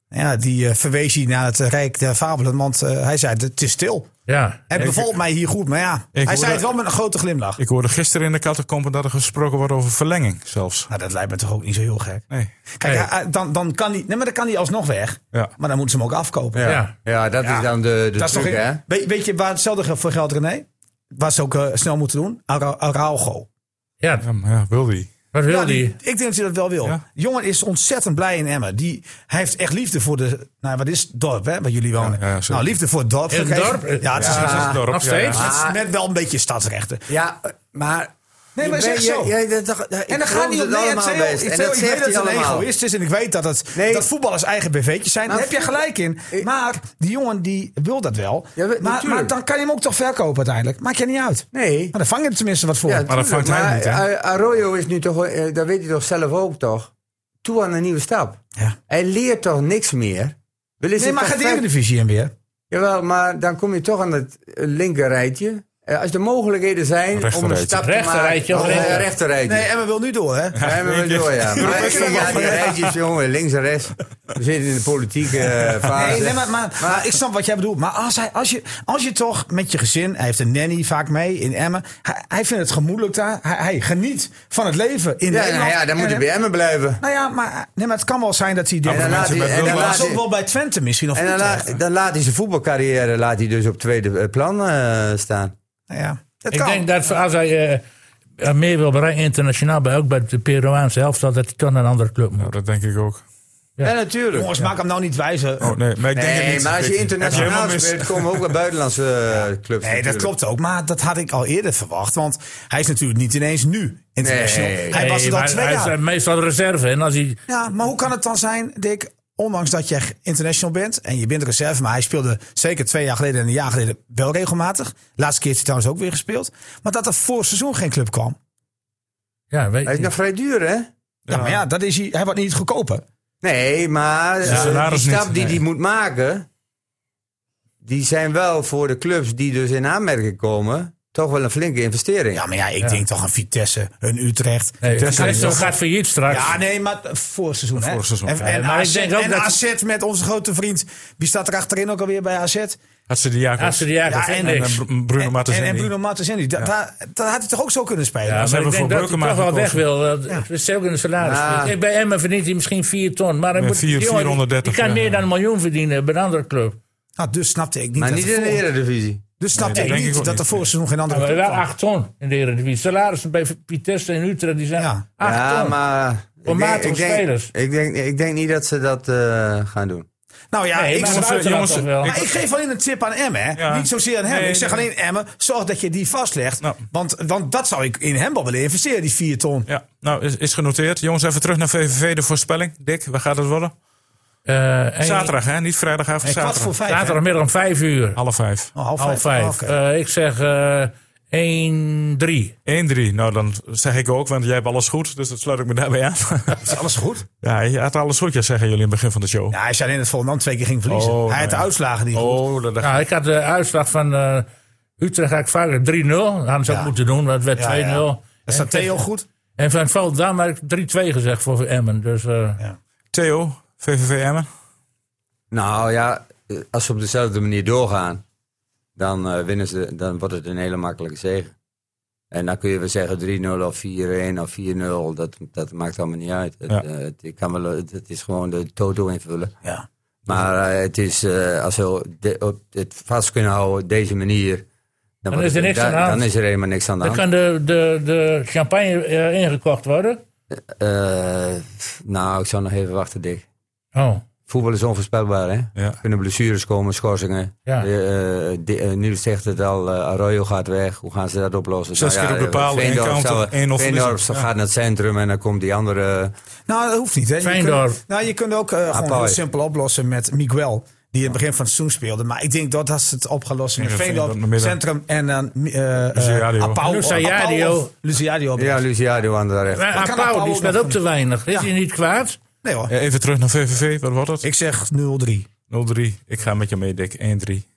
[SPEAKER 6] Ja, die eh, verwees hij naar het eh, Rijk der Fabelen, want eh, hij zei, het is stil.
[SPEAKER 1] ja.
[SPEAKER 6] Het bevalt mij hier goed, maar ja, hij
[SPEAKER 2] hoorde-
[SPEAKER 6] zei het wel met een grote glimlach.
[SPEAKER 2] Ik hoorde gisteren in de catacomben dat er gesproken wordt over verlenging zelfs.
[SPEAKER 6] Nou, dat lijkt me toch ook niet zo heel gek.
[SPEAKER 2] Nee.
[SPEAKER 6] Kijk,
[SPEAKER 1] Nee.
[SPEAKER 6] hij- hij- dan, dan kan hij, nee, maar dan kan hij alsnog weg.
[SPEAKER 2] Ja.
[SPEAKER 6] Maar dan moeten ze hem ook afkopen.
[SPEAKER 1] Ja.
[SPEAKER 4] Ja, dat is dan de, de
[SPEAKER 6] Dat is toch
[SPEAKER 4] truc, hè?
[SPEAKER 6] een- weet, weet je waar hetzelfde geldt voor geld, René? Waar ze ook eh, snel moeten doen? Ara- Araujo.
[SPEAKER 1] ja,
[SPEAKER 2] Ja, maar ja, wil die.
[SPEAKER 1] wat wil
[SPEAKER 6] Ja, Nou, die-
[SPEAKER 1] die?
[SPEAKER 6] Ik denk dat hij dat wel wil.
[SPEAKER 2] Ja.
[SPEAKER 6] Jongen is ontzettend blij in Emmen. Die, hij heeft echt liefde voor de. Nou, wat is het dorp, hè, waar jullie wonen?
[SPEAKER 2] Ja, ja, zeker.
[SPEAKER 6] nou, liefde voor het dorp.
[SPEAKER 1] Is het
[SPEAKER 6] gekregen.
[SPEAKER 1] dorp?
[SPEAKER 6] Ja, het is,
[SPEAKER 4] Ah,
[SPEAKER 2] Ja,
[SPEAKER 6] het
[SPEAKER 2] het
[SPEAKER 6] is-
[SPEAKER 2] is dorp,
[SPEAKER 1] Nog
[SPEAKER 2] ja, ja.
[SPEAKER 1] steeds?
[SPEAKER 6] het is met wel een beetje stadsrechten.
[SPEAKER 4] Ja, maar...
[SPEAKER 6] Nee, maar
[SPEAKER 4] je
[SPEAKER 6] zeg
[SPEAKER 4] bent-
[SPEAKER 6] zo.
[SPEAKER 4] je- je- dat- dat- ik
[SPEAKER 6] Eh, En dan
[SPEAKER 4] geloof
[SPEAKER 6] gaat niet op
[SPEAKER 4] het
[SPEAKER 6] nee, het
[SPEAKER 4] allemaal
[SPEAKER 6] is heel- het
[SPEAKER 4] best.
[SPEAKER 6] is
[SPEAKER 4] En
[SPEAKER 6] heel-
[SPEAKER 4] dat
[SPEAKER 6] Ik weet
[SPEAKER 4] zegt
[SPEAKER 6] dat
[SPEAKER 4] hij
[SPEAKER 6] het een
[SPEAKER 4] allemaal.
[SPEAKER 6] egoïst is en ik weet dat, het,
[SPEAKER 4] Nee.
[SPEAKER 6] dat voetballers eigen bv'tjes zijn. Daar
[SPEAKER 4] Maar-
[SPEAKER 6] heb je gelijk in.
[SPEAKER 4] Ik-
[SPEAKER 6] Maar die jongen die wil dat wel.
[SPEAKER 4] Ja, we-
[SPEAKER 6] maar,
[SPEAKER 4] natuurlijk.
[SPEAKER 6] maar dan kan je hem ook toch verkopen uiteindelijk. Maakt je niet uit.
[SPEAKER 4] Nee.
[SPEAKER 6] Maar dan vang je er tenminste wat voor.
[SPEAKER 4] Ja,
[SPEAKER 2] Maar dat
[SPEAKER 4] tuurlijk,
[SPEAKER 2] vangt hij
[SPEAKER 4] maar
[SPEAKER 2] niet, hè?
[SPEAKER 4] Ar- Arroyo is nu toch, eh, dat weet hij toch zelf ook toch, toe aan een nieuwe stap.
[SPEAKER 6] Ja.
[SPEAKER 4] Hij leert toch niks meer? Wil
[SPEAKER 6] nee, maar
[SPEAKER 4] ga
[SPEAKER 6] gaat de Eredivisie in weer.
[SPEAKER 4] Jawel, maar dan kom je toch aan het eh, linker rijtje. Eh, Als de mogelijkheden zijn om een
[SPEAKER 2] Rechterrijtje.
[SPEAKER 4] stap te
[SPEAKER 1] Rechter
[SPEAKER 4] maken.
[SPEAKER 1] rijtje of
[SPEAKER 4] Oh,
[SPEAKER 1] linker?
[SPEAKER 4] eh, rechter rijtje.
[SPEAKER 6] Nee, Emma wil nu door, hè?
[SPEAKER 4] Ja, hebben we door, ja. Maar ik
[SPEAKER 6] Europees
[SPEAKER 4] denk aan die rijtjes, jongen, links en rechts. We zitten in de politieke eh, fase.
[SPEAKER 6] Nee, nee, maar, maar, maar ik snap wat jij bedoelt. Maar als, hij, als, je, als je toch met je gezin, hij heeft een nanny vaak mee in Emmen. Hij, hij vindt het gemoedelijk daar. Hij, hij geniet van het leven in
[SPEAKER 4] ja, nou
[SPEAKER 6] Nederland.
[SPEAKER 4] ja, dan moet
[SPEAKER 6] En-
[SPEAKER 4] hij bij Emmen blijven.
[SPEAKER 6] Nou ja, maar, nee, maar het kan wel zijn dat hij...
[SPEAKER 4] En dan
[SPEAKER 6] dat
[SPEAKER 4] laat hij-
[SPEAKER 2] met
[SPEAKER 4] en dan
[SPEAKER 2] Wilma.
[SPEAKER 4] laat
[SPEAKER 6] was ook
[SPEAKER 4] hij-
[SPEAKER 6] wel bij Twente misschien. Of
[SPEAKER 4] en dan
[SPEAKER 6] Utrecht.
[SPEAKER 4] laat- dan laat hij zijn voetbalcarrière laat hij dus op tweede eh, plan eh, staan.
[SPEAKER 6] Nou ja, dat
[SPEAKER 1] Ik
[SPEAKER 6] kan.
[SPEAKER 1] denk dat als hij eh, meer wil bereiken internationaal, bij, ook bij de Peruaanse helft, dat hij toch naar een andere club moet.
[SPEAKER 2] Nou, dat denk ik ook.
[SPEAKER 4] Ja, natuurlijk.
[SPEAKER 6] Jongens, maak hem nou niet wijzer.
[SPEAKER 2] Oh, nee, maar ik denk het
[SPEAKER 4] Nee,
[SPEAKER 2] niet.
[SPEAKER 4] maar als je
[SPEAKER 2] Ik- heb je
[SPEAKER 4] internationaal
[SPEAKER 2] helemaal mis.
[SPEAKER 4] speelt, komen ook wel buitenlandse eh, clubs
[SPEAKER 6] Nee, dat
[SPEAKER 4] natuurlijk.
[SPEAKER 6] klopt ook. Maar dat had ik al eerder verwacht. Want hij is natuurlijk niet ineens nu international.
[SPEAKER 4] Nee.
[SPEAKER 6] hij was
[SPEAKER 1] Nee,
[SPEAKER 6] er al
[SPEAKER 1] maar
[SPEAKER 6] twee
[SPEAKER 1] hij
[SPEAKER 6] jaar.
[SPEAKER 1] is meestal reserve. En als hij,
[SPEAKER 6] Ja, maar hoe kan het dan zijn, Dick, ondanks dat je international bent en je bent reserve, maar hij speelde zeker twee jaar geleden en een jaar geleden wel regelmatig. Laatste keer heeft hij trouwens ook weer gespeeld. Maar dat er voor seizoen geen club kwam.
[SPEAKER 1] ja, weet
[SPEAKER 4] Hij is
[SPEAKER 1] je,
[SPEAKER 4] nog vrij duur, hè?
[SPEAKER 6] Ja, maar ja, dat is hij, hij wordt niet goedkoper.
[SPEAKER 4] Nee, maar eh, die
[SPEAKER 2] salaris
[SPEAKER 4] stap
[SPEAKER 2] niet,
[SPEAKER 4] die
[SPEAKER 2] nee.
[SPEAKER 4] hij moet maken, die zijn wel voor de clubs die dus in aanmerking komen, toch wel een flinke investering.
[SPEAKER 6] Ja, maar ja, ik denk toch aan Vitesse, een Utrecht.
[SPEAKER 1] nee,
[SPEAKER 2] Vitesse
[SPEAKER 1] hij is
[SPEAKER 2] heeft
[SPEAKER 1] toch gaat failliet straks.
[SPEAKER 6] Ja, nee, maar voor seizoen. Hè?
[SPEAKER 2] Vorig seizoen.
[SPEAKER 6] En, en,
[SPEAKER 1] Ja, maar ik
[SPEAKER 6] AZ,
[SPEAKER 1] denk ook
[SPEAKER 6] en
[SPEAKER 1] dat-
[SPEAKER 6] AZ met onze grote vriend. Wie staat er achterin ook alweer bij AZ?
[SPEAKER 2] Had ze die Jacobs.
[SPEAKER 1] Als ze die jaren
[SPEAKER 6] Ja,
[SPEAKER 1] vindt
[SPEAKER 6] en-
[SPEAKER 2] En
[SPEAKER 1] niks.
[SPEAKER 2] eh, Br- Bruno
[SPEAKER 6] en,
[SPEAKER 2] Martens.
[SPEAKER 6] en Bruno Martens. Dat, daar daar had hij toch ook zo kunnen spelen?
[SPEAKER 1] Ja,
[SPEAKER 2] ze
[SPEAKER 1] maar ik
[SPEAKER 2] hebben
[SPEAKER 1] denk dat hij
[SPEAKER 2] voor Beukema
[SPEAKER 1] toch wel weg wil.
[SPEAKER 2] gekozen.
[SPEAKER 1] Dat dat is ook een salaris.
[SPEAKER 4] Ja.
[SPEAKER 1] Kijk, Bij Emmen verdient hij misschien 4 ton. Maar hij
[SPEAKER 2] Ja,
[SPEAKER 1] moet,
[SPEAKER 2] vier-
[SPEAKER 1] die jongen, die-
[SPEAKER 2] 430,
[SPEAKER 1] die kan
[SPEAKER 2] ja.
[SPEAKER 1] meer dan een miljoen verdienen bij een andere club.
[SPEAKER 6] Nou, dus snapte ik niet.
[SPEAKER 4] maar
[SPEAKER 6] dat
[SPEAKER 4] niet
[SPEAKER 6] er
[SPEAKER 4] in de
[SPEAKER 6] voor-
[SPEAKER 4] Eredivisie.
[SPEAKER 6] Dus snapte
[SPEAKER 2] Nee, dat
[SPEAKER 6] ik
[SPEAKER 2] denk
[SPEAKER 6] niet
[SPEAKER 2] ik ook
[SPEAKER 6] dat er
[SPEAKER 2] niet.
[SPEAKER 6] voor seizoen geen andere
[SPEAKER 1] Nou, Maar
[SPEAKER 6] club
[SPEAKER 1] wel
[SPEAKER 6] kwam.
[SPEAKER 1] 8 ton in de Eredivisie. Salarissen bij Vitesse en Utrecht die zijn
[SPEAKER 6] Ja.
[SPEAKER 1] 8
[SPEAKER 4] ja,
[SPEAKER 1] ton.
[SPEAKER 4] maar.
[SPEAKER 1] Voor matige
[SPEAKER 4] ik, denk,
[SPEAKER 1] spelers.
[SPEAKER 4] ik, denk, ik denk niet dat ze dat eh, gaan doen.
[SPEAKER 6] Nou ja,
[SPEAKER 1] Nee,
[SPEAKER 6] ik,
[SPEAKER 1] maar
[SPEAKER 6] zou-
[SPEAKER 1] buitenland
[SPEAKER 2] jongens,
[SPEAKER 1] toch wel.
[SPEAKER 6] maar ik geef alleen een tip aan Emmen. hè.
[SPEAKER 2] Ja.
[SPEAKER 6] Niet zozeer aan hem.
[SPEAKER 2] Nee,
[SPEAKER 6] ik zeg
[SPEAKER 2] nee.
[SPEAKER 6] alleen Emmen, zorg dat je die vastlegt.
[SPEAKER 2] Nou.
[SPEAKER 6] Want, want dat zou ik in hem wel willen investeren, die 4 ton.
[SPEAKER 2] Ja, nou is, is genoteerd. Jongens, even terug naar VVV, de voorspelling. Dick, waar gaat het worden?
[SPEAKER 1] Eh, en-
[SPEAKER 2] Zaterdag, hè? Niet vrijdagavond,
[SPEAKER 6] Hey, kwart
[SPEAKER 2] zaterdag.
[SPEAKER 6] voor vijf. hè?
[SPEAKER 1] Zaterdagmiddag om 5 uur.
[SPEAKER 2] Half vijf. 1-3.
[SPEAKER 6] Oh, half
[SPEAKER 1] Half
[SPEAKER 6] vijf.
[SPEAKER 1] 5.
[SPEAKER 6] Oké.
[SPEAKER 1] ik zeg eh 1-3.
[SPEAKER 2] Nou, dan zeg ik ook, want jij hebt alles goed. Dus dat sluit ik me daarbij aan.
[SPEAKER 6] Is alles goed?
[SPEAKER 2] ja, je had alles goed, ja, zeggen jullie in het begin van de show.
[SPEAKER 6] Ja, hij zei in het Volendam twee keer ging verliezen.
[SPEAKER 2] Oh,
[SPEAKER 6] hij had de
[SPEAKER 2] nee.
[SPEAKER 6] uitslagen niet goed.
[SPEAKER 2] oh, dat dacht ik.
[SPEAKER 1] Nou, ik had de uitslag van eh, Utrecht eigenlijk vaker 3-0. Dat hadden ze ook
[SPEAKER 6] Ja.
[SPEAKER 1] moeten doen, dat werd
[SPEAKER 6] Ja,
[SPEAKER 1] 2-0.
[SPEAKER 6] ja. Dat staat Theo goed.
[SPEAKER 1] En van Volendam heb ik 3-2 gezegd voor Emmen. Dus eh,
[SPEAKER 2] Theo, VVV Emmen.
[SPEAKER 4] Nou ja, eh, als ze op dezelfde manier doorgaan, dan, eh, winnen ze, dan wordt het een hele makkelijke zege. En dan kun je wel zeggen 3-0 of 4-1 of 4-0. Dat, dat maakt allemaal niet uit. Het,
[SPEAKER 2] Ja.
[SPEAKER 4] eh, het, ik kan wel, het, het is gewoon de toto invullen.
[SPEAKER 6] Ja.
[SPEAKER 4] Maar eh, het is, eh, als we de- op het vast kunnen houden op deze manier,
[SPEAKER 1] Dan, is er niks aan de hand.
[SPEAKER 4] Dan is er helemaal niks aan de
[SPEAKER 1] Dan
[SPEAKER 4] hand.
[SPEAKER 1] kan de, de, de champagne eh, ingekocht worden.
[SPEAKER 4] Eh, pff, nou, ik zou nog even wachten, Dick.
[SPEAKER 1] Oh.
[SPEAKER 4] Voetbal is onvoorspelbaar, hè?
[SPEAKER 2] Ja.
[SPEAKER 4] Er kunnen blessures komen, schorsingen.
[SPEAKER 1] Ja.
[SPEAKER 4] Eh, eh, Di- eh, Niels zegt het al, eh, Arroyo gaat weg. Hoe gaan ze dat oplossen? Nou eh,
[SPEAKER 2] Zes keer op de paal, één
[SPEAKER 4] Veendorp
[SPEAKER 2] counter,
[SPEAKER 4] zal-
[SPEAKER 2] 1-0 verliezen.
[SPEAKER 4] Veendorp
[SPEAKER 2] Ja.
[SPEAKER 4] gaat naar het centrum en dan komt die andere... eh,
[SPEAKER 6] Nou, dat hoeft niet. Hè. Je
[SPEAKER 1] Feyenoord.
[SPEAKER 6] kunt, nou, je kunt ook eh, gewoon
[SPEAKER 4] Apart.
[SPEAKER 6] heel simpel oplossen met Miguel. Die in het begin van het seizoen speelde. Maar ik denk dat dat ze het opgelost met
[SPEAKER 2] Ja,
[SPEAKER 6] Veendorp,
[SPEAKER 2] Veendorp midden.
[SPEAKER 6] Centrum en dan eh, eh,
[SPEAKER 2] Luciadio.
[SPEAKER 6] Apau-
[SPEAKER 1] Luciadio.
[SPEAKER 6] Apau of Luciadio.
[SPEAKER 4] Ja, Luciano aan de rechter.
[SPEAKER 1] Maar
[SPEAKER 6] kan
[SPEAKER 1] Apau,
[SPEAKER 6] Apau
[SPEAKER 1] die
[SPEAKER 6] nog
[SPEAKER 1] speelt
[SPEAKER 6] van-
[SPEAKER 1] ook te weinig. Is
[SPEAKER 6] Ja.
[SPEAKER 1] hij niet kwaad?
[SPEAKER 6] Nee hoor,
[SPEAKER 2] Ja, even terug naar VVV, wat wordt het?
[SPEAKER 6] ik zeg 0-3.
[SPEAKER 2] 0-3. Ik ga met je mee, Dick. 1-3.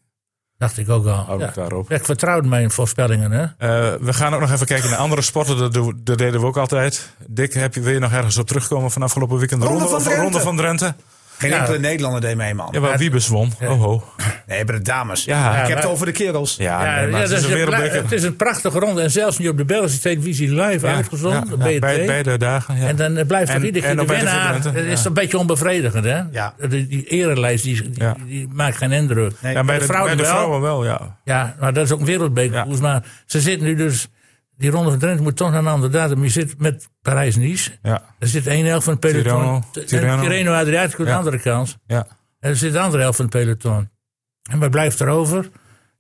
[SPEAKER 1] Dacht ik ook
[SPEAKER 6] Oh,
[SPEAKER 1] al.
[SPEAKER 2] Hou
[SPEAKER 1] Ja.
[SPEAKER 2] ik daarop.
[SPEAKER 1] Ik vertrouw mijn voorspellingen, hè?
[SPEAKER 2] Eh, we gaan ook nog even kijken naar andere sporten. Dat, doen we- dat deden we ook altijd. Dick, heb je, wil je nog ergens op terugkomen van afgelopen weekend? De
[SPEAKER 6] Ronde van
[SPEAKER 2] of-
[SPEAKER 6] Drenthe.
[SPEAKER 2] Ronde van Drenthe.
[SPEAKER 6] Geen
[SPEAKER 1] Ja.
[SPEAKER 6] enkele Nederlander deed mee, man.
[SPEAKER 2] Ja, waar Wiebes won. Oh, ho.
[SPEAKER 6] Nee, bij de dames.
[SPEAKER 2] Ja.
[SPEAKER 6] ik heb
[SPEAKER 1] maar-
[SPEAKER 6] het over de kerels.
[SPEAKER 2] Ja,
[SPEAKER 1] Ja,
[SPEAKER 2] nee, maar
[SPEAKER 1] ja,
[SPEAKER 2] het
[SPEAKER 1] dat
[SPEAKER 2] is
[SPEAKER 1] is
[SPEAKER 2] een
[SPEAKER 1] een pla-
[SPEAKER 2] wereldbeker.
[SPEAKER 1] het is een prachtige ronde. En zelfs nu op de Belgische televisie live
[SPEAKER 2] Ja,
[SPEAKER 1] uitgezonden.
[SPEAKER 2] ja,
[SPEAKER 1] BNT.
[SPEAKER 2] ja, bij- Beide dagen. Ja.
[SPEAKER 1] En dan eh, blijft
[SPEAKER 2] En-
[SPEAKER 1] er iedere
[SPEAKER 2] en
[SPEAKER 1] keer de
[SPEAKER 2] dan bij de
[SPEAKER 1] winnaar. Het
[SPEAKER 2] verdrenten,
[SPEAKER 1] is
[SPEAKER 2] ja.
[SPEAKER 1] een beetje onbevredigend, hè?
[SPEAKER 6] Ja.
[SPEAKER 1] Die, die erelijst die, die,
[SPEAKER 2] Ja.
[SPEAKER 1] die maakt geen indruk.
[SPEAKER 6] Nee.
[SPEAKER 2] ja, bij, de, bij de
[SPEAKER 1] wel.
[SPEAKER 2] vrouwen wel, ja.
[SPEAKER 1] Ja, maar dat is ook een wereldbeker.
[SPEAKER 2] Ja.
[SPEAKER 1] Maar ze zitten nu dus... Die ronde van Drenthe moet toch naar een ander datum. Je zit met Parijs-Nice.
[SPEAKER 2] Ja,
[SPEAKER 1] Er zit één helft van het peloton.
[SPEAKER 2] Tirreno, Tirreno.
[SPEAKER 1] Tireno Adriatico aan de
[SPEAKER 2] Ja.
[SPEAKER 1] andere kant.
[SPEAKER 2] ja.
[SPEAKER 1] En er zit de andere helft van het peloton. En wat blijft er over?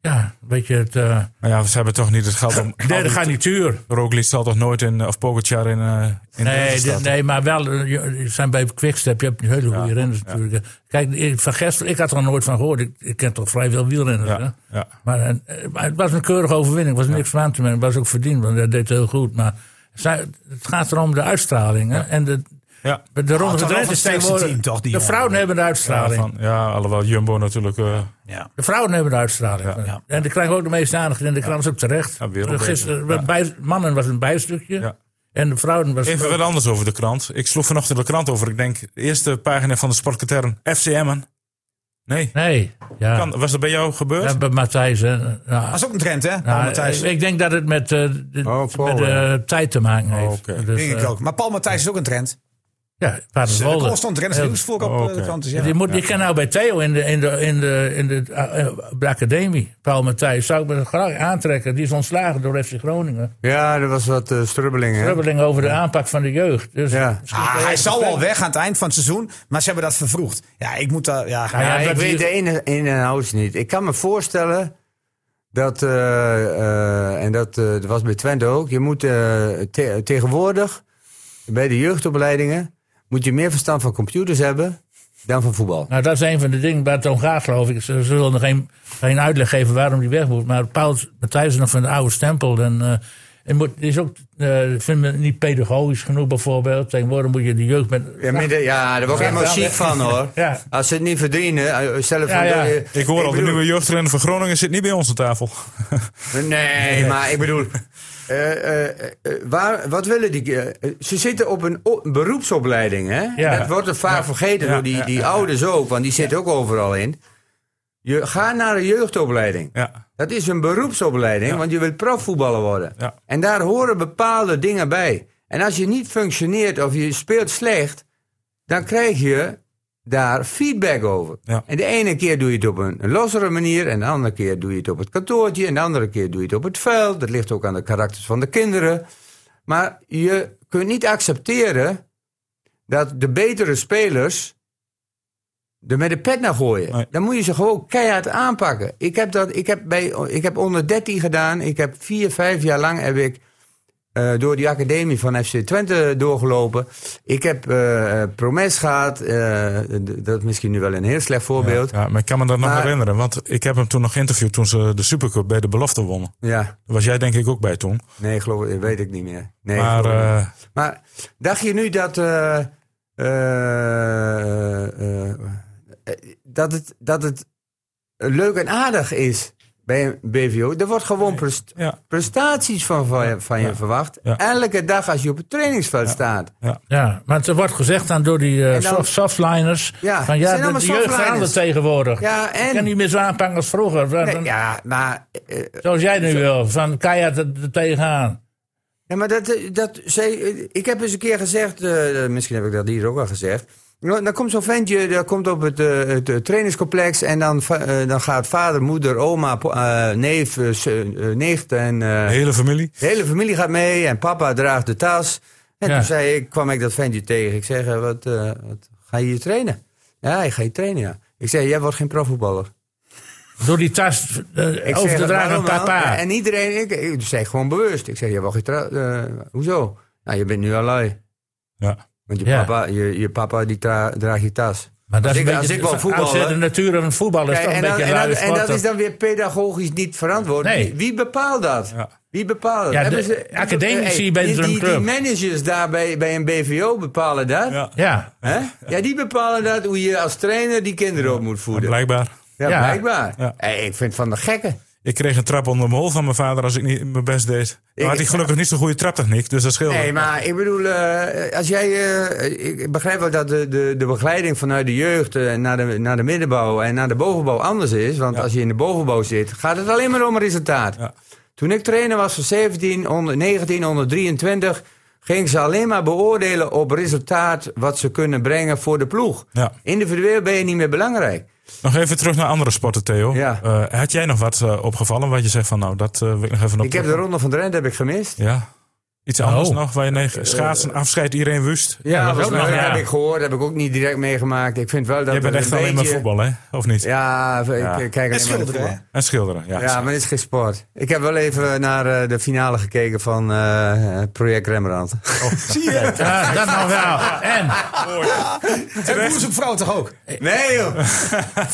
[SPEAKER 1] Ja, weet je, het, eh,
[SPEAKER 2] Maar ja, ze hebben toch niet het geld om...
[SPEAKER 1] de derde garnituur.
[SPEAKER 2] Roglic zal toch nooit in, of Pogacar in, eh in
[SPEAKER 1] Nee,
[SPEAKER 2] Drenthe
[SPEAKER 1] dit-
[SPEAKER 2] starten?
[SPEAKER 1] nee, maar wel, eh, je- je zijn bij Quickstep, je hebt hele goede renners natuurlijk. Kijk, ik- van Gestel, ik had er nog nooit van gehoord. Ik, ik ken toch vrij veel wielrenners. hè?
[SPEAKER 2] Ja, ja.
[SPEAKER 1] Maar, eh, maar het was een keurige overwinning. Het was niks van aan te merken. Het was ook verdiend, want hij deed het heel goed. Maar zij- het gaat erom de uitstraling. Hè? En de,
[SPEAKER 2] Ja.
[SPEAKER 1] de Ronde van
[SPEAKER 6] toch wel
[SPEAKER 1] Drenthe
[SPEAKER 6] het
[SPEAKER 1] is
[SPEAKER 6] sterkste
[SPEAKER 1] tegenwoordig...
[SPEAKER 6] team, toch, die
[SPEAKER 1] de
[SPEAKER 6] jongen?
[SPEAKER 1] vrouwen hebben de
[SPEAKER 2] eh, Ja,
[SPEAKER 1] uitstraling.
[SPEAKER 2] van, ja, alhoewel Jumbo natuurlijk... eh,
[SPEAKER 6] Ja.
[SPEAKER 1] De vrouwen hebben de uitstraling.
[SPEAKER 6] ja.
[SPEAKER 1] En die krijgen ook de meeste aandacht in de krant ook terecht.
[SPEAKER 2] Ja, wereldbeker.
[SPEAKER 1] Gisteren,
[SPEAKER 2] Ja.
[SPEAKER 1] bij, mannen was een bijstukje.
[SPEAKER 2] Ja.
[SPEAKER 1] En de vrouwen was...
[SPEAKER 2] Even wat anders over de krant. Ik sloeg vanochtend de krant over. Ik denk, de eerste pagina van de sportkatern. FCM'en. Nee.
[SPEAKER 1] Nee, ja.
[SPEAKER 2] Kan, was dat bij jou gebeurd?
[SPEAKER 1] Ja, bij Matthijs. hè. Nou,
[SPEAKER 6] Dat is ook een trend, hè? Paul
[SPEAKER 1] nou,
[SPEAKER 6] Oh, Matthijs.
[SPEAKER 1] ik denk dat het met, eh, de,
[SPEAKER 4] Oh, Paul,
[SPEAKER 1] met de
[SPEAKER 4] ja. Oh,
[SPEAKER 1] tijd te maken heeft.
[SPEAKER 2] Oké.
[SPEAKER 1] Dus,
[SPEAKER 6] Denk
[SPEAKER 1] eh,
[SPEAKER 6] ik ook. Maar Paul Matthijs is ook een trend.
[SPEAKER 1] ja,
[SPEAKER 6] Er
[SPEAKER 1] Paderwolde.
[SPEAKER 6] constant renners
[SPEAKER 1] Heel-
[SPEAKER 6] nieuws voor op
[SPEAKER 2] Oh,
[SPEAKER 6] eh,
[SPEAKER 2] oké.
[SPEAKER 6] de kant. Dus
[SPEAKER 1] Die,
[SPEAKER 6] ja.
[SPEAKER 1] moet, die kan nou bij Theo in de, in de, in de, in de, eh, op de academie. Paul Matthijs zou ik me graag aantrekken. Die is ontslagen door FC Groningen.
[SPEAKER 4] Ja, er was wat eh, strubbeling, hè?
[SPEAKER 1] Rubbeling over de aanpak van de jeugd. Dus,
[SPEAKER 4] Ja.
[SPEAKER 6] Ah, hij zou al weg aan het eind van het seizoen, maar ze hebben dat vervroegd. Ja, ik moet daar. Ja,
[SPEAKER 1] ja,
[SPEAKER 4] Ja,
[SPEAKER 1] dat
[SPEAKER 4] ik
[SPEAKER 1] die-
[SPEAKER 4] weet de ene in en outs niet. Ik kan me voorstellen dat, eh, eh, en dat, eh, dat was bij Twente ook, je moet eh, te- tegenwoordig bij de jeugdopleidingen moet je meer verstand van computers hebben dan van voetbal.
[SPEAKER 1] Nou, dat is een van de dingen waar het om gaat, geloof ik. Ze ze willen geen, geen uitleg geven waarom die weg moet. Maar Paul Matthijs is nog van de oude stempel. En, eh, en moet, is ook, eh vind me niet pedagogisch genoeg, bijvoorbeeld. Tegenwoordig moet je de jeugd met...
[SPEAKER 4] Ja, midden- ja daar word ik helemaal ziek van hoor.
[SPEAKER 1] Ja.
[SPEAKER 4] Als ze het niet verdienen, eh, zelf
[SPEAKER 1] Ja, ja.
[SPEAKER 4] eh,
[SPEAKER 2] Ik hoor al, de
[SPEAKER 4] bedoel-
[SPEAKER 2] nieuwe jeugdtrainer van Groningen zit niet bij ons aan tafel.
[SPEAKER 4] Nee, maar ik bedoel. eh, eh, eh, waar, wat willen die? eh, ze zitten op een o- een beroepsopleiding, hè?
[SPEAKER 1] Ja.
[SPEAKER 4] Dat wordt er vaak vergeten door die, die ouders ook, want die zitten ook overal in. Je, ga naar een jeugdopleiding.
[SPEAKER 2] Ja,
[SPEAKER 4] Dat is een beroepsopleiding, want je wilt profvoetballer worden.
[SPEAKER 2] Ja.
[SPEAKER 4] En daar horen bepaalde dingen bij. En als je niet functioneert of je speelt slecht, dan krijg je daar feedback over.
[SPEAKER 2] Ja.
[SPEAKER 4] En de ene keer doe je het op een lossere manier, en de andere keer doe je het op het kantoortje, en de andere keer doe je het op het veld. Dat ligt ook aan de karakters van de kinderen. Maar je kunt niet accepteren dat de betere spelers er met de pet naar gooien.
[SPEAKER 2] Nee.
[SPEAKER 4] Dan moet je ze gewoon keihard aanpakken. Ik heb, dat, ik heb, bij, ik heb onder 13 gedaan. Ik heb vier, vijf jaar lang heb ik, eh, door die academie van FC Twente doorgelopen. Ik heb eh, eh, Promes gehad. eh, d- dat is misschien nu wel een heel slecht voorbeeld. Ja.
[SPEAKER 2] ja, maar ik kan me dat nog
[SPEAKER 4] Maar-
[SPEAKER 2] herinneren. Want ik heb hem toen nog geïnterviewd toen ze de Supercup bij de belofte wonnen. Daar was jij denk ik ook bij toen.
[SPEAKER 4] Nee, geloof ik, weet ik niet meer. Nee,
[SPEAKER 2] maar
[SPEAKER 4] geloof ik niet.
[SPEAKER 2] eh,
[SPEAKER 4] Maar dacht je nu dat. eh, eh, eh, eh, dat, het, dat het leuk en aardig is bij een BVO? Er wordt gewoon prest-
[SPEAKER 2] ja,
[SPEAKER 4] prestaties van, van, je- van je verwacht.
[SPEAKER 2] Ja.
[SPEAKER 4] Elke dag als je op het trainingsveld staat.
[SPEAKER 1] Ja, maar het wordt gezegd dan door die eh,
[SPEAKER 4] En dan-
[SPEAKER 1] soft- softliners...
[SPEAKER 4] Ja,
[SPEAKER 1] van,
[SPEAKER 4] het zijn
[SPEAKER 1] ja de,
[SPEAKER 4] allemaal
[SPEAKER 1] de jeugd
[SPEAKER 4] softliners.
[SPEAKER 1] verandert tegenwoordig.
[SPEAKER 4] Ja, en.
[SPEAKER 1] Ik kan niet meer zo aanpakken als vroeger.
[SPEAKER 4] Nee, ja, maar, eh, eh,
[SPEAKER 1] Zoals jij nu wil, van keihard er, er tegenaan.
[SPEAKER 4] eh, ja, maar dat, eh, dat, zij, eh, ik heb eens een keer gezegd, eh, misschien heb ik dat hier ook al gezegd. Dan komt zo'n ventje, dat komt op het, eh, het eh, trainingscomplex en dan, va- eh, dan gaat vader, moeder, oma, po- eh, neef, eh, z- eh, nicht en... eh,
[SPEAKER 2] De hele familie.
[SPEAKER 4] de hele familie gaat mee en papa draagt de tas. En
[SPEAKER 1] Ja.
[SPEAKER 4] toen zei ik, kwam ik dat ventje tegen. Ik zeg, eh, wat, eh, wat ga je hier trainen? Ja, ik ga hier trainen, ja. Ik zei, jij wordt geen profvoetballer.
[SPEAKER 1] Door die tas eh,
[SPEAKER 4] Ik
[SPEAKER 1] over
[SPEAKER 4] zeg,
[SPEAKER 1] te dragen aan
[SPEAKER 4] "Waarom wel?"
[SPEAKER 1] papa.
[SPEAKER 4] En iedereen, ik, ik zei gewoon bewust. Ik zeg, jij wordt geen tra- eh, Hoezo? Nou, je bent nu al lui.
[SPEAKER 2] Ja.
[SPEAKER 4] Want je
[SPEAKER 1] Ja.
[SPEAKER 4] papa, je, je papa die tra- draagt je tas.
[SPEAKER 1] maar dat
[SPEAKER 4] als
[SPEAKER 1] is
[SPEAKER 4] ik-
[SPEAKER 1] een
[SPEAKER 4] als
[SPEAKER 1] beetje
[SPEAKER 4] ik wou voetballen-
[SPEAKER 1] oudzet de natuur van voetbal is
[SPEAKER 4] Kijk,
[SPEAKER 1] toch een
[SPEAKER 4] en, dan-
[SPEAKER 1] beetje
[SPEAKER 4] en,
[SPEAKER 1] een
[SPEAKER 4] dan-
[SPEAKER 1] luie
[SPEAKER 4] en
[SPEAKER 1] sport.
[SPEAKER 4] dat is
[SPEAKER 1] toch?
[SPEAKER 4] dan weer pedagogisch niet verantwoord.
[SPEAKER 1] Nee.
[SPEAKER 4] Wie, wie bepaalt dat?
[SPEAKER 2] Ja.
[SPEAKER 4] Wie bepaalt dat?
[SPEAKER 1] Ja, de
[SPEAKER 4] Hebben ze-
[SPEAKER 1] academici
[SPEAKER 4] Hey,
[SPEAKER 1] bij
[SPEAKER 4] die,
[SPEAKER 1] zo'n
[SPEAKER 4] die,
[SPEAKER 1] club.
[SPEAKER 4] die managers daar bij, bij een BVO bepalen dat.
[SPEAKER 2] Ja.
[SPEAKER 1] Ja,
[SPEAKER 4] Hè? Ja, die bepalen dat hoe je als trainer die kinderen op moet voeden.
[SPEAKER 2] Blijkbaar.
[SPEAKER 4] Ja,
[SPEAKER 1] Ja.
[SPEAKER 4] blijkbaar.
[SPEAKER 2] Ja.
[SPEAKER 4] Hey, ik vind het van de gekken.
[SPEAKER 2] Ik kreeg een trap onder mijn hol van mijn vader als ik niet mijn best deed. Maar had hij gelukkig niet zo'n goede traptechniek, dus dat scheelde.
[SPEAKER 4] Nee, maar ik bedoel, eh, als jij. eh, ik ik begrijp wel dat de, de, de begeleiding vanuit de jeugd eh, naar, de, naar de middenbouw en naar de bovenbouw anders is. Want als je in de bovenbouw zit, gaat het alleen maar om resultaat.
[SPEAKER 2] Ja.
[SPEAKER 4] Toen ik trainer was van 17, onder, 19, onder 23, ging ze alleen maar beoordelen op resultaat wat ze kunnen brengen voor de ploeg.
[SPEAKER 2] Ja.
[SPEAKER 4] Individueel ben je niet meer belangrijk.
[SPEAKER 2] Nog even terug naar andere sporten, Theo.
[SPEAKER 4] Ja.
[SPEAKER 2] Eh, had jij nog wat eh, opgevallen wat je zegt van nou, dat eh, wil ik nog even op.
[SPEAKER 4] Ik heb de Ronde van Drenthe heb ik gemist.
[SPEAKER 2] Ja. Iets anders
[SPEAKER 1] Oh.
[SPEAKER 2] nog, waar je negen schaatsen, afscheid, iedereen wust.
[SPEAKER 4] Eh, Ja,
[SPEAKER 1] dat
[SPEAKER 4] dat
[SPEAKER 1] was ook nog, ja.
[SPEAKER 4] heb ik gehoord, heb ik ook niet direct meegemaakt. Ik vind wel dat
[SPEAKER 2] Jij bent
[SPEAKER 4] er
[SPEAKER 2] echt
[SPEAKER 4] een
[SPEAKER 2] alleen maar
[SPEAKER 4] beetje-
[SPEAKER 2] voetbal, hè? Of niet?
[SPEAKER 4] Ja, ik eh, kijk alleen maar naar
[SPEAKER 6] schilderen,
[SPEAKER 4] voetbal.
[SPEAKER 6] hè?
[SPEAKER 2] En schilderen, ja.
[SPEAKER 4] Ja, maar dit is geen sport. Ik heb wel even naar eh, de finale gekeken van eh, Project Rembrandt.
[SPEAKER 6] Oh.
[SPEAKER 1] Ja, dat nog wel. En
[SPEAKER 6] En boers op vrouw toch ook?
[SPEAKER 4] Nee joh!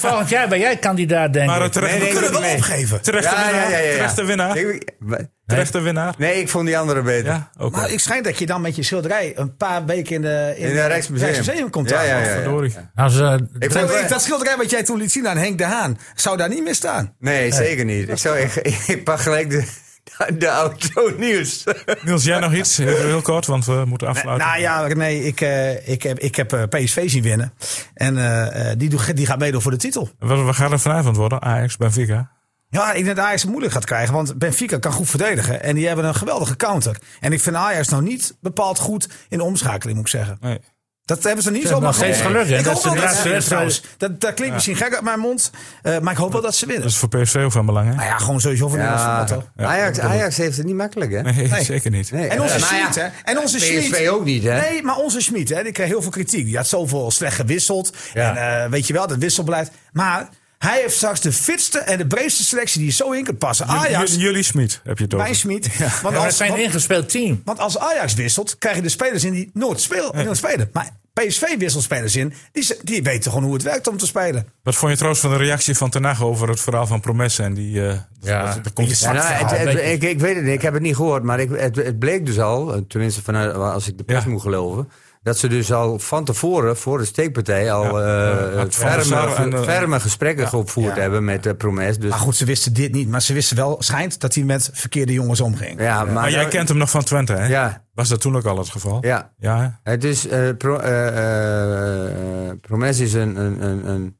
[SPEAKER 1] volgend jaar ben jij kandidaat, denk
[SPEAKER 2] Maar
[SPEAKER 1] ik.
[SPEAKER 2] het terecht,
[SPEAKER 4] Nee, nee,
[SPEAKER 2] we kunnen
[SPEAKER 4] nee,
[SPEAKER 2] wel
[SPEAKER 4] nee.
[SPEAKER 2] opgeven. Terechte
[SPEAKER 4] Ja, ja,
[SPEAKER 2] winnaar.
[SPEAKER 4] ja, ja, ja.
[SPEAKER 2] Terechte winnaar.
[SPEAKER 4] Ik- ik-
[SPEAKER 2] Terechte winnaar.
[SPEAKER 4] nee, ik vond die andere beter.
[SPEAKER 2] Ja, oké.
[SPEAKER 6] Maar ik schijn dat je dan met je schilderij een paar weken eh, in de
[SPEAKER 4] In het Rijksmuseum.
[SPEAKER 6] komt.
[SPEAKER 4] Ja, ja,
[SPEAKER 6] af.
[SPEAKER 4] ja, ja.
[SPEAKER 2] Verdorie.
[SPEAKER 1] Als, eh,
[SPEAKER 4] Ik
[SPEAKER 6] Terwijl
[SPEAKER 4] vond,
[SPEAKER 6] ik- dat schilderij wat jij toen liet zien aan Henk de Haan, zou daar niet meer staan.
[SPEAKER 4] nee, zeker niet. Ik, zou, ik, ik pak gelijk de, de, de auto nieuws.
[SPEAKER 2] Niels, jij nog iets? Heel, heel kort, want we moeten afsluiten.
[SPEAKER 6] Nou ja, nee, ik, eh, ik heb, ik heb eh, PSV zien winnen. En eh, eh, die, doet- die gaat meedoen voor de titel.
[SPEAKER 2] Wat, wat gaat er vanavond worden? Ajax, Benfica.
[SPEAKER 6] Ja, ik denk dat Ajax het moeilijk gaat krijgen. Want Benfica kan goed verdedigen. En die hebben een geweldige counter. En ik vind Ajax nou niet bepaald goed in de omschakeling, moet ik zeggen.
[SPEAKER 2] Nee.
[SPEAKER 6] Dat hebben ze niet
[SPEAKER 1] hebben
[SPEAKER 6] zomaar
[SPEAKER 1] nog steeds
[SPEAKER 6] gedaan.
[SPEAKER 1] geluk, hè?
[SPEAKER 6] Ik
[SPEAKER 1] Dat
[SPEAKER 6] hoop
[SPEAKER 1] ze
[SPEAKER 6] wel
[SPEAKER 1] de
[SPEAKER 6] dat ze
[SPEAKER 1] laatste
[SPEAKER 6] winnen
[SPEAKER 1] wedstrijd-
[SPEAKER 6] trouwens. Dat, dat klinkt misschien gek uit mijn mond. eh, maar ik hoop wel dat ze
[SPEAKER 2] Dat
[SPEAKER 6] winnen.
[SPEAKER 2] is voor PSV ook van belang, hè?
[SPEAKER 6] Nou ja, gewoon sowieso voor Nederlands
[SPEAKER 4] Ja,
[SPEAKER 6] voetbal, toch?
[SPEAKER 4] Ajax, Ajax heeft het niet makkelijk, hè?
[SPEAKER 2] Nee, zeker niet.
[SPEAKER 4] Nee,
[SPEAKER 6] En onze
[SPEAKER 4] eh, maar
[SPEAKER 6] Schmid,
[SPEAKER 4] ja,
[SPEAKER 6] hè? En onze
[SPEAKER 4] PSV
[SPEAKER 6] Schmid.
[SPEAKER 4] ook niet, hè?
[SPEAKER 6] Nee, maar onze Schmid, hè, die kreeg heel veel kritiek. Die had zoveel slecht gewisseld.
[SPEAKER 1] Ja.
[SPEAKER 6] En eh, weet je wel, dat wisselbeleid. Maar hij heeft straks de fitste en de breedste selectie die zo in kunt passen. Ajax,
[SPEAKER 2] J- jullie Smit heb je toch?
[SPEAKER 6] mijn Schmid.
[SPEAKER 1] Ja,
[SPEAKER 6] Want,
[SPEAKER 1] maar het
[SPEAKER 6] als,
[SPEAKER 1] zijn
[SPEAKER 6] want-
[SPEAKER 1] ingespeeld team.
[SPEAKER 6] want als Ajax wisselt, krijg je de spelers in die nooit speel- nooit spelen. Maar PSV wisselt spelers in. Die, ze- die weten gewoon hoe het werkt om te spelen.
[SPEAKER 2] Wat vond je trouwens van de reactie van Ten Hag over het verhaal van Promesse en die... eh,
[SPEAKER 1] Ja.
[SPEAKER 2] dat- dat komt-
[SPEAKER 4] Ja, nou, het- het-
[SPEAKER 1] weet je.
[SPEAKER 4] ik, ik weet het niet, ik heb het niet gehoord, maar ik, het, het bleek dus al, eh, tenminste vanuit, als ik de pers
[SPEAKER 2] Ja.
[SPEAKER 4] moet geloven, dat ze dus al van tevoren voor de steekpartij al eh,
[SPEAKER 2] had Van der
[SPEAKER 4] ferme,
[SPEAKER 2] Sar en, eh,
[SPEAKER 4] ferme gesprekken geopvoerd
[SPEAKER 6] Ja.
[SPEAKER 4] hebben met eh, Promes. Dus,
[SPEAKER 6] Maar goed, ze wisten dit niet. Maar ze wisten wel, schijnt, dat hij met verkeerde jongens omging.
[SPEAKER 4] ja, maar,
[SPEAKER 2] Maar Ah, jij
[SPEAKER 4] nou,
[SPEAKER 2] kent hem nog van Twente, hè?
[SPEAKER 4] Ja.
[SPEAKER 2] Was dat toen ook al het geval?
[SPEAKER 4] Ja.
[SPEAKER 2] Ja, hè?
[SPEAKER 4] Het is, eh, Pro- eh, eh, eh, Promes is een, een, een, een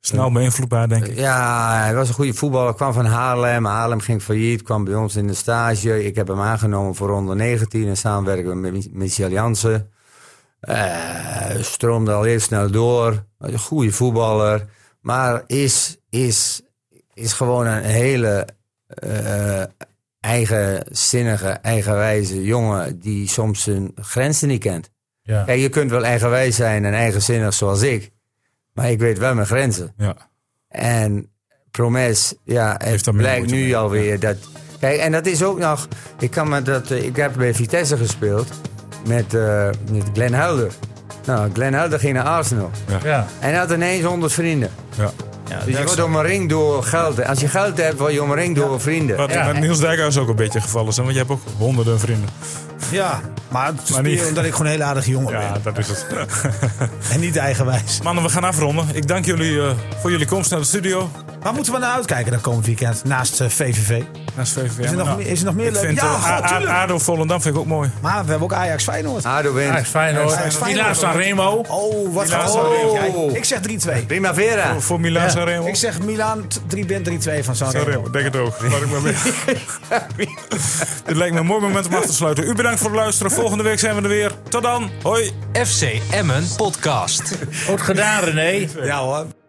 [SPEAKER 2] snel beïnvloedbaar, denk ik.
[SPEAKER 4] Ja, hij was een goede voetballer. Kwam van Haarlem. Haarlem ging failliet. Kwam bij ons in de stage. Ik heb hem aangenomen voor onder 19. En samenwerken met Mi- Michel Jansen. Eh, stroomde al heel snel door. Was een goede voetballer. Maar is, is, is gewoon een hele eh, eigenzinnige, eigenwijze jongen... die soms zijn grenzen niet kent.
[SPEAKER 1] Ja.
[SPEAKER 4] Kijk, je kunt wel eigenwijs zijn en eigenzinnig zoals ik. Maar ik weet wel mijn grenzen.
[SPEAKER 2] Ja.
[SPEAKER 4] En Promes, ja, het
[SPEAKER 2] Heeft daar minder
[SPEAKER 4] blijkt nu
[SPEAKER 2] moeite mee,
[SPEAKER 4] alweer dat... Kijk, en dat is ook nog... Ik, kan me dat, eh, ik heb bij Vitesse gespeeld met, eh, met Glenn Helder. Nou, Glenn Helder ging naar Arsenal.
[SPEAKER 1] Ja.
[SPEAKER 4] En hij had ineens 100 vrienden.
[SPEAKER 2] Ja.
[SPEAKER 4] dus je wordt omringd door geld. Als je geld hebt, word je omringd door vrienden.
[SPEAKER 2] Wat
[SPEAKER 1] Ja.
[SPEAKER 2] met Niels Dijkhuis ook een beetje gevallen is, hè? want je hebt ook honderden vrienden.
[SPEAKER 6] Ja, maar het is
[SPEAKER 2] Maar niet-
[SPEAKER 6] meer omdat ik gewoon een hele aardige jongen
[SPEAKER 2] Ja, dat is het.
[SPEAKER 6] ben. En niet eigenwijs.
[SPEAKER 2] Mannen, we gaan afronden. Ik dank jullie eh, voor jullie komst naar de studio.
[SPEAKER 6] Waar moeten we naar uitkijken dan komend weekend? Naast eh, VVV.
[SPEAKER 2] Naast VVV.
[SPEAKER 6] Is er, nog,
[SPEAKER 2] Nou,
[SPEAKER 6] meer- is er nog meer
[SPEAKER 2] Ik
[SPEAKER 6] leuk?
[SPEAKER 2] vind
[SPEAKER 6] ja,
[SPEAKER 2] eh, A-
[SPEAKER 6] god,
[SPEAKER 2] A-
[SPEAKER 6] tuurlijk.
[SPEAKER 2] ADO Volendam vind ik ook mooi.
[SPEAKER 6] Maar we hebben ook Ajax Feyenoord.
[SPEAKER 4] Ado
[SPEAKER 1] Ajax
[SPEAKER 2] Ah.
[SPEAKER 4] wint.
[SPEAKER 6] Ajax,
[SPEAKER 1] Feyenoord.
[SPEAKER 6] Feyenoord.
[SPEAKER 1] Milan San Remo.
[SPEAKER 6] Oh, wat
[SPEAKER 2] Milaan
[SPEAKER 6] gaat
[SPEAKER 2] zou
[SPEAKER 4] winnen.
[SPEAKER 6] oh. Ik zeg 3-2.
[SPEAKER 4] Primavera.
[SPEAKER 2] Voor Milan
[SPEAKER 1] Ja.
[SPEAKER 2] Sanremo.
[SPEAKER 6] Ik zeg Milaan t- 3 bent 3-2 van San Remo.
[SPEAKER 2] Sanremo, denk het ook. Laat ik maar mee. Dit lijkt me een mooi moment om af te sluiten. U bedankt voor het luisteren. Volgende week zijn we er weer. Tot dan. Hoi.
[SPEAKER 5] FC Emmen Podcast.
[SPEAKER 1] Goed gedaan, René.
[SPEAKER 6] Ja hoor.